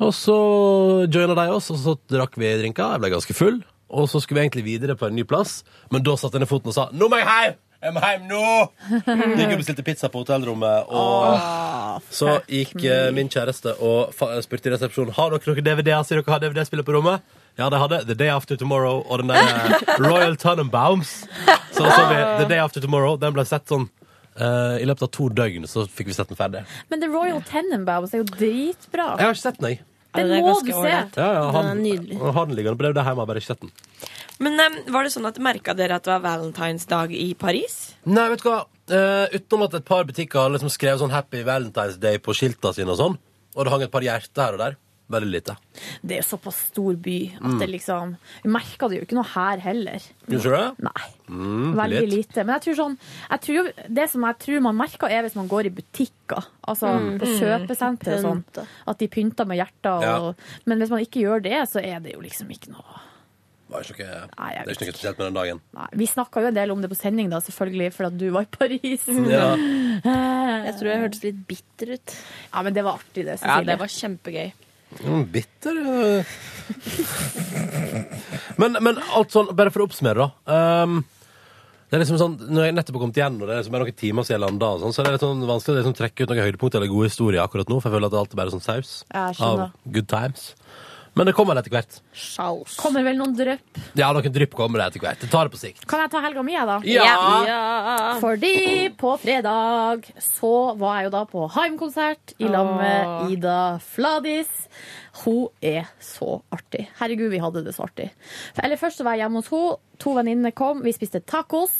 [SPEAKER 2] Og så joina de oss, og så drakk vi drinker. Jeg ble ganske full. Og så skulle vi egentlig videre på en ny plass, men da satte jeg ned foten og sa 'Nå må jeg hjem!' Jeg må hjem nå! Gikk og bestilte pizza på hotellrommet, og så gikk eh, min kjæreste og fa spurte i resepsjonen Har dere noen DVD-er. Sier dere har DVD-spiller på rommet? Ja, de hadde The Day After Tomorrow og den der eh, Royal Tannenbaums. Så så vi The Day After Tomorrow. Den ble sett sånn eh, I løpet av to døgn så fikk vi sett den ferdig.
[SPEAKER 6] Men The Royal Tenenbaums er jo dritbra.
[SPEAKER 2] Jeg har ikke sett den, jeg.
[SPEAKER 6] Den må du se!
[SPEAKER 2] Ja, ja, han,
[SPEAKER 4] Den er nydelig.
[SPEAKER 2] og han ligger på det, det er hjemme, jeg har bare ikke sett den.
[SPEAKER 4] Men em, var det sånn at merka dere at det var valentinsdag i Paris?
[SPEAKER 2] Nei, vet du hva? Eh, utenom at et par butikker har liksom skrev sånn Happy Valentine's Day på skilta sine og sånn. Og det hang et par hjerter her og der. Veldig lite.
[SPEAKER 6] Det er jo såpass stor by at
[SPEAKER 2] Mm.
[SPEAKER 6] det liksom Vi merka det jo ikke noe her heller.
[SPEAKER 2] Gjorde du det?
[SPEAKER 6] Nei.
[SPEAKER 2] Mm,
[SPEAKER 6] Veldig
[SPEAKER 2] litt.
[SPEAKER 6] lite. Men jeg tror sånn, jeg tror, jo- det som jeg tror man merker, er hvis man går i butikker. Altså
[SPEAKER 3] Mm.
[SPEAKER 6] på kjøpesenter og sånn. At de pynter med hjerter. Og, Men hvis man ikke gjør det, så er det jo liksom ikke noe
[SPEAKER 2] Det er ikke noe,
[SPEAKER 6] jeg
[SPEAKER 2] det er ikke noe spesielt med den dagen.
[SPEAKER 6] Vi snakka jo en del om det på sending, da, selvfølgelig, fordi at du var i Paris.
[SPEAKER 2] Ja.
[SPEAKER 6] Jeg tror jeg hørtes litt bitter ut. Ja, men det var artig, det.
[SPEAKER 3] Ja,
[SPEAKER 6] Cecilie.
[SPEAKER 3] det var
[SPEAKER 6] kjempegøy.
[SPEAKER 2] Mm, bitter eh. men, men alt sånn, bare for å oppsummere, da. Ehm, det er liksom sånn, Når jeg nettopp har kommet igjen, og det er liksom bare noen timer siden jeg landa, og sånn, så er det litt sånn vanskelig å liksom trekke ut noen høydepunkter eller gode historier akkurat nå. For jeg føler at alt er bare sånn saus
[SPEAKER 6] Ja, jeg
[SPEAKER 2] av
[SPEAKER 6] skjønner.
[SPEAKER 2] good times. Men det kommer vel etter hvert.
[SPEAKER 6] Kommer vel noen drypp.
[SPEAKER 2] Ja, noen drypp kommer det etter hvert. Det tar det på sikt.
[SPEAKER 6] Kan jeg ta helga mi, jeg, da?
[SPEAKER 2] Ja.
[SPEAKER 6] Fordi på fredag så var jeg jo da på Haim-konsert i lag med Ida Fladis. Hun er så artig. Herregud, vi hadde det så artig. Eller først så var jeg hjemme hos henne. To venninner kom, vi spiste tacos.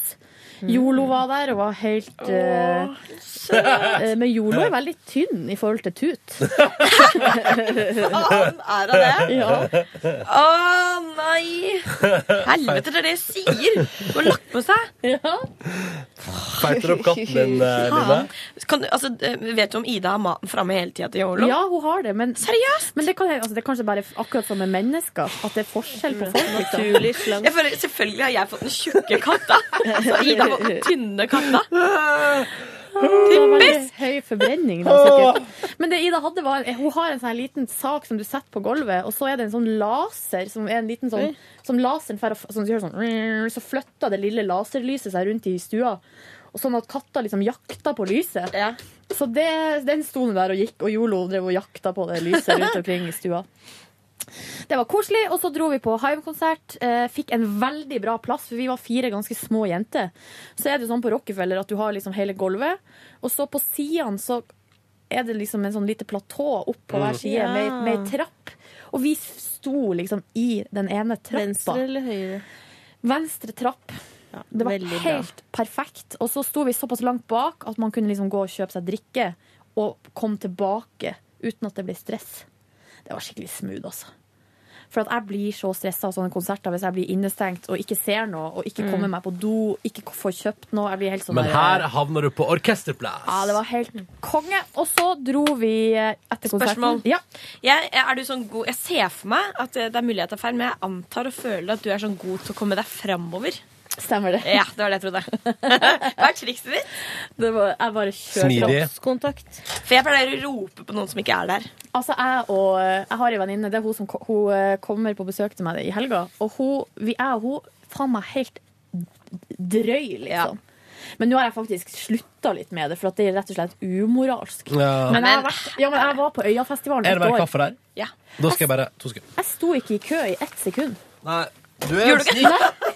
[SPEAKER 4] Mm.
[SPEAKER 6] Jolo var der og var helt eh, eh, Men Jolo er veldig tynn i forhold til Tut.
[SPEAKER 4] Faen, er hun det?
[SPEAKER 6] Ja.
[SPEAKER 4] Å nei! Helvete, det er det jeg sier! Du har lagt på seg.
[SPEAKER 2] Feiter opp katten din, eh, Line.
[SPEAKER 4] Faen. Kan du, altså, eh, vet du om Ida har maten framme hele tida til Yolo?
[SPEAKER 6] Ja, hun har det, men Seriøst? Men det, kan, altså, det er kanskje bare akkurat som med mennesker, at det er forskjell på folk. liksom.
[SPEAKER 4] Naturlig Jeg føler, selvfølgelig har jeg fått den tjukke katta. Så Ida har fått den tynne katta.
[SPEAKER 6] Det var veldig høy forbrenning, da, sikkert. Men det Ida hadde, var Hun har en sånn her liten sak som du setter på gulvet, og så er det en sånn laser som er en liten sånn Som laseren fer og f- sånn, så gjør det sånn Så flytter det lille laserlyset seg rundt i stua, og sånn at katta liksom jakta på lyset. Så det, den sto nå der og gikk, og Jolo drev og jakta på det lyset rundt omkring i stua. Det var koselig, og så dro vi på Hive-konsert. Eh, fikk en veldig bra plass, for vi var fire ganske små jenter. Så er det jo sånn på Rockefeller at du har liksom hele gulvet, og så på sidene så er det liksom en sånn lite platå opp på hver side
[SPEAKER 3] Mm. Ja.
[SPEAKER 6] med, med ei trapp. Og vi sto liksom i den ene trappa.
[SPEAKER 3] Venstre eller høyre?
[SPEAKER 6] Venstre trapp. det var
[SPEAKER 3] veldig bra.
[SPEAKER 6] helt perfekt. Og så sto vi såpass langt bak at man kunne liksom gå og kjøpe seg drikke og komme tilbake uten at det ble stress. Det var skikkelig smooth, altså. For at jeg blir så stressa av sånne konserter hvis jeg blir innestengt og ikke ser noe, og
[SPEAKER 4] Mm.
[SPEAKER 6] ikke kommer meg på do, ikke k- får kjøpt noe. Jeg blir helt sånn
[SPEAKER 2] Men
[SPEAKER 6] der-
[SPEAKER 2] her havner du på orkesterplass.
[SPEAKER 6] Ja, det var helt konge. Og så dro vi eh, etter konserten
[SPEAKER 4] Spørsmål.
[SPEAKER 6] Ja.
[SPEAKER 4] Jeg, er du sånn god, jeg ser for meg at eh, det er mulig jeg tar feil, men jeg antar og føler at du er sånn god til å komme deg framover.
[SPEAKER 6] Stemmer det.
[SPEAKER 4] Ja, det var det jeg trodde. Hva er trikset ditt?
[SPEAKER 6] Det var, jeg bare kjørte
[SPEAKER 4] Smidig.
[SPEAKER 6] kroppskontakt.
[SPEAKER 4] For jeg pleier å rope på noen som ikke er der.
[SPEAKER 6] Altså, jeg, og, jeg har en venninne, det er hun som ko- hun eh, kommer på besøk til meg i helga. Og hun, vi er og hun faen meg helt d- drøy, liksom. Men nå har jeg faktisk slutta litt med det, for at det er rett og slett umoralsk.
[SPEAKER 2] Ja.
[SPEAKER 6] Men, jeg, har vært, ja, men jeg var på Øyafestivalen
[SPEAKER 2] Er det
[SPEAKER 6] et
[SPEAKER 2] bare
[SPEAKER 6] år.
[SPEAKER 2] kaffe der?
[SPEAKER 4] Ja.
[SPEAKER 2] Da skal jeg bare To sekunder.
[SPEAKER 6] Jeg sto ikke i kø i ett sekund.
[SPEAKER 2] Nei, du er en snik.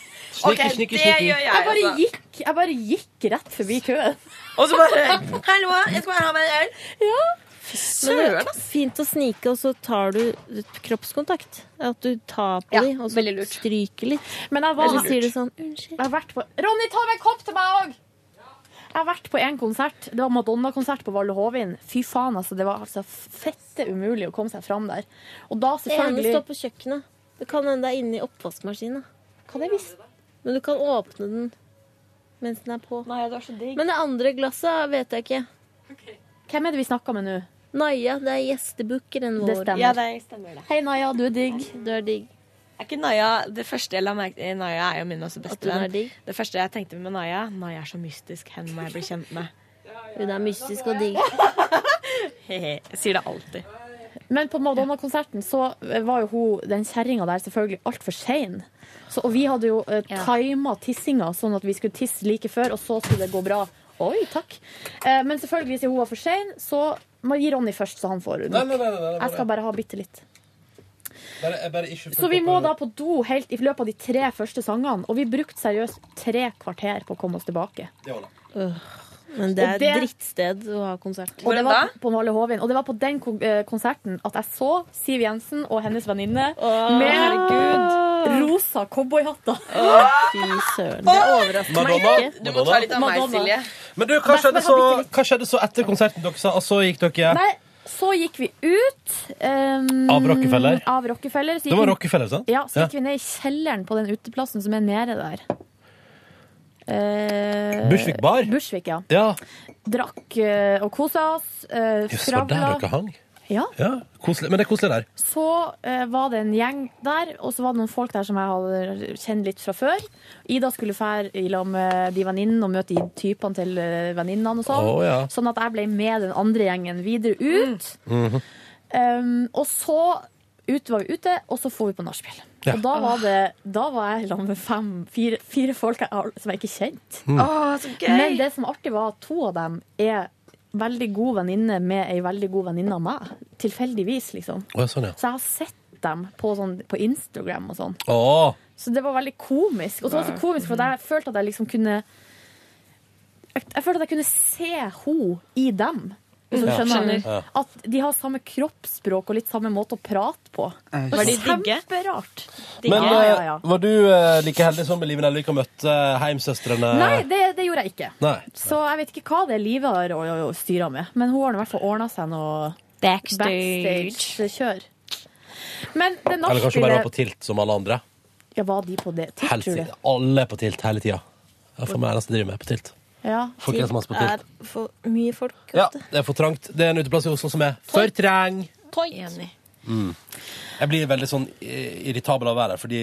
[SPEAKER 2] Snikker, snikker, snikker.
[SPEAKER 6] Jeg bare, gikk, jeg bare gikk rett forbi køen.
[SPEAKER 4] Og så bare Hallo, jeg skal bare ha meg en øl.
[SPEAKER 6] Ja.
[SPEAKER 3] Men det er fint å snike, og så tar du kroppskontakt. At du tar på dem, og så stryker litt.
[SPEAKER 6] Men jeg var-
[SPEAKER 3] Eller sier du sånn Unnskyld.
[SPEAKER 6] Jeg har vært på Ronny, ta med en kopp til meg òg! Jeg har vært på én konsert. Det var Madonna-konsert på Valle Hovin. Fy faen, altså. Det var altså fette umulig å komme seg fram der. Og da
[SPEAKER 3] Det ene
[SPEAKER 6] selvfølgelig
[SPEAKER 3] står på kjøkkenet. Det kan hende det er inni oppvaskmaskinen. Kan jeg visst? Men du kan åpne den mens den er på. Men det andre glasset vet jeg ikke.
[SPEAKER 6] Hvem er det vi snakker med nå?
[SPEAKER 3] Naja, det er gjestebukkeren vår.
[SPEAKER 6] Det stemmer.
[SPEAKER 4] Ja, det stemmer det.
[SPEAKER 6] Hei, Naja, du er digg.
[SPEAKER 3] Du er digg.
[SPEAKER 4] Er ikke Naya det første jeg la merke til Naya er jo min også
[SPEAKER 3] At hun er
[SPEAKER 4] bestevenn.
[SPEAKER 3] digg?
[SPEAKER 4] Det første jeg tenkte med Naya Naya er så mystisk. Henne må jeg bli kjent med.
[SPEAKER 3] Hun er mystisk og digg.
[SPEAKER 4] Hehe. Jeg sier det alltid.
[SPEAKER 6] Men på Madonna-konserten så var jo hun, den kjerringa der selvfølgelig altfor sein. Så, og vi hadde jo uh, tima tissinga sånn at vi skulle tisse like før, og så skulle det gå bra. Oi, takk. Eh, men selvfølgelig, siden hun var for sein, så må jeg gi Ronny først, så han får nok.
[SPEAKER 2] Nei, nei, nei, nei, nei, nei.
[SPEAKER 6] jeg skal bare ha bitte litt.
[SPEAKER 2] Bare, jeg bare ikke
[SPEAKER 6] Så vi må da på do helt i løpet av de tre første sangene, og vi brukte seriøst tre kvarter på å komme oss tilbake.
[SPEAKER 3] Men det
[SPEAKER 6] Og
[SPEAKER 3] er
[SPEAKER 6] det-
[SPEAKER 3] drittsted å ha konsert.
[SPEAKER 6] Og det, var på Male Hovin, og det var på den kon- eh, konserten at jeg så Siv Jensen og hennes venninne med
[SPEAKER 3] herregud.
[SPEAKER 6] rosa cowboyhatter.
[SPEAKER 3] Fy søren. Det overrasker meg
[SPEAKER 2] Madonna?
[SPEAKER 3] ikke.
[SPEAKER 2] Du må ta litt av meg,
[SPEAKER 6] Madonna. Silje.
[SPEAKER 2] Men du, hva skjedde, så, hva skjedde så etter konserten deres? Og så gikk dere
[SPEAKER 6] Nei, så gikk vi ut ehm,
[SPEAKER 2] Av Rockefeller?
[SPEAKER 6] Av Rockefeller så gikk
[SPEAKER 2] Det var
[SPEAKER 6] vi-
[SPEAKER 2] Rockefeller, sant?
[SPEAKER 6] Ja, så
[SPEAKER 2] Ja.
[SPEAKER 6] gikk vi ned i kjelleren på den uteplassen som er nede der. Eh,
[SPEAKER 2] Bushwick Bar?
[SPEAKER 6] Bushwick, ja.
[SPEAKER 2] Ja.
[SPEAKER 6] Drakk eh, og kosa oss. Uh,
[SPEAKER 2] Jøss, det var der dere hang?
[SPEAKER 6] Ja.
[SPEAKER 2] Ja, koselig. Men det er koselig der.
[SPEAKER 6] Så eh, var det en gjeng der, og så var det noen folk der som jeg hadde kjent litt fra før. Ida skulle fære i lag med de venninnene og møte de typene til eh, venninnene og sånn.
[SPEAKER 18] Å, ja.
[SPEAKER 6] Sånn at jeg ble med den andre gjengen videre ut.
[SPEAKER 2] Mhm.
[SPEAKER 6] Um, og så ut var vi ute, og så får vi på nachspiel.
[SPEAKER 18] Ja.
[SPEAKER 6] Og da var, det, da var jeg sammen med fem, fire, fire folk jeg, al- som jeg ikke kjente.
[SPEAKER 18] Mm. Å, så gøy!
[SPEAKER 6] Men det som er artig, var at to av dem er veldig god venninne med ei veldig god venninne av meg. Tilfeldigvis, liksom.
[SPEAKER 2] Å, ja, sånn, ja.
[SPEAKER 6] Så jeg har sett dem på, sånn, på Instagram og sånn.
[SPEAKER 2] Å,
[SPEAKER 6] Så det var veldig komisk. Og så var det så komisk, for jeg følte at jeg liksom kunne Jeg, jeg følte at jeg kunne se henne i dem. Hvis du
[SPEAKER 18] Ja,
[SPEAKER 6] skjønner.
[SPEAKER 18] skjønner. Ja.
[SPEAKER 6] At de har samme kroppsspråk og litt samme måte å prate på.
[SPEAKER 2] Eh,
[SPEAKER 6] Det var
[SPEAKER 2] skjønner.
[SPEAKER 6] kjemperart.
[SPEAKER 2] Men
[SPEAKER 6] ja, ja, ja.
[SPEAKER 2] eh, var du eh, like heldig som Liven Elvik og møtte eh, heimsøstrene?
[SPEAKER 6] Nei, det, det gjorde jeg ikke.
[SPEAKER 2] Nei.
[SPEAKER 6] Så jeg vet ikke hva det livet har å- å- å styre med. Men hun har nå i hvert fall ordna seg noe
[SPEAKER 3] Backstage.
[SPEAKER 6] backstage-kjør. Men det
[SPEAKER 2] Eller kanskje hun bare var
[SPEAKER 6] nachspielet
[SPEAKER 2] på tilt som alle andre?
[SPEAKER 6] Ja, var de på det? Tilt, tror
[SPEAKER 2] Helsike,
[SPEAKER 6] du?
[SPEAKER 2] alle er på tilt hele tida. Det er for meg eneste jeg driver med, på tilt.
[SPEAKER 6] Ja.
[SPEAKER 2] Folk er som oss på tilt.
[SPEAKER 3] er for mye folk.
[SPEAKER 2] Ja, det er for trangt. Det er en uteplass i Oslo som er for trang.
[SPEAKER 3] Enig.
[SPEAKER 2] Mm. Jeg blir veldig sånn eh, irritabel av å være her, fordi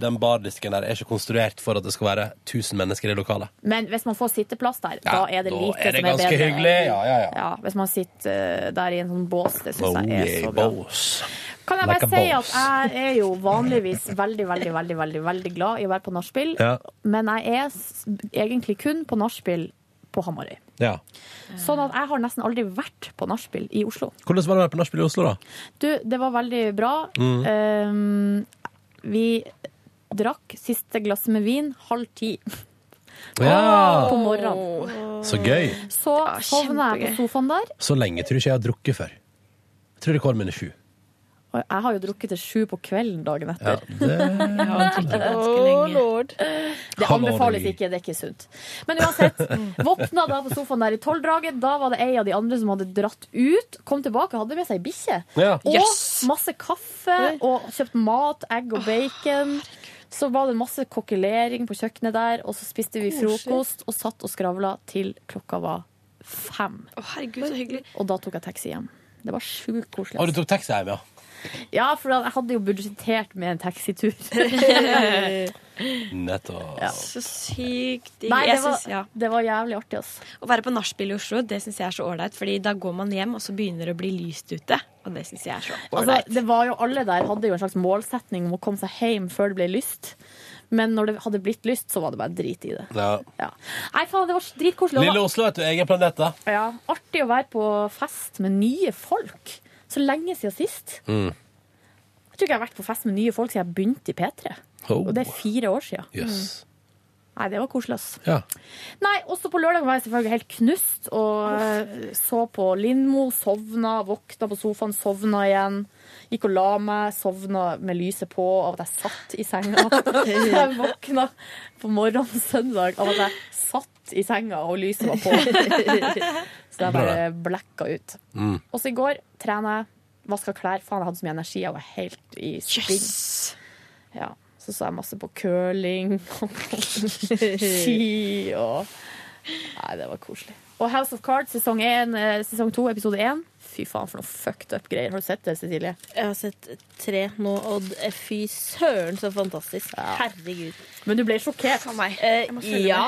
[SPEAKER 2] den bardisken der er ikke konstruert for at det skal være 1000 mennesker i lokalet.
[SPEAKER 6] Men hvis man får sitteplass der,
[SPEAKER 2] Ja,
[SPEAKER 6] da er det
[SPEAKER 2] da
[SPEAKER 6] lite
[SPEAKER 2] er det
[SPEAKER 6] som er
[SPEAKER 2] ganske
[SPEAKER 6] bedre.
[SPEAKER 2] hyggelig. Ja, ja, ja.
[SPEAKER 6] hvis man sitter eh, der i en sånn bås, det syns
[SPEAKER 2] Oh,
[SPEAKER 6] jeg er så bra.
[SPEAKER 2] Bows.
[SPEAKER 6] Kan jeg
[SPEAKER 2] Like
[SPEAKER 6] bare
[SPEAKER 2] a
[SPEAKER 6] si
[SPEAKER 2] boss.
[SPEAKER 6] at jeg er jo vanligvis veldig, veldig, veldig veldig, veldig glad i å være på nachspiel,
[SPEAKER 2] Ja.
[SPEAKER 6] men jeg er s- egentlig kun på nachspiel på Hamarøy.
[SPEAKER 2] Ja.
[SPEAKER 6] Sånn at jeg har nesten aldri vært på nachspiel i Oslo.
[SPEAKER 2] Hvordan var det å være på nachspiel i Oslo, da?
[SPEAKER 6] Du, det var veldig bra.
[SPEAKER 2] Mm.
[SPEAKER 6] Um, vi drakk siste glasset med vin halv ti
[SPEAKER 2] Ja.
[SPEAKER 6] på morgenen.
[SPEAKER 2] Så gøy.
[SPEAKER 6] Så sovna jeg på sofaen der.
[SPEAKER 2] Så lenge tror jeg ikke jeg har drukket før. Jeg tror rekorden min er sju.
[SPEAKER 6] Og jeg har jo drukket til sju på kvelden dagen
[SPEAKER 2] Ja,
[SPEAKER 6] etter.
[SPEAKER 2] det-
[SPEAKER 6] Å, lord. Det
[SPEAKER 2] Come on,
[SPEAKER 6] anbefales
[SPEAKER 2] Ellie.
[SPEAKER 6] ikke, det er ikke sunt. Men uansett,
[SPEAKER 4] Mm.
[SPEAKER 6] våkna da på sofaen der i tolvdraget. Da var det ei av de andre som hadde dratt ut. Kom tilbake og hadde med seg ei bikkje.
[SPEAKER 2] Ja.
[SPEAKER 6] Og
[SPEAKER 2] Yes.
[SPEAKER 6] masse kaffe, og kjøpt mat, egg og bacon. Så var det masse kokkelering på kjøkkenet der, og så spiste vi
[SPEAKER 4] Oh,
[SPEAKER 6] frokost og satt og skravla til klokka var fem.
[SPEAKER 4] herregud, så hyggelig.
[SPEAKER 6] Og da tok jeg taxi hjem. Det var sjukt koselig.
[SPEAKER 2] Å,
[SPEAKER 6] altså.
[SPEAKER 2] du tok taxi hjem, ja.
[SPEAKER 6] Ja, for jeg hadde jo budsjettert med en taxitur.
[SPEAKER 2] Nettopp.
[SPEAKER 4] Så sykt digg.
[SPEAKER 6] Nei, det
[SPEAKER 4] Jeg
[SPEAKER 6] var-
[SPEAKER 4] synes- ja.
[SPEAKER 6] det var jævlig artig, ass.
[SPEAKER 4] Å være på nachspiel i Oslo, det syns jeg er så ålreit. Fordi da går man hjem, og så begynner det å bli lyst ute. Og det syns jeg er så
[SPEAKER 6] Altså,
[SPEAKER 4] ålreit.
[SPEAKER 6] det var jo Alle der hadde jo en slags målsetning om å komme seg hjem før det ble lyst. Men når det hadde blitt lyst, så var det bare drit i det.
[SPEAKER 2] Ja.
[SPEAKER 6] Nei, faen, det var så dritkoselig.
[SPEAKER 2] Lille
[SPEAKER 6] Det
[SPEAKER 2] Oslo, vet du. Egen planet, da.
[SPEAKER 6] var- Ja, artig å være på fest med nye folk. Så lenge siden sist.
[SPEAKER 2] Mm.
[SPEAKER 6] Jeg tror ikke jeg har vært på fest med nye folk siden jeg begynte i P3.
[SPEAKER 2] Oh.
[SPEAKER 6] Og det er fire år siden.
[SPEAKER 2] Yes.
[SPEAKER 6] Mm. Nei, det var koselig, ass.
[SPEAKER 2] Ja.
[SPEAKER 6] Nei, også på lørdag var jeg selvfølgelig helt knust og eh, så på Lindmo, sovna, våkna på sofaen, sovna igjen. Gikk og la meg, sovna med lyset på av at jeg satt i senga. Så jeg våkna på morgenen søndag av at jeg satt i senga og lyset var på. Så jeg bare blacka ut.
[SPEAKER 18] Mm.
[SPEAKER 6] Og så i går trena jeg, vaska klær. Faen, jeg hadde så mye energi, jeg var helt i spinn.
[SPEAKER 5] Ja, så så jeg masse på curling og ski og Nei, det var koselig. Og House of Cards sesong, 1,
[SPEAKER 6] eh,
[SPEAKER 5] sesong 2, episode 1. Fy faen, for noe fucked up-greier. Har du sett det, Cecilie?
[SPEAKER 3] Jeg har sett tre nå, og d- fy søren så fantastisk. Herregud.
[SPEAKER 5] Men du ble sjokkert
[SPEAKER 3] av meg. Eh,
[SPEAKER 5] må følge
[SPEAKER 3] ja.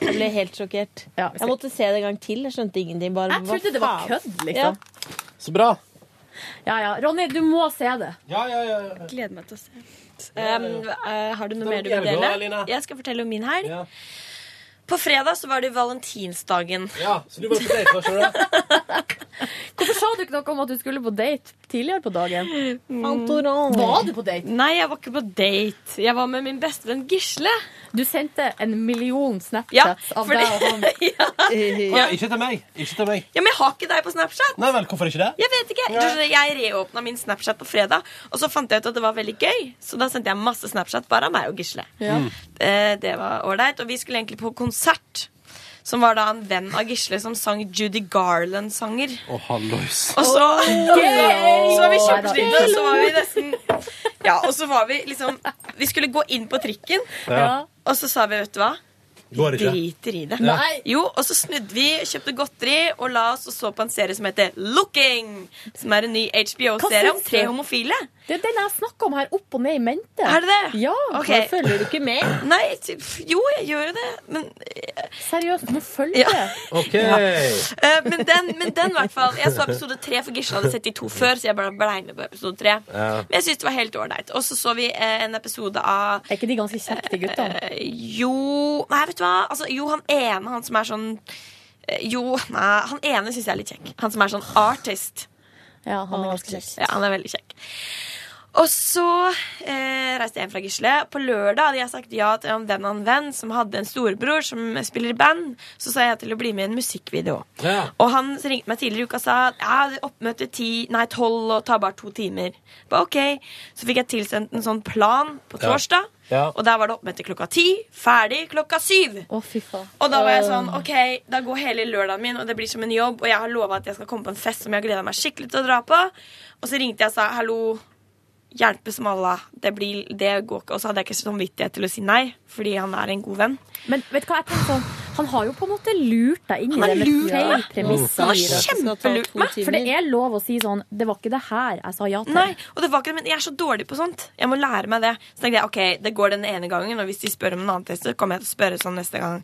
[SPEAKER 3] Jeg ble helt sjokkert.
[SPEAKER 5] vi
[SPEAKER 3] jeg
[SPEAKER 5] ser.
[SPEAKER 3] måtte se det en gang til. Jeg skjønte ingenting. Bare,
[SPEAKER 5] Jeg trodde det var kødd, liksom.
[SPEAKER 2] Så bra.
[SPEAKER 5] Ja ja. Ronny, du må se det.
[SPEAKER 2] Ja, ja, ja.
[SPEAKER 4] Gleder meg til å se. Um, eh, har du noe
[SPEAKER 5] Da må
[SPEAKER 4] mer du
[SPEAKER 5] jeg
[SPEAKER 4] vil
[SPEAKER 5] gå,
[SPEAKER 4] dele?
[SPEAKER 5] Alina.
[SPEAKER 4] Jeg skal fortelle om min helg. På fredag så var det jo valentinsdagen.
[SPEAKER 2] Ja, så du var på date, skjønner du?
[SPEAKER 5] Hvorfor sa du ikke noe om at du skulle på date tidligere på dagen?
[SPEAKER 3] Fantorong.
[SPEAKER 5] Var du på date?
[SPEAKER 4] Mm. Nei, jeg var ikke på date. Jeg var med min bestevenn Gisle.
[SPEAKER 5] Du sendte en million
[SPEAKER 4] Ja,
[SPEAKER 5] Snapchats av
[SPEAKER 4] fordi-
[SPEAKER 5] deg og han.
[SPEAKER 2] Ja, ikke til meg. Ikke til meg.
[SPEAKER 4] Ja, men jeg har ikke deg på Snapchat.
[SPEAKER 2] Nei vel, hvorfor ikke det?
[SPEAKER 4] Jeg vet ikke. Du, skjønner, jeg reåpna min Snapchat på fredag, og så fant jeg ut at det var veldig gøy. Så da sendte jeg masse Snapchat bare av meg og Gisle.
[SPEAKER 13] Ja. Mm.
[SPEAKER 4] Eh, Det var ålreit. Og vi skulle egentlig på konsert. Som var da en venn av Gisle som sang Judy Garland-sanger.
[SPEAKER 2] Å, hallois.
[SPEAKER 4] Og så,
[SPEAKER 13] Gøy!
[SPEAKER 4] så var vi kjempesnille, og så var vi nesten Ja, og så var vi liksom Vi skulle gå inn på trikken,
[SPEAKER 2] Ja.
[SPEAKER 4] og så sa vi, vet du hva
[SPEAKER 2] Går ikke.
[SPEAKER 4] Driter i det.
[SPEAKER 2] Ja.
[SPEAKER 4] Jo, og så snudde vi, kjøpte godteri og la oss og så på en serie som heter Looking. Som er en ny HBO-serie
[SPEAKER 5] Hva
[SPEAKER 4] om
[SPEAKER 5] syns
[SPEAKER 4] tre
[SPEAKER 5] du?
[SPEAKER 4] homofile.
[SPEAKER 5] Det er den jeg snakker om her opp og ned i mente.
[SPEAKER 4] Er det det?
[SPEAKER 5] Ja,
[SPEAKER 4] Ok.
[SPEAKER 5] okay. Følger du ikke med?
[SPEAKER 4] Nei, ty- f- jo, jeg gjør jo det, men
[SPEAKER 5] Seriøst, du må følge det.
[SPEAKER 2] OK.
[SPEAKER 4] Eh, Men den, men den i hvert fall. Jeg så episode tre, for Gisle hadde sett de to før, så jeg bare blei med på episode tre.
[SPEAKER 2] Ja.
[SPEAKER 4] Men jeg syns det var helt ålreit. Og så så vi eh, en episode av
[SPEAKER 5] Er ikke de ganske kjekke, de guttene?
[SPEAKER 4] Eh, Jo Nei, vet du hva? Altså, jo, han ene, han som er sånn eh, Jo, nei, han ene syns jeg er litt kjekk. Han som er sånn artist.
[SPEAKER 5] Ja, han er ganske kjekk.
[SPEAKER 4] Ja, han er veldig kjekk. Og så eh, reiste jeg hjem fra Gisle. På lørdag hadde jeg sagt ja til en venn av en venn som hadde en storebror som spiller i band. Så sa jeg til å bli med i en musikkvideo.
[SPEAKER 2] Ja.
[SPEAKER 4] Og han ringte meg tidligere i uka og sa ja, oppmøte ti, nei, tolv og tar bare to timer. Ba, ok. Så fikk jeg tilsendt en sånn plan på
[SPEAKER 2] Ja.
[SPEAKER 4] torsdag.
[SPEAKER 2] Ja.
[SPEAKER 4] Og der var det oppmøte klokka ti, ferdig klokka syv.
[SPEAKER 5] Å, fy faen.
[SPEAKER 4] Og da var jeg sånn, ok, da går hele lørdagen min, og det blir som en jobb, og jeg har lova at jeg skal komme på en fest som jeg har gleda meg skikkelig til å dra på. Og så ringte jeg og sa hallo, hjelpe som Allah. Det, blir, det går ikke. Og så hadde jeg ikke samvittighet til å si nei, fordi han er en god venn.
[SPEAKER 5] Men vet du hva jeg tenker sånn? Han har jo på en måte lurt deg inn i
[SPEAKER 4] Han
[SPEAKER 5] det
[SPEAKER 4] har
[SPEAKER 5] med
[SPEAKER 4] lurt
[SPEAKER 5] feil
[SPEAKER 4] meg.
[SPEAKER 5] premisser.
[SPEAKER 4] Han har kjempelurt meg.
[SPEAKER 5] For det er lov å si sånn Det var ikke det her jeg sa ja til.
[SPEAKER 4] Nei, og det var ikke det, men jeg er så dårlig på sånt. Jeg må lære meg det. Så tenkte jeg, ok, det går den ene gangen, og hvis de spør om en annen test, så kommer jeg til å spørre sånn neste gang.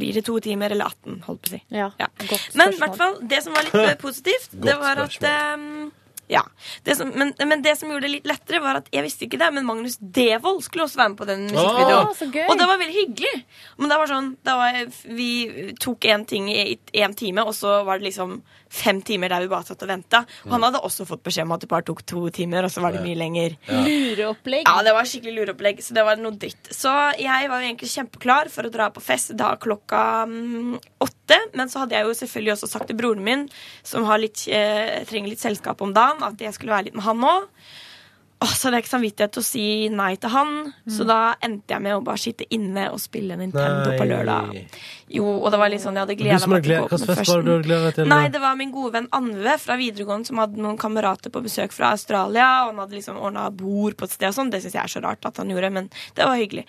[SPEAKER 4] Blir det to timer eller 18, holdt på å si.
[SPEAKER 5] Ja, godt
[SPEAKER 4] Men
[SPEAKER 5] spørsmål.
[SPEAKER 4] i hvert fall, det som var litt eh, positivt, det
[SPEAKER 5] Godt
[SPEAKER 4] var at eh, ja. Det som, men, men det som gjorde det litt lettere, var at jeg visste ikke det, men Magnus Devold skulle også være med på den musikkvideoen.
[SPEAKER 5] Ah, så gøy.
[SPEAKER 4] og det var veldig hyggelig. Men det var sånn, da var jeg, vi tok én ting i én time, og så var det liksom fem timer der vi bare satt og venta. Og
[SPEAKER 5] Mm.
[SPEAKER 4] han hadde også fått beskjed om at det bare tok to timer, og så var det mye lenger.
[SPEAKER 3] Lureopplegg.
[SPEAKER 4] Ja, det var skikkelig lureopplegg, så det var noe dritt. Så jeg var jo egentlig kjempeklar for å dra på fest da klokka mm, åtte. Men så hadde jeg jo selvfølgelig også sagt til broren min, som har litt, eh, trenger litt selskap om dagen, at jeg skulle være litt med han nå. Åh, så hadde jeg ikke samvittighet til å si nei til han, så da endte jeg med å bare sitte inne og spille Nintendo på lørdag. Jo, og det var litt sånn jeg hadde gleda meg til å gå på den festen.
[SPEAKER 2] gleda
[SPEAKER 4] Nei, det var min gode venn Anve fra videregående som hadde noen kamerater på besøk fra Australia. Og han hadde liksom ordna bord på et sted og sånn. Det syns jeg er så rart at han gjorde, men det var hyggelig.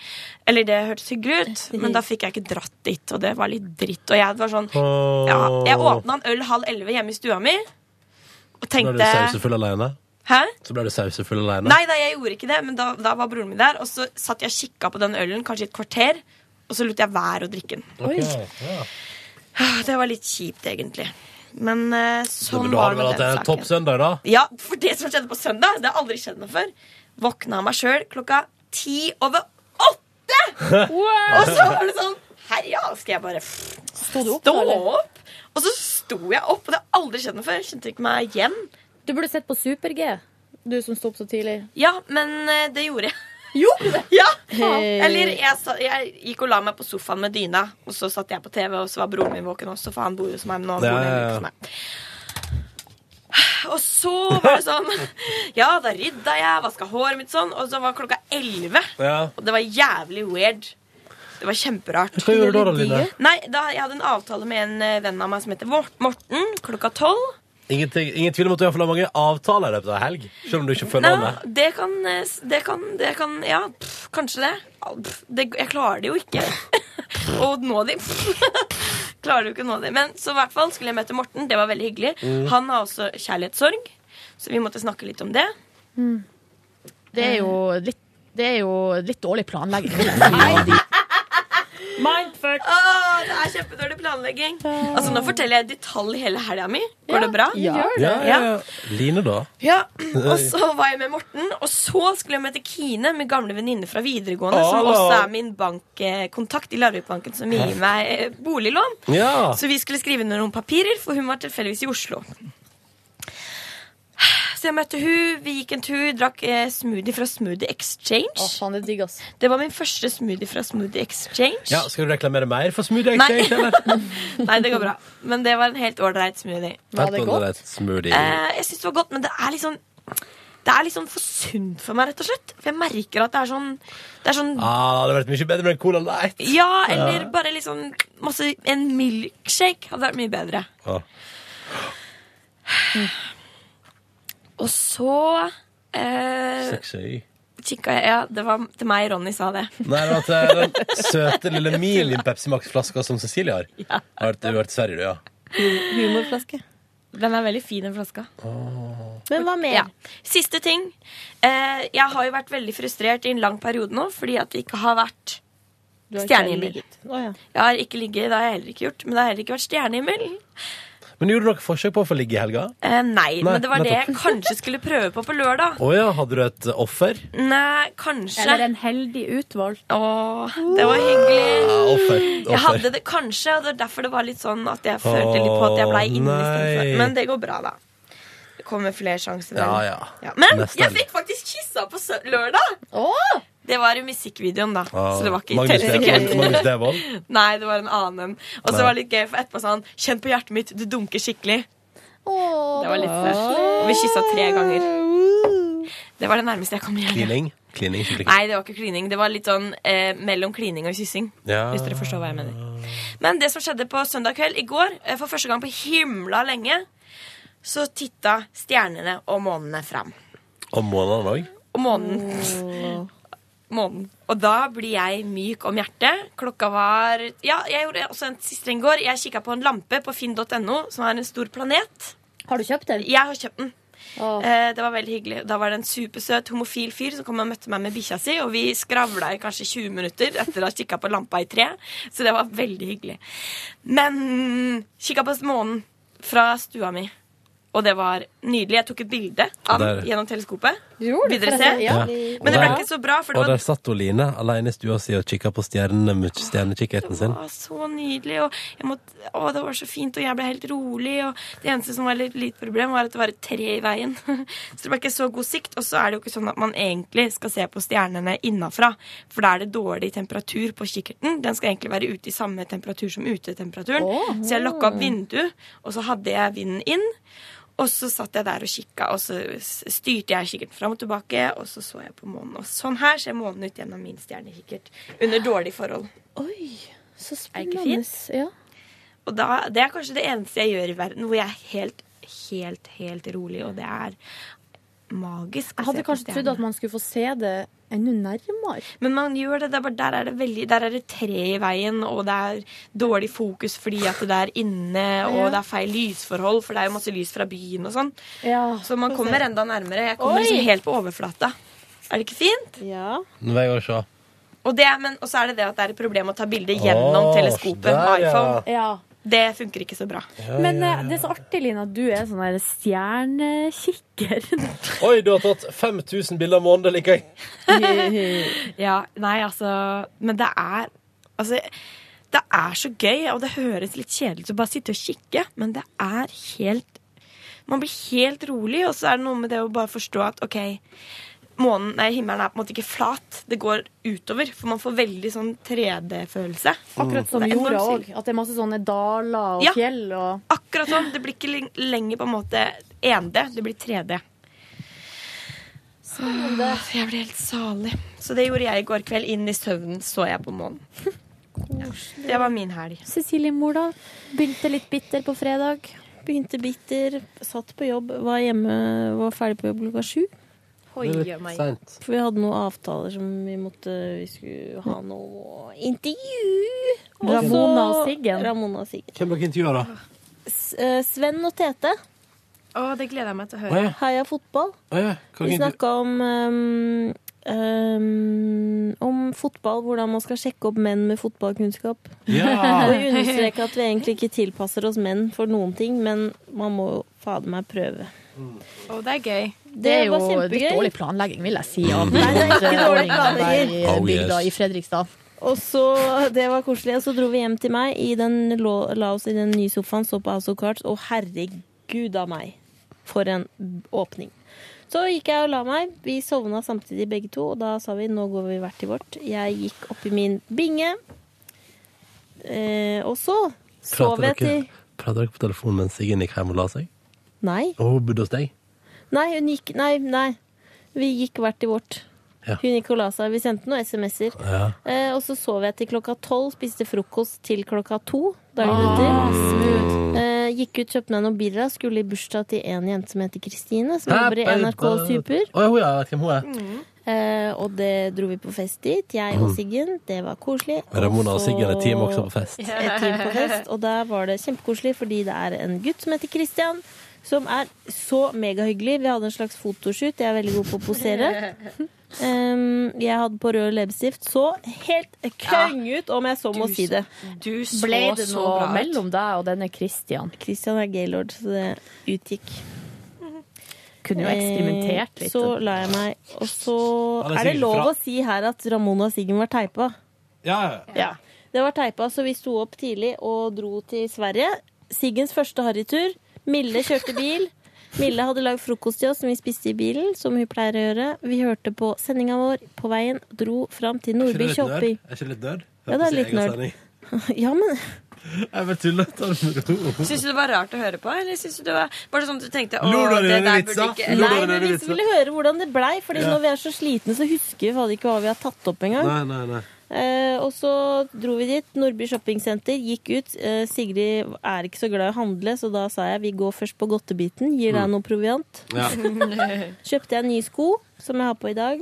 [SPEAKER 4] Eller det hørtes hyggelig ut, men da fikk jeg ikke dratt dit, og det var litt dritt. Og jeg var sånn ja, Jeg åpna en øl halv elleve hjemme i stua mi og
[SPEAKER 2] Ble du
[SPEAKER 4] tenkte
[SPEAKER 2] sausefull alene?
[SPEAKER 4] Hæ?
[SPEAKER 2] Så ble du sausefull alene?
[SPEAKER 4] Nei, nei, jeg gjorde ikke det, men da, da var broren min der. Og så satt jeg og kikka på den ølen kanskje i et kvarter, og så lot jeg være å drikke den.
[SPEAKER 2] Ok, ja.
[SPEAKER 4] Ah, Det var litt kjipt, egentlig. Men eh, sånn
[SPEAKER 2] Men da
[SPEAKER 4] var det
[SPEAKER 2] har du vel
[SPEAKER 4] med
[SPEAKER 2] hatt
[SPEAKER 4] den
[SPEAKER 2] en topp
[SPEAKER 4] saken.
[SPEAKER 2] søndag, da?
[SPEAKER 4] Ja, for det som skjedde på søndag, det har aldri skjedd meg før. Våkna av meg sjøl klokka ti over åtte! Og så var det sånn Herja, skal jeg bare
[SPEAKER 5] Sto du opp,
[SPEAKER 4] stå
[SPEAKER 5] da, eller?
[SPEAKER 4] opp? Og så sto jeg opp, og det har aldri skjedd meg før. Kjente ikke meg igjen.
[SPEAKER 5] Du burde sett på Super-G, du som sto opp så tidlig.
[SPEAKER 4] Ja, men eh, det gjorde jeg.
[SPEAKER 5] Gjorde du det?
[SPEAKER 4] Ja!
[SPEAKER 5] Hey.
[SPEAKER 4] Eller jeg, sa, jeg gikk og la meg på sofaen med dyna, og så satt jeg på TV, og så var broren min våken også, for han bor jo hos meg nå.
[SPEAKER 2] Ja,
[SPEAKER 4] broren min
[SPEAKER 2] ja,
[SPEAKER 4] bor
[SPEAKER 2] ja.
[SPEAKER 4] hos meg. Og så var det sånn Ja, da rydda jeg, vaska håret mitt sånn, og så var klokka elleve.
[SPEAKER 2] Ja.
[SPEAKER 4] Og det var jævlig weird. Det var kjemperart.
[SPEAKER 2] Hva gjorde du da, da, Line?
[SPEAKER 4] Nei, da, Jeg hadde en avtale med en eh, venn av meg som heter Mor- Morten, klokka tolv.
[SPEAKER 2] Ingenting, ingen tvil om at du iallfall har mange avtaler i løpet av en helg. Selv om du ikke følger
[SPEAKER 4] Nei,
[SPEAKER 2] med.
[SPEAKER 4] det kan, eh, s- det kan, det kan Ja, pff, kanskje det. Au, pff, det. Jeg klarer det jo ikke. Å nå de pff, Klarer jo ikke å nå de. Men så i hvert fall skulle jeg møte Morten. Det var veldig hyggelig.
[SPEAKER 6] Mm.
[SPEAKER 4] Han har også kjærlighetssorg, så vi måtte snakke litt om det.
[SPEAKER 6] Det er jo litt, det er jo litt dårlig planlegging. vil jeg si. Mindfuck.
[SPEAKER 4] Åh, det er kjempedårlig planlegging. Altså, nå forteller jeg i detalj hele helga mi. Går det bra?
[SPEAKER 2] Ja, ja, ja. Line, da?
[SPEAKER 4] Ja, og så var jeg med Morten, og så skulle jeg møte Kine, min gamle venninne fra videregående, som
[SPEAKER 2] Hallo.
[SPEAKER 4] også er min bankkontakt i Larvikbanken, som gir meg eh, boliglån.
[SPEAKER 2] Ja.
[SPEAKER 4] Så vi skulle skrive under noen papirer, for hun var tilfeldigvis i Oslo. Så jeg møtte hun, vi gikk en tur, drakk eh, smoothie fra Smoothie Exchange. det, var min første smoothie fra Smoothie Exchange.
[SPEAKER 2] Ja, skal du reklamere mer for Smoothie
[SPEAKER 4] Nei.
[SPEAKER 2] Exchange, eller?
[SPEAKER 4] Nei, det går bra. Men det var en helt ålreit smoothie.
[SPEAKER 2] Helt ålreit Smoothie.
[SPEAKER 4] Eh, jeg syns det var godt, men det er litt sånn det er litt sånn for sunt for meg, rett og slett. For jeg merker at det er sånn, det er sånn
[SPEAKER 2] Ah, det hadde vært mye bedre med en Cola Light.
[SPEAKER 4] Ja, eller
[SPEAKER 2] Ja.
[SPEAKER 4] bare litt sånn masse, En milkshake hadde vært mye bedre.
[SPEAKER 2] Ja. Mm.
[SPEAKER 4] Og så eh,
[SPEAKER 2] Sexy.
[SPEAKER 4] kikka jeg Ja, det var til meg Ronny sa det.
[SPEAKER 2] Nei, det var til den søte lille Milin Pepsi Max-flaska som Cecilie har.
[SPEAKER 4] Ja.
[SPEAKER 2] Har vært- Du har vært i Sverige, du, ja.
[SPEAKER 4] Humorflaske. Den er veldig fin, den flaska.
[SPEAKER 2] Ah.
[SPEAKER 3] Men hva mer?
[SPEAKER 4] Ja. Siste ting. Eh, jeg har jo vært veldig frustrert i en lang periode nå fordi at det ikke har vært
[SPEAKER 3] har ikke
[SPEAKER 4] stjernehimmel.
[SPEAKER 3] ligget. Å, ja.
[SPEAKER 4] Jeg har ikke ligget, det har jeg heller ikke gjort, men det har heller ikke vært stjernehimmel.
[SPEAKER 2] Men gjorde dere forsøk på å få ligge i helga?
[SPEAKER 4] Eh, nei,
[SPEAKER 2] Nei,
[SPEAKER 4] men det var det
[SPEAKER 2] nettopp.
[SPEAKER 4] jeg kanskje skulle prøve på på lørdag.
[SPEAKER 2] Å ja, hadde du et offer?
[SPEAKER 4] Nei, kanskje.
[SPEAKER 5] Eller
[SPEAKER 4] en heldig utvalgt. Åh, det var hyggelig.
[SPEAKER 2] Ja, offer.
[SPEAKER 4] Jeg
[SPEAKER 2] offer.
[SPEAKER 4] hadde det kanskje, og det er derfor det var litt sånn at jeg følte litt på at jeg blei
[SPEAKER 2] Åh,
[SPEAKER 4] inne istedenfor.
[SPEAKER 2] nei.
[SPEAKER 4] Men det går bra, da. Det kommer flere sjanser.
[SPEAKER 2] Ja,
[SPEAKER 4] vel.
[SPEAKER 2] ja.
[SPEAKER 4] Men
[SPEAKER 2] Neste
[SPEAKER 4] jeg
[SPEAKER 2] helg.
[SPEAKER 4] fikk faktisk kyssa på sø lørdag! Det var i musikkvideoen, da.
[SPEAKER 2] Ah,
[SPEAKER 4] så det var ikke
[SPEAKER 2] Magnus
[SPEAKER 4] i
[SPEAKER 2] Devold-
[SPEAKER 4] telesekund.
[SPEAKER 2] Magnus Devold?
[SPEAKER 4] Nei, det var en annen. Og så
[SPEAKER 2] Nei.
[SPEAKER 4] var det litt gøy, for etterpå sa han 'Kjenn på hjertet mitt, du dunker skikkelig'. det var litt
[SPEAKER 3] det var
[SPEAKER 4] søtt. Og vi kyssa tre ganger. Det var det nærmeste jeg kom igjen.
[SPEAKER 2] Klining? Klining, skikkelig klining.
[SPEAKER 4] Nei, det var ikke klining. Det var litt sånn eh, mellom klining og kyssing.
[SPEAKER 2] Ja.
[SPEAKER 4] Hvis dere forstår hva jeg mener. Men det som skjedde på søndag kveld i går, eh, for første gang på himla lenge, så titta stjernene og månene fram.
[SPEAKER 2] Og måneden òg?
[SPEAKER 4] Og månen. Månen. Og da blir jeg myk om hjertet. Klokka var Ja, jeg gjorde også en siste en går. Jeg kikka på en lampe på finn.no, som er en stor planet. Har du kjøpt den? Jeg har kjøpt den. Eh, det var veldig hyggelig. Da var det en supersøt homofil fyr som kom og møtte meg med bikkja si, og vi skravla i kanskje 20 minutter etter å ha kikka på lampa i tre, så det var veldig hyggelig. Men kikka på månen fra stua mi, og det var nydelig. Jeg tok et bilde av
[SPEAKER 2] Der.
[SPEAKER 4] den gjennom teleskopet. Vil dere
[SPEAKER 5] får
[SPEAKER 4] se?
[SPEAKER 5] jeg se, ja.
[SPEAKER 4] Men det ble ikke så bra, for det
[SPEAKER 2] Og der
[SPEAKER 4] var
[SPEAKER 2] satt Oline alene i stua si og kikka på stjernene med stjernekikkerten sin.
[SPEAKER 4] Å, så nydelig, og jeg måtte, å, det var så fint, og jeg ble helt rolig. Og det eneste som var litt lite problem, var at det var et tre i veien. Så det ble ikke så god sikt. Og så er det jo ikke sånn at man egentlig skal se på stjernene innafra, for da er det dårlig temperatur på kikkerten. Den skal egentlig være ute i samme temperatur som utetemperaturen.
[SPEAKER 1] Åh.
[SPEAKER 4] Så jeg lokka opp vinduet, og så hadde jeg vinden inn. Og så satt jeg der og kikka, og så s- styrte jeg kikkerten fram og tilbake, og så så jeg på månen. Og sånn her ser månen ut gjennom min stjernekikkert under dårlige forhold.
[SPEAKER 5] Oi, så
[SPEAKER 4] ikke
[SPEAKER 5] spennende.
[SPEAKER 4] fint? Og da, det er kanskje det eneste jeg gjør i verden hvor jeg er helt, helt, helt rolig, og det er magisk. å
[SPEAKER 5] Jeg
[SPEAKER 4] se
[SPEAKER 5] hadde
[SPEAKER 4] på
[SPEAKER 5] kanskje trodd
[SPEAKER 4] stjernene.
[SPEAKER 5] at man skulle få se det enda nærmere.
[SPEAKER 4] Men man gjør det. det er bare, der, er det veldig, der er det tre i veien, og det er dårlig fokus fordi at det er inne, og
[SPEAKER 5] Ja.
[SPEAKER 4] det er feil lysforhold, for det er jo masse lys fra byen og sånn. Så man
[SPEAKER 5] få
[SPEAKER 4] kommer
[SPEAKER 5] se.
[SPEAKER 4] enda nærmere. Jeg kommer
[SPEAKER 5] Oi.
[SPEAKER 4] liksom helt på overflata. Er det ikke fint?
[SPEAKER 2] Nå vil jeg gå og se.
[SPEAKER 4] Og det, men, og så er det det at det er et problem å ta bilde gjennom
[SPEAKER 2] Åh,
[SPEAKER 4] teleskopet
[SPEAKER 2] der,
[SPEAKER 4] med
[SPEAKER 2] ja.
[SPEAKER 4] iPhone.
[SPEAKER 5] Ja.
[SPEAKER 4] Det funker ikke så bra.
[SPEAKER 5] Men eh, det er så artig, Lina, at du er sånn der stjernekikker.
[SPEAKER 2] Oi, du har tatt 5000 bilder av månen, det liker jeg.
[SPEAKER 4] ja, nei, altså Men det er Altså, det er så gøy, og det høres litt kjedelig ut å bare sitte og kikke, men det er helt Man blir helt rolig, og så er det noe med det å bare forstå at OK Månen, nei, Himmelen er på en måte ikke flat. Det går utover. For man får veldig sånn 3D-følelse.
[SPEAKER 6] Mm.
[SPEAKER 5] Akkurat som
[SPEAKER 4] Det er enormt
[SPEAKER 5] jorda
[SPEAKER 4] chill.
[SPEAKER 5] òg. At det er masse sånne daler og
[SPEAKER 4] Mm. Ja.
[SPEAKER 5] fjell og
[SPEAKER 4] Akkurat sånn. Det blir ikke leng- lenger på en måte 1D, det blir 3D. Spennende. Jeg blir helt salig. Så det gjorde jeg i går kveld. Inn i søvnen så jeg på månen. Det var min helg.
[SPEAKER 5] Cecilie Mordal begynte litt bitter på fredag.
[SPEAKER 3] Begynte bitter, satt på jobb, var hjemme, var ferdig på jobb klokka sju.
[SPEAKER 2] Oi, Det er litt meg. sent.
[SPEAKER 3] For vi hadde noen avtaler som vi måtte Vi skulle ha noe intervju. Og så-
[SPEAKER 5] Ramona og Siggen.
[SPEAKER 3] Ramona og Siggen.
[SPEAKER 2] Hvem dere intervjuer, da?
[SPEAKER 3] S eh, Sven og Tete.
[SPEAKER 19] Å, det gleder jeg meg til å
[SPEAKER 2] Å, ja.
[SPEAKER 19] høre.
[SPEAKER 3] Heia fotball.
[SPEAKER 2] Å ja, hva
[SPEAKER 3] Vi
[SPEAKER 2] kan jeg-
[SPEAKER 3] snakka om ehm, ehm, om fotball, hvordan man skal sjekke opp menn med fotballkunnskap.
[SPEAKER 2] Ja.
[SPEAKER 3] Og vi understreker at vi egentlig ikke tilpasser oss menn for noen ting, men man må jo fader meg prøve.
[SPEAKER 2] Mm.
[SPEAKER 19] Å, det er gøy.
[SPEAKER 3] Det er jo litt dårlig
[SPEAKER 6] planlegging, vil jeg si. Av
[SPEAKER 3] Nei, det er ikke
[SPEAKER 6] eh,
[SPEAKER 3] dårlig
[SPEAKER 6] ordningen der i
[SPEAKER 3] planlegging.
[SPEAKER 6] eh, bygda
[SPEAKER 3] Oh,
[SPEAKER 6] i
[SPEAKER 3] yes.
[SPEAKER 6] Fredrikstad.
[SPEAKER 3] Og så, Det var koselig. Og så dro vi hjem til meg, i den, lå- la oss i den nye sofaen, så på House of Cards, og herregud a meg, for en åpning. Så gikk jeg og la meg. Vi sovna samtidig begge to, og da sa vi nå går vi hvert til vårt. Jeg gikk opp i min binge, eh, og så sov jeg til
[SPEAKER 2] prater dere på telefonen mens Siggen gikk hjem og la seg?
[SPEAKER 3] Nei.
[SPEAKER 2] Og hun bodde hos deg?
[SPEAKER 3] Nei, hun gikk Nei, nei. Vi gikk hvert til vårt.
[SPEAKER 2] Ja.
[SPEAKER 3] Hun gikk og la seg. Vi sendte noen SMS-er.
[SPEAKER 2] Ja.
[SPEAKER 3] Eh, og så sov jeg til klokka tolv, spiste frokost til klokka to dagen
[SPEAKER 2] Ah,
[SPEAKER 3] etter.
[SPEAKER 2] smooth.
[SPEAKER 3] Eh, gikk ut, kjøpte meg noen birra, skulle i bursdag til en jente som heter Kristine, som jobber i
[SPEAKER 2] Happy
[SPEAKER 3] NRK Super.
[SPEAKER 2] birthday. Å ja, hun ja, jeg vet hvem hun er.
[SPEAKER 3] Eh, og det dro vi på fest dit, jeg og Siggen. Det var koselig.
[SPEAKER 2] Ramona Mm. og
[SPEAKER 3] så-
[SPEAKER 2] Siggen, et team også på fest.
[SPEAKER 3] Et team på fest. Og der var det kjempekoselig, fordi det er en gutt som heter Christian, som er så megahyggelig. Vi hadde en slags fotoshoot. Jeg er veldig god på å posere. Em, jeg hadde på rød leppestift. Så helt køng ut, om jeg så må
[SPEAKER 6] Ah, Du
[SPEAKER 3] si det.
[SPEAKER 19] Du
[SPEAKER 6] Ble det noe mellom deg og denne Christian?
[SPEAKER 3] Christian er gaylord, så det utgikk.
[SPEAKER 6] Kunne jo eksperimentert litt.
[SPEAKER 3] Eh, Så la jeg meg. Og
[SPEAKER 6] Han
[SPEAKER 3] så
[SPEAKER 6] er
[SPEAKER 3] er det
[SPEAKER 6] sikkert
[SPEAKER 3] lov
[SPEAKER 6] fra-
[SPEAKER 3] å si her at Ramona og Siggen var teipa.
[SPEAKER 2] Ja,
[SPEAKER 3] Ja. Det var teipa, så vi sto opp tidlig og dro til Sverige. Siggens første harrytur. Mille kjørte bil. Mille hadde lagd frokost til oss som vi spiste i bilen, som hun pleier å gjøre. Vi hørte på sendinga vår på veien, dro fram til
[SPEAKER 2] Er ikke det
[SPEAKER 3] Nordby
[SPEAKER 2] litt nerd?
[SPEAKER 3] shopping.
[SPEAKER 2] Er ikke det litt nerd?
[SPEAKER 3] Ja, det er litt nerd. Ja, men
[SPEAKER 2] Jeg bare tuller. Ta det med ro.
[SPEAKER 4] Syns du det var rart å høre på, eller syns du det var bare sånn at du tenkte Å,
[SPEAKER 2] Lo du av
[SPEAKER 4] det
[SPEAKER 2] dine
[SPEAKER 4] der
[SPEAKER 2] vitser?
[SPEAKER 4] burde ikke
[SPEAKER 2] Lo du av
[SPEAKER 4] Nei,
[SPEAKER 2] dine
[SPEAKER 4] men
[SPEAKER 3] vi
[SPEAKER 4] hvis-
[SPEAKER 3] ville høre hvordan det blei, Fordi
[SPEAKER 2] Ja.
[SPEAKER 3] når vi er så slitne, så husker vi fader ikke hva vi har tatt opp engang.
[SPEAKER 2] Nei, nei, nei.
[SPEAKER 3] Eh, og så dro vi dit. Nordby shoppingsenter gikk ut. Eh, Sigrid er ikke så glad i å handle, så da sa jeg vi går først på godtebiten. Gir deg
[SPEAKER 13] Mm.
[SPEAKER 3] noe proviant.
[SPEAKER 13] Ja.
[SPEAKER 3] Kjøpte jeg nye sko, som jeg har på i dag.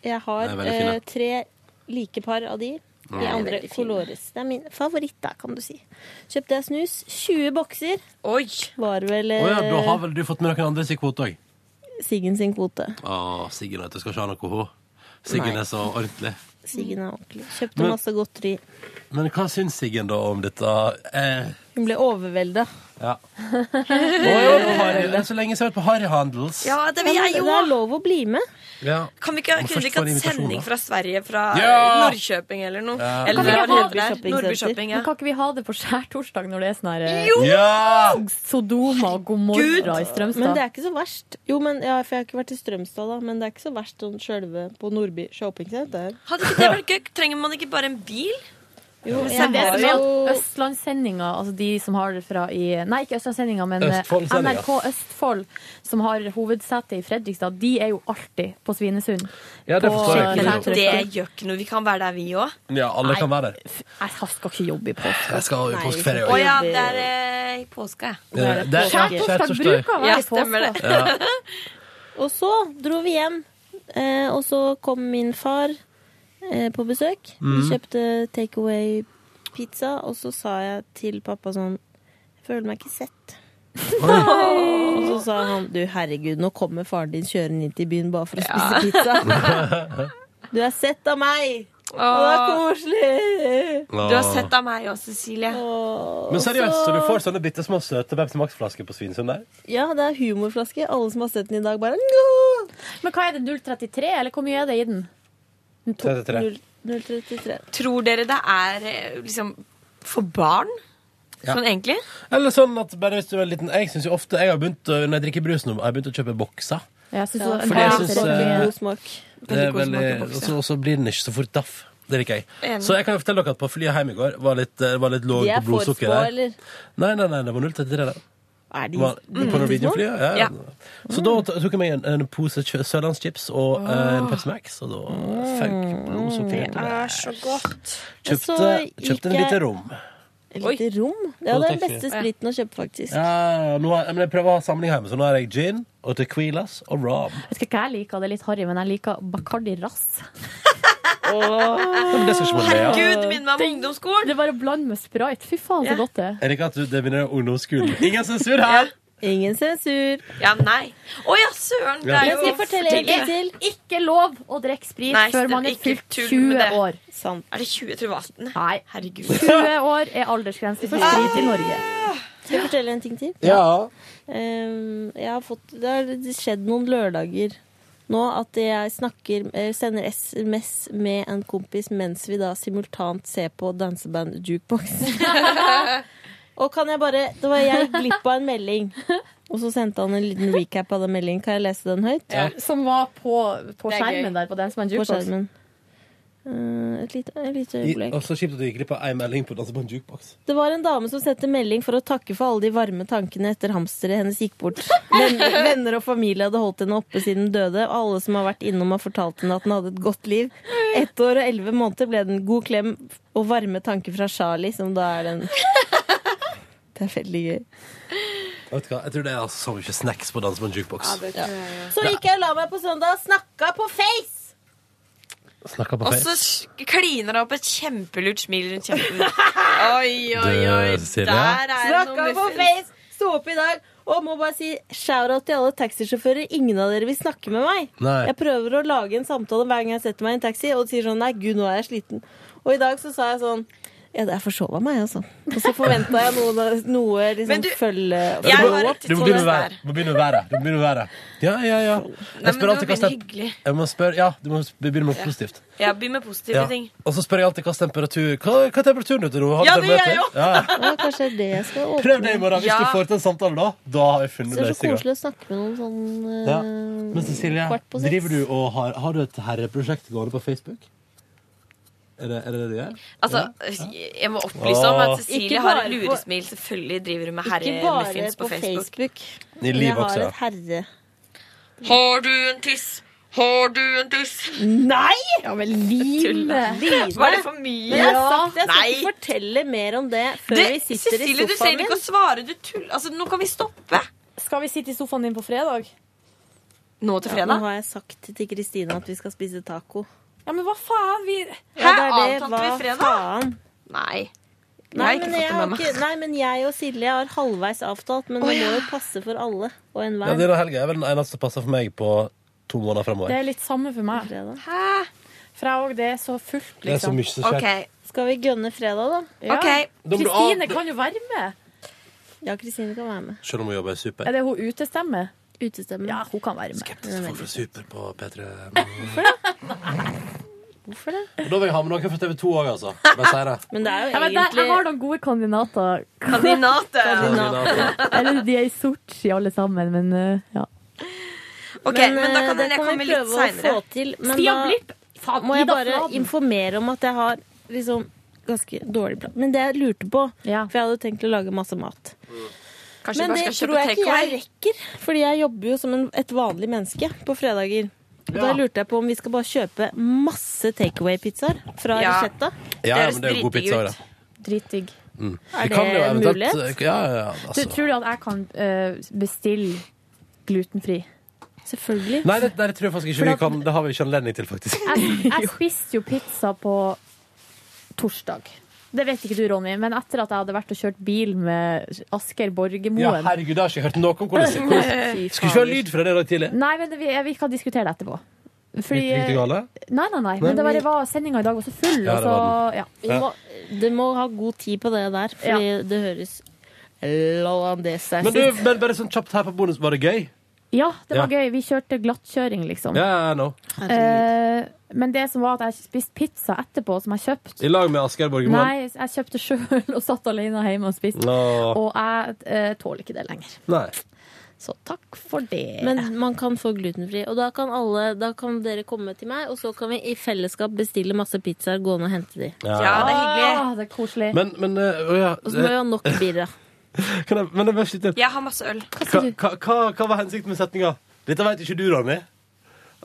[SPEAKER 3] Jeg
[SPEAKER 13] Det
[SPEAKER 3] har
[SPEAKER 13] er veldig
[SPEAKER 3] eh,
[SPEAKER 13] fine.
[SPEAKER 3] tre like par av de.
[SPEAKER 13] Ja.
[SPEAKER 3] I
[SPEAKER 13] Det er
[SPEAKER 3] andre
[SPEAKER 13] veldig fine.
[SPEAKER 3] colores. Det er min favoritt, da, kan du si. Kjøpte jeg snus. 20 bokser.
[SPEAKER 4] Oi!
[SPEAKER 3] Var vel
[SPEAKER 2] Å ja, da har
[SPEAKER 3] eh,
[SPEAKER 2] vel du fått med noen andre sin kvote òg?
[SPEAKER 3] Siggen sin kvote.
[SPEAKER 2] Å, Siggen vet du skal ikke ha noe hun. Siggen
[SPEAKER 3] Nei.
[SPEAKER 2] er så ordentlig.
[SPEAKER 3] Siggen er ordentlig. Kjøpte
[SPEAKER 2] Men-
[SPEAKER 3] masse godteri.
[SPEAKER 2] Men hva syns Siggen da om dette? Eh,
[SPEAKER 3] Hun ble overvelda.
[SPEAKER 2] ja. Å, ja, på Harry. Det er så lenge siden jeg har vært på Harry Handels.
[SPEAKER 4] Ja, det vil
[SPEAKER 3] men
[SPEAKER 4] jeg jo.
[SPEAKER 3] Det er lov å bli med.
[SPEAKER 2] Ja.
[SPEAKER 4] Kan vi ikke,
[SPEAKER 2] Må
[SPEAKER 4] kunne vi
[SPEAKER 2] først
[SPEAKER 4] ikke
[SPEAKER 2] få en
[SPEAKER 4] hatt
[SPEAKER 2] invitasjon,
[SPEAKER 4] sending
[SPEAKER 2] da.
[SPEAKER 4] fra Sverige, fra
[SPEAKER 2] Ja!
[SPEAKER 4] Norrköping eller noe?
[SPEAKER 2] Ja.
[SPEAKER 4] Eller
[SPEAKER 6] Kan vi
[SPEAKER 4] hva
[SPEAKER 6] ha-
[SPEAKER 4] det heter der? Nordby Shopping, ja.
[SPEAKER 6] Men kan ikke vi ha det på skjærtorsdag når det er sånn her eh,
[SPEAKER 4] Jo!
[SPEAKER 2] Ja!
[SPEAKER 6] Sodoma og Gomorra i Strømstad?
[SPEAKER 3] Men det er ikke så verst. Jo, men, ja, for jeg har ikke vært i Strømstad, da, men det er ikke så verst sånn sjølve på Nordby shoppingsenter.
[SPEAKER 4] Hadde ikke det vært gøy? Trenger man ikke bare en bil?
[SPEAKER 3] Jo,
[SPEAKER 6] Det
[SPEAKER 3] jeg
[SPEAKER 6] er det
[SPEAKER 3] har
[SPEAKER 6] som er
[SPEAKER 3] jo-
[SPEAKER 6] at Østlandssendinga, altså de som har det fra i Nei, ikke Østlandssendinga, men eh,
[SPEAKER 2] Østfoldsendinga.
[SPEAKER 6] NRK Østfold, som har hovedsete i Fredrikstad, de er jo alltid på Svinesund.
[SPEAKER 2] Ja, det forstår jeg ikke.
[SPEAKER 4] Men det gjør ikke noe. Vi kan være der, vi òg.
[SPEAKER 2] Ja, alle kan være der.
[SPEAKER 6] Jeg skal ikke jobbe i påske.
[SPEAKER 2] Jeg skal i påskeferie
[SPEAKER 4] Å
[SPEAKER 2] òg.
[SPEAKER 4] ja, det er eh, i påska.
[SPEAKER 2] Det er- det er- Skjærtorsdag bruker å være
[SPEAKER 4] Ja,
[SPEAKER 2] i
[SPEAKER 4] stemmer
[SPEAKER 2] påska.
[SPEAKER 4] det.
[SPEAKER 2] Ja.
[SPEAKER 3] Og så dro vi hjem, eh, og så kom min far eh, på besøk. Vi
[SPEAKER 13] Mm.
[SPEAKER 3] kjøpte takeaway-pizza, og så sa jeg til pappa sånn Jeg føler meg ikke sett. Og så sa han du herregud, nå kommer faren din kjørende inn til byen bare for å spise pizza. Du er sett av meg! Og det er koselig!
[SPEAKER 2] Åh. Du har sett
[SPEAKER 4] av meg òg, Cecilie.
[SPEAKER 2] Men seriøst, så du får sånn- sånne bitte små søte Pepsi Max-flasker på Svinesund der?
[SPEAKER 3] Ja, det er humorflaske. Alle som har sett den i dag, bare «Nå!»
[SPEAKER 6] Men hva er det, 033, eller hvor mye er det i den?
[SPEAKER 2] 33.
[SPEAKER 3] Null- 033.
[SPEAKER 4] Tror dere det er eh, liksom for barn?
[SPEAKER 2] Ja.
[SPEAKER 4] Sånn egentlig?
[SPEAKER 2] Eller sånn at bare hvis du er liten Jeg synes jo ofte Jeg har begynt å, når jeg drikker brus nå, har jeg begynt å kjøpe bokser.
[SPEAKER 6] Ja, jeg synes det var-
[SPEAKER 2] Fordi jeg
[SPEAKER 6] Ja,
[SPEAKER 2] synes,
[SPEAKER 6] det er
[SPEAKER 2] eh,
[SPEAKER 6] god smak.
[SPEAKER 2] Det er
[SPEAKER 6] Veldig god smak i
[SPEAKER 2] veldig-
[SPEAKER 6] bokser.
[SPEAKER 2] og så- Og så blir den ikke så fort daff. Det liker jeg.
[SPEAKER 6] Enig.
[SPEAKER 2] Så jeg kan jo fortelle dere at på flyet hjem i går var litt, eh, var litt låg
[SPEAKER 3] De er
[SPEAKER 2] på blodsukkeret.
[SPEAKER 3] for små, eller?
[SPEAKER 2] Nei, nei, nei, det var 0,33 der.
[SPEAKER 3] Er de-
[SPEAKER 2] var,
[SPEAKER 3] de er
[SPEAKER 6] Mm.
[SPEAKER 2] på
[SPEAKER 3] for
[SPEAKER 2] Norwegian-flyet?
[SPEAKER 3] små?
[SPEAKER 2] Ja.
[SPEAKER 3] Ja.
[SPEAKER 2] Så da t- tok jeg meg en, en pose kjø- sørlandschips og eh,
[SPEAKER 6] Ah.
[SPEAKER 2] en Pepsi Max, og da fikk blodsukkeret.
[SPEAKER 4] Det er så godt.
[SPEAKER 2] Kjøpte, kjøpte en lite rom.
[SPEAKER 3] Et lite rom. Det er
[SPEAKER 2] Å,
[SPEAKER 3] den
[SPEAKER 2] takk.
[SPEAKER 3] beste spriten å kjøpe, faktisk.
[SPEAKER 2] Ja, nå har, men jeg prøver å ha samling hjemme, så nå har jeg gin og tequilas og rom.
[SPEAKER 6] Jeg vet ikke hva jeg liker, det er litt harry, men jeg liker Bacardi Rass.
[SPEAKER 2] Ja, men det skal ikke man le av.
[SPEAKER 6] det minner meg om ungdomsskolen! Det er bare å blande med Sprite. Fy faen, så godt det er.
[SPEAKER 2] Jeg liker at du- det begynner ungdomsskolen. Ingen sensur her!
[SPEAKER 3] Ingen sensur.
[SPEAKER 4] Ja, nei. Å ja, søren! Det
[SPEAKER 2] Ja.
[SPEAKER 4] er
[SPEAKER 2] Jeg
[SPEAKER 4] jo
[SPEAKER 2] skal
[SPEAKER 3] fortelle en ting
[SPEAKER 4] tidlig.
[SPEAKER 6] Ikke lov å drikke sprit
[SPEAKER 4] Nei,
[SPEAKER 6] før man er
[SPEAKER 4] ikke
[SPEAKER 6] fylt
[SPEAKER 4] tull
[SPEAKER 6] 20
[SPEAKER 4] med det.
[SPEAKER 6] år.
[SPEAKER 4] Er det 20? Jeg tror det var 18.
[SPEAKER 6] Nei.
[SPEAKER 4] Herregud.
[SPEAKER 6] 20 år er aldersgrense for sprit i Norge.
[SPEAKER 3] Skal jeg fortelle en ting til?
[SPEAKER 2] Ja.
[SPEAKER 3] Ehm, jeg har fått, det har skjedd noen lørdager nå at jeg snakker, eh, sender SMS med en kompis mens vi da simultant ser på danseband Jukebox. og kan jeg bare Da var jeg glipp av en melding. Og så sendte han en liten recap av den meldingen. Kan jeg lese den høyt?
[SPEAKER 6] Ja. Som var på, på
[SPEAKER 3] Det er gøy.
[SPEAKER 6] skjermen der, på den som er en
[SPEAKER 3] På
[SPEAKER 6] jukebox.
[SPEAKER 3] skjermen. Eh, et lite, et lite
[SPEAKER 2] I-
[SPEAKER 3] øyeblikk.
[SPEAKER 2] Og så kjipt at du gikk glipp av ei melding på Danseband Jukebox.
[SPEAKER 3] Det var en dame som sendte melding for å takke for alle de varme tankene etter hamsteret hennes gikk bort. Venner, venner og familie hadde holdt henne oppe siden hun døde, og alle som har vært innom har fortalt henne at hun hadde et godt liv. Ett år og elleve måneder ble det en god klem og varme tanker fra Charlie, som da er den Det er veldig gøy.
[SPEAKER 2] Vet du hva, Jeg tror det er så mye snacks på Danseband Jukebox.
[SPEAKER 3] Så gikk jeg og la meg på søndag og snakka på Face!
[SPEAKER 2] Snakka på
[SPEAKER 4] Og så
[SPEAKER 2] Face.
[SPEAKER 4] sk- kliner det opp et kjempelurt smil rundt kjeften. Oi, oi, oi.
[SPEAKER 2] Det, Silje.
[SPEAKER 4] Der er det
[SPEAKER 3] Snakka
[SPEAKER 4] noe
[SPEAKER 3] på
[SPEAKER 4] muffens.
[SPEAKER 3] Face! Sto opp i dag og må bare si shout-out til alle taxisjåfører. Ingen av dere vil snakke med meg.
[SPEAKER 2] Nei.
[SPEAKER 3] Jeg prøver å lage en samtale hver gang jeg setter meg i en taxi, og de sier sånn Nei, gud, nå er jeg sliten. Og i dag så sa jeg sånn ja, jeg forsova meg, altså. Og så forventa jeg noe, noe liksom, følge
[SPEAKER 2] Du må,
[SPEAKER 3] follow-up.
[SPEAKER 2] du må begynne med været. Du må begynne med været. Du må begynne med været. Ja, ja, ja. Jeg spør alltid hva stemp...
[SPEAKER 4] hyggelig.
[SPEAKER 2] Jeg må spørre, ja, du må begynne med noe positivt.
[SPEAKER 4] Ja, begynn med positive
[SPEAKER 2] Ja.
[SPEAKER 4] ting.
[SPEAKER 2] Og så spør jeg alltid hva temperatur Hva, hva er temperaturen ute nå? Har
[SPEAKER 4] Ja,
[SPEAKER 2] du
[SPEAKER 4] det gjør jeg jo.
[SPEAKER 2] termometer? Ja.
[SPEAKER 3] Ja, kanskje det er det jeg skal åpne.
[SPEAKER 2] Prøv det i morgen. Hvis
[SPEAKER 3] Ja.
[SPEAKER 2] du får til en samtale da, da har jeg
[SPEAKER 3] Så
[SPEAKER 2] funnet
[SPEAKER 3] Det er så
[SPEAKER 2] løsninga.
[SPEAKER 3] koselig å snakke med noen sånn eh,
[SPEAKER 2] Ja. Men Cecilie,
[SPEAKER 3] kvart på seks.
[SPEAKER 2] driver du og har, har du et herreprosjekt gående på Facebook? Er det er det, det du gjør?
[SPEAKER 4] Altså, jeg må opplyse om
[SPEAKER 2] Åh.
[SPEAKER 4] at
[SPEAKER 3] Ikke
[SPEAKER 4] Cecilie har et
[SPEAKER 3] bare på-
[SPEAKER 4] luresmil. Selvfølgelig driver hun med
[SPEAKER 3] Ikke bare
[SPEAKER 4] herremuffins
[SPEAKER 3] på
[SPEAKER 4] på Facebook.
[SPEAKER 3] Facebook.
[SPEAKER 2] I livet
[SPEAKER 3] Jeg
[SPEAKER 2] også,
[SPEAKER 3] har
[SPEAKER 2] ja.
[SPEAKER 3] et herre...
[SPEAKER 4] Har du en tiss? Har du en tiss?
[SPEAKER 3] Nei!
[SPEAKER 4] Ja, men Line Var det for mye?
[SPEAKER 3] Men jeg har sagt det. Jeg skal
[SPEAKER 4] Nei.
[SPEAKER 3] ikke fortelle mer om det før
[SPEAKER 4] Det-
[SPEAKER 3] vi sitter
[SPEAKER 4] Cecilie,
[SPEAKER 3] i
[SPEAKER 4] du
[SPEAKER 3] sofaen
[SPEAKER 4] trenger
[SPEAKER 3] min.
[SPEAKER 4] ikke å svare. Du tull. Altså, nå kan vi stoppe.
[SPEAKER 5] Skal vi sitte i sofaen din på fredag?
[SPEAKER 4] Nå til fredag?
[SPEAKER 3] Ja, nå har jeg sagt til Kristine at vi skal spise taco.
[SPEAKER 5] Ja, men hva faen? Vi
[SPEAKER 3] Ja, det er det. Hva faen?
[SPEAKER 4] Nei.
[SPEAKER 3] Nei,
[SPEAKER 4] Jeg har ikke
[SPEAKER 3] men
[SPEAKER 4] fått
[SPEAKER 3] jeg,
[SPEAKER 4] det
[SPEAKER 3] har
[SPEAKER 4] med meg.
[SPEAKER 3] ikke, nei, men jeg og Silje har halvveis avtalt, men det må jo passe for alle og
[SPEAKER 2] Ja, denne
[SPEAKER 3] enhver.
[SPEAKER 2] helga er vel den eneste som passer for meg på to måneder
[SPEAKER 5] Det
[SPEAKER 2] framover.
[SPEAKER 5] er litt samme for meg.
[SPEAKER 3] Hæ?
[SPEAKER 5] For jeg òg. Det er så fullt, liksom.
[SPEAKER 2] Det er så mye som skjer. Ok.
[SPEAKER 3] Skal vi gønne fredag, da?
[SPEAKER 5] Ja.
[SPEAKER 2] Da må du
[SPEAKER 5] Kristine
[SPEAKER 2] av-
[SPEAKER 5] kan jo være med.
[SPEAKER 3] Ja, Kristine kan være med.
[SPEAKER 2] Selv om hun jobber i Super.
[SPEAKER 5] Er det hun utestemme?
[SPEAKER 3] Utestemme.
[SPEAKER 5] Ja, hun kan være med.
[SPEAKER 2] Folk fra Super på P3
[SPEAKER 3] Hvorfor det?
[SPEAKER 2] Og Da vil jeg ha med noen fra TV2 òg, altså. Bare si det.
[SPEAKER 3] Men det er jo
[SPEAKER 6] Ja, men der,
[SPEAKER 3] egentlig
[SPEAKER 6] jeg har noen gode kandidater.
[SPEAKER 4] Kandidater.
[SPEAKER 2] Kandidater.
[SPEAKER 6] Eller de er i Sotsji alle sammen, men eh, ja.
[SPEAKER 4] Ok, men, da kan
[SPEAKER 3] eh, det
[SPEAKER 4] jeg komme
[SPEAKER 3] vi
[SPEAKER 4] litt
[SPEAKER 3] prøve å
[SPEAKER 4] seinere.
[SPEAKER 3] få til, men
[SPEAKER 4] Stian
[SPEAKER 3] da
[SPEAKER 4] Blipp! Faen,
[SPEAKER 3] må jeg
[SPEAKER 4] Ida
[SPEAKER 3] bare
[SPEAKER 4] Fladen.
[SPEAKER 3] informere om at jeg har liksom ganske dårlig plan. Men det jeg lurte på, for jeg hadde tenkt å lage masse mat.
[SPEAKER 4] Kanskje
[SPEAKER 3] men
[SPEAKER 4] vi
[SPEAKER 3] det
[SPEAKER 4] bare skal
[SPEAKER 3] tror
[SPEAKER 4] kjøpe
[SPEAKER 3] jeg ikke jeg
[SPEAKER 4] takeaway?
[SPEAKER 3] rekker, fordi jeg jobber jo som en, et vanlig menneske på fredager. Og Da
[SPEAKER 4] Ja.
[SPEAKER 3] lurte jeg på om vi skal bare kjøpe masse takeaway-pizzaer fra
[SPEAKER 4] Ja.
[SPEAKER 3] Resetta.
[SPEAKER 2] Ja, ja, men det er jo god pizza òg, da.
[SPEAKER 6] Dritdigg.
[SPEAKER 2] Mm.
[SPEAKER 3] Er
[SPEAKER 2] Vi kan
[SPEAKER 3] det
[SPEAKER 2] jo eventuelt-
[SPEAKER 3] mulighet?
[SPEAKER 2] Ja, ja, ja, altså.
[SPEAKER 6] Du tror du at jeg kan eh, bestille glutenfri?
[SPEAKER 3] Selvfølgelig.
[SPEAKER 2] Nei, det, nei, det tror jeg faktisk ikke vi
[SPEAKER 6] For
[SPEAKER 2] kan. Det har vi ikke anledning til, faktisk.
[SPEAKER 6] Jeg, jeg spiste jo pizza på torsdag. Det vet ikke du, Ronny, men etter at jeg hadde vært og kjørt bil med Asker
[SPEAKER 2] Ja,
[SPEAKER 6] Borgermoen
[SPEAKER 2] herregud, jeg har ikke hørt noe om hvordan det
[SPEAKER 6] Fy
[SPEAKER 2] hvordan- Skulle ikke ha
[SPEAKER 6] faen.
[SPEAKER 2] lyd fra det i dag tidlig.
[SPEAKER 6] Nei, men det, vi, vi kan diskutere det etterpå. Fordi,
[SPEAKER 2] Gikk det gale?
[SPEAKER 6] Nei, nei, nei. Men det bare var sendinga i dag var så full.
[SPEAKER 2] Ja,
[SPEAKER 6] og
[SPEAKER 2] det
[SPEAKER 6] så,
[SPEAKER 2] var
[SPEAKER 6] ja.
[SPEAKER 3] Vi må, det må ha god tid på det der, fordi det høres Lollandese
[SPEAKER 2] Men du, men bare sånn kjapt her på bonus, var det gøy?
[SPEAKER 6] ja, det var
[SPEAKER 2] Ja.
[SPEAKER 6] gøy. Vi kjørte glattkjøring, liksom.
[SPEAKER 2] Ja, ja, nå.
[SPEAKER 6] Eh, men det som var at jeg ikke spiste pizza etterpå, som jeg kjøpte
[SPEAKER 2] I lag med Asgeir Borgermann.
[SPEAKER 6] Nei, jeg kjøpte sjøl og satt alene hjemme og spiste.
[SPEAKER 2] Nå.
[SPEAKER 6] Og jeg eh, tåler ikke det lenger.
[SPEAKER 2] Nei.
[SPEAKER 6] Så takk for det.
[SPEAKER 3] Men man kan få glutenfri, og da kan, alle, da kan dere komme til meg, og så kan vi i fellesskap bestille masse pizzaer, gå ned og hente de.
[SPEAKER 2] Ja. Ja, det er
[SPEAKER 6] Ah, det er koselig.
[SPEAKER 2] Men, men eh, å ja.
[SPEAKER 3] Og så må vi ha nok birra.
[SPEAKER 2] Kan jeg, men jeg bare skyter
[SPEAKER 4] Jeg har masse øl.
[SPEAKER 2] hva, hva, hva, hva var hensikten med setninga? Dette veit ikke du, Ronny.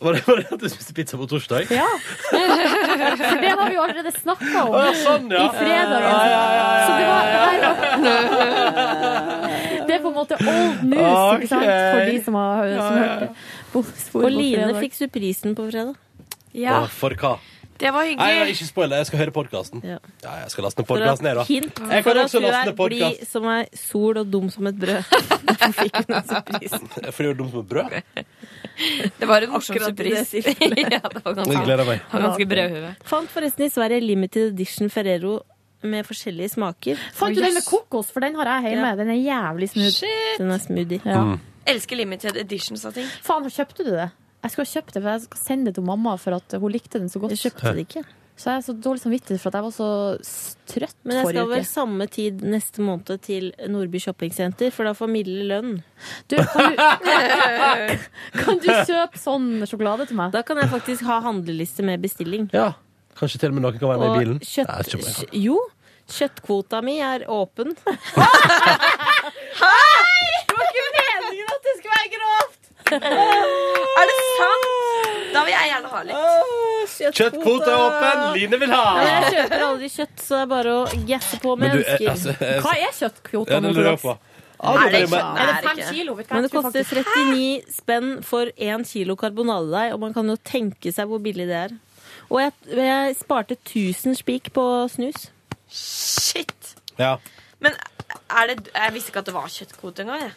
[SPEAKER 2] Var det, var det at du spiste pizza på torsdag?
[SPEAKER 6] Ja. For det har vi jo allerede snakka om
[SPEAKER 2] Å, ja, sånn, ja.
[SPEAKER 6] i fredagen. Så det var Det er på en måte old news,
[SPEAKER 3] Ok.
[SPEAKER 6] ikke sant? For de som har som
[SPEAKER 3] Ja, ja, ja.
[SPEAKER 6] hørte.
[SPEAKER 3] Og Line
[SPEAKER 6] fredag.
[SPEAKER 3] fikk surprisen på fredag.
[SPEAKER 2] Å, for hva?
[SPEAKER 4] Det var
[SPEAKER 2] Nei, nei, ikke spoil det. Jeg skal høre podkasten. Ja. jeg skal laste ned
[SPEAKER 3] For at,
[SPEAKER 2] podkasten, jeg, da.
[SPEAKER 3] hint
[SPEAKER 2] Jeg
[SPEAKER 3] for
[SPEAKER 2] kan
[SPEAKER 3] at
[SPEAKER 2] også
[SPEAKER 3] du
[SPEAKER 2] laste
[SPEAKER 3] er
[SPEAKER 2] ned
[SPEAKER 3] blid
[SPEAKER 2] podkast.
[SPEAKER 3] som ei sol og dum som et brød.
[SPEAKER 2] For det er jo dumt med brød.
[SPEAKER 4] Det var en morsom
[SPEAKER 3] Akkurat i det
[SPEAKER 4] surprise.
[SPEAKER 3] sirkelet.
[SPEAKER 4] ja, det var
[SPEAKER 2] Jeg
[SPEAKER 4] ganske,
[SPEAKER 2] gleder meg.
[SPEAKER 4] det var ganske brødhue.
[SPEAKER 3] Fant forresten i Sverige limited edition Ferrero med forskjellige smaker.
[SPEAKER 6] Fant du den med kokos? For den har jeg hjemme.
[SPEAKER 3] Ja.
[SPEAKER 6] Den er jævlig smooth.
[SPEAKER 3] Den er smoothie.
[SPEAKER 2] Mm.
[SPEAKER 6] Ja.
[SPEAKER 4] Elsker limited editions av ting.
[SPEAKER 6] Faen, kjøpte du det? Jeg skulle ha kjøpt det, for jeg skal sende det til mamma for at hun likte den så godt.
[SPEAKER 3] Jeg kjøpte det ikke.
[SPEAKER 6] Så jeg er så dårlig samvittig for at jeg var så s- trøtt
[SPEAKER 3] Men jeg skal
[SPEAKER 6] forrige
[SPEAKER 3] vel
[SPEAKER 6] uke.
[SPEAKER 3] samme tid neste måned til Nordby shoppingsenter, for da får Mille lønn.
[SPEAKER 6] Du, kan du, kan du kjøpe sånn sjokolade til meg?
[SPEAKER 3] Da kan jeg faktisk ha handleliste med bestilling.
[SPEAKER 2] Ja. Kanskje til og med noen kan være med i bilen.
[SPEAKER 3] Og kjøtt...
[SPEAKER 2] Nei, jeg kjøper meg.
[SPEAKER 3] kjø- Jo, kjøttkvota mi er åpen.
[SPEAKER 4] Det var ikke meningen at det skulle være grovt! er det sant? Da vil jeg gjerne ha litt.
[SPEAKER 2] Kjøttkvote er åpen! Line vil ha!
[SPEAKER 3] Ja, jeg kjøper aldri kjøtt, så det er bare å gasse på med
[SPEAKER 2] Men du, jeg-
[SPEAKER 3] ønsker.
[SPEAKER 2] altså, jeg-
[SPEAKER 3] Hva er kjøttkvota?
[SPEAKER 2] Ja, det lurer jeg på. Ah,
[SPEAKER 3] Er det
[SPEAKER 2] bare-
[SPEAKER 3] ikke?
[SPEAKER 6] Er det fem kilo? Vet du hva?
[SPEAKER 3] Men det
[SPEAKER 6] Jeg tror
[SPEAKER 3] koster 39 spenn for 1 kilo karbonadedeig, og man kan jo tenke seg hvor billig det er. Og jeg, jeg sparte 1000 spik på snus.
[SPEAKER 4] Shit!
[SPEAKER 2] Ja.
[SPEAKER 4] Men er det, jeg visste ikke at det var kjøttkvote engang. jeg.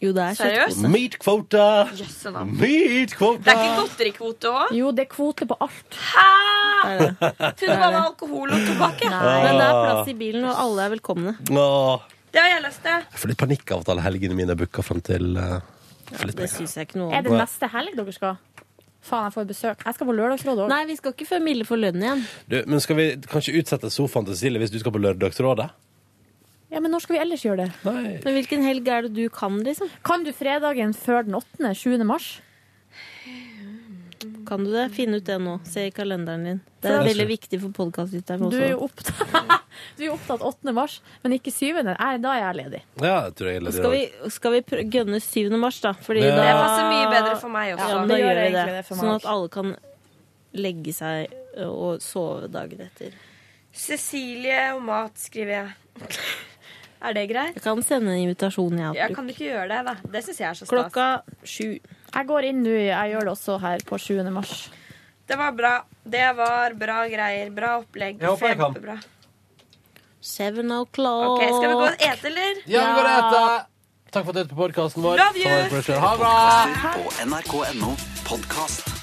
[SPEAKER 3] Jo, det er
[SPEAKER 4] Seriøst?
[SPEAKER 3] kjøttkvote.
[SPEAKER 2] Meat quota!
[SPEAKER 4] Jøsse navn.
[SPEAKER 2] Meat
[SPEAKER 4] Det
[SPEAKER 2] quota!
[SPEAKER 4] er ikke godterikvote òg?
[SPEAKER 6] Jo, det er kvote på alt.
[SPEAKER 4] Hæ?!
[SPEAKER 3] Det
[SPEAKER 4] Trodde det var med alkohol og tobakk. jeg.
[SPEAKER 3] Nei, men det er plass i bilen, og alle er velkomne.
[SPEAKER 2] Åh.
[SPEAKER 4] Det har jeg lyst til.
[SPEAKER 2] Jeg får litt panikk av at alle helgene mine er booka fram til eh, for litt
[SPEAKER 3] Det syns jeg ikke noe
[SPEAKER 6] Er det
[SPEAKER 3] om.
[SPEAKER 6] neste helg dere skal? Faen, jeg får besøk. Jeg skal på lørdagsrådet òg.
[SPEAKER 3] Nei, vi skal ikke før Mille får lønn igjen.
[SPEAKER 2] Du, men skal vi kanskje utsette sofaen til Silje hvis du skal på Lørdagsrådet?
[SPEAKER 6] Ja, men når skal vi ellers gjøre det?
[SPEAKER 3] Men hvilken helg er det du kan, liksom?
[SPEAKER 6] Kan du fredagen før den 8. 7. mars?
[SPEAKER 3] Kan du det? Finn ut det nå. Se i kalenderen din.
[SPEAKER 6] For
[SPEAKER 3] Det er
[SPEAKER 6] da-
[SPEAKER 3] veldig viktig for podkastlytteren
[SPEAKER 6] Du
[SPEAKER 3] også.
[SPEAKER 6] er jo opptatt, du er jo opptatt 8. mars, men ikke 7. Nei, da er jeg ledig.
[SPEAKER 2] Ja, jeg tror jeg
[SPEAKER 3] Da
[SPEAKER 2] gjelder
[SPEAKER 3] Skal vi, skal vi prø- gønne 7. mars, da? Fordi
[SPEAKER 2] Ja.
[SPEAKER 3] da
[SPEAKER 2] Det
[SPEAKER 4] passer mye bedre for meg også.
[SPEAKER 3] Ja,
[SPEAKER 4] Det
[SPEAKER 3] da
[SPEAKER 4] gjør
[SPEAKER 3] gjør vi
[SPEAKER 4] egentlig
[SPEAKER 3] det.
[SPEAKER 4] det for meg
[SPEAKER 3] sånn
[SPEAKER 4] også.
[SPEAKER 3] at alle kan legge seg ø, og sove dagen etter.
[SPEAKER 4] Cecilie og mat, skriver jeg. Er det greit?
[SPEAKER 3] Jeg kan sende en invitasjon, jeg.
[SPEAKER 4] Jeg kan ikke gjøre det, da. Det syns jeg er så stas.
[SPEAKER 3] Klokka sju.
[SPEAKER 6] Jeg går inn nå. Jeg gjør det også her på 7. mars.
[SPEAKER 4] Det var bra. Det var bra greier. Bra opplegg.
[SPEAKER 3] Jeg håper jeg kan.
[SPEAKER 4] Kjempebra.
[SPEAKER 3] Seven o'clock.
[SPEAKER 4] Ok, Skal vi gå og ete, eller?
[SPEAKER 2] Ja, vi går og eter. Takk for at du hørte på podkasten vår.
[SPEAKER 4] Love you!
[SPEAKER 2] Summer Pressure. Ha det bra!
[SPEAKER 10] Podkaster på nrk.no podkast.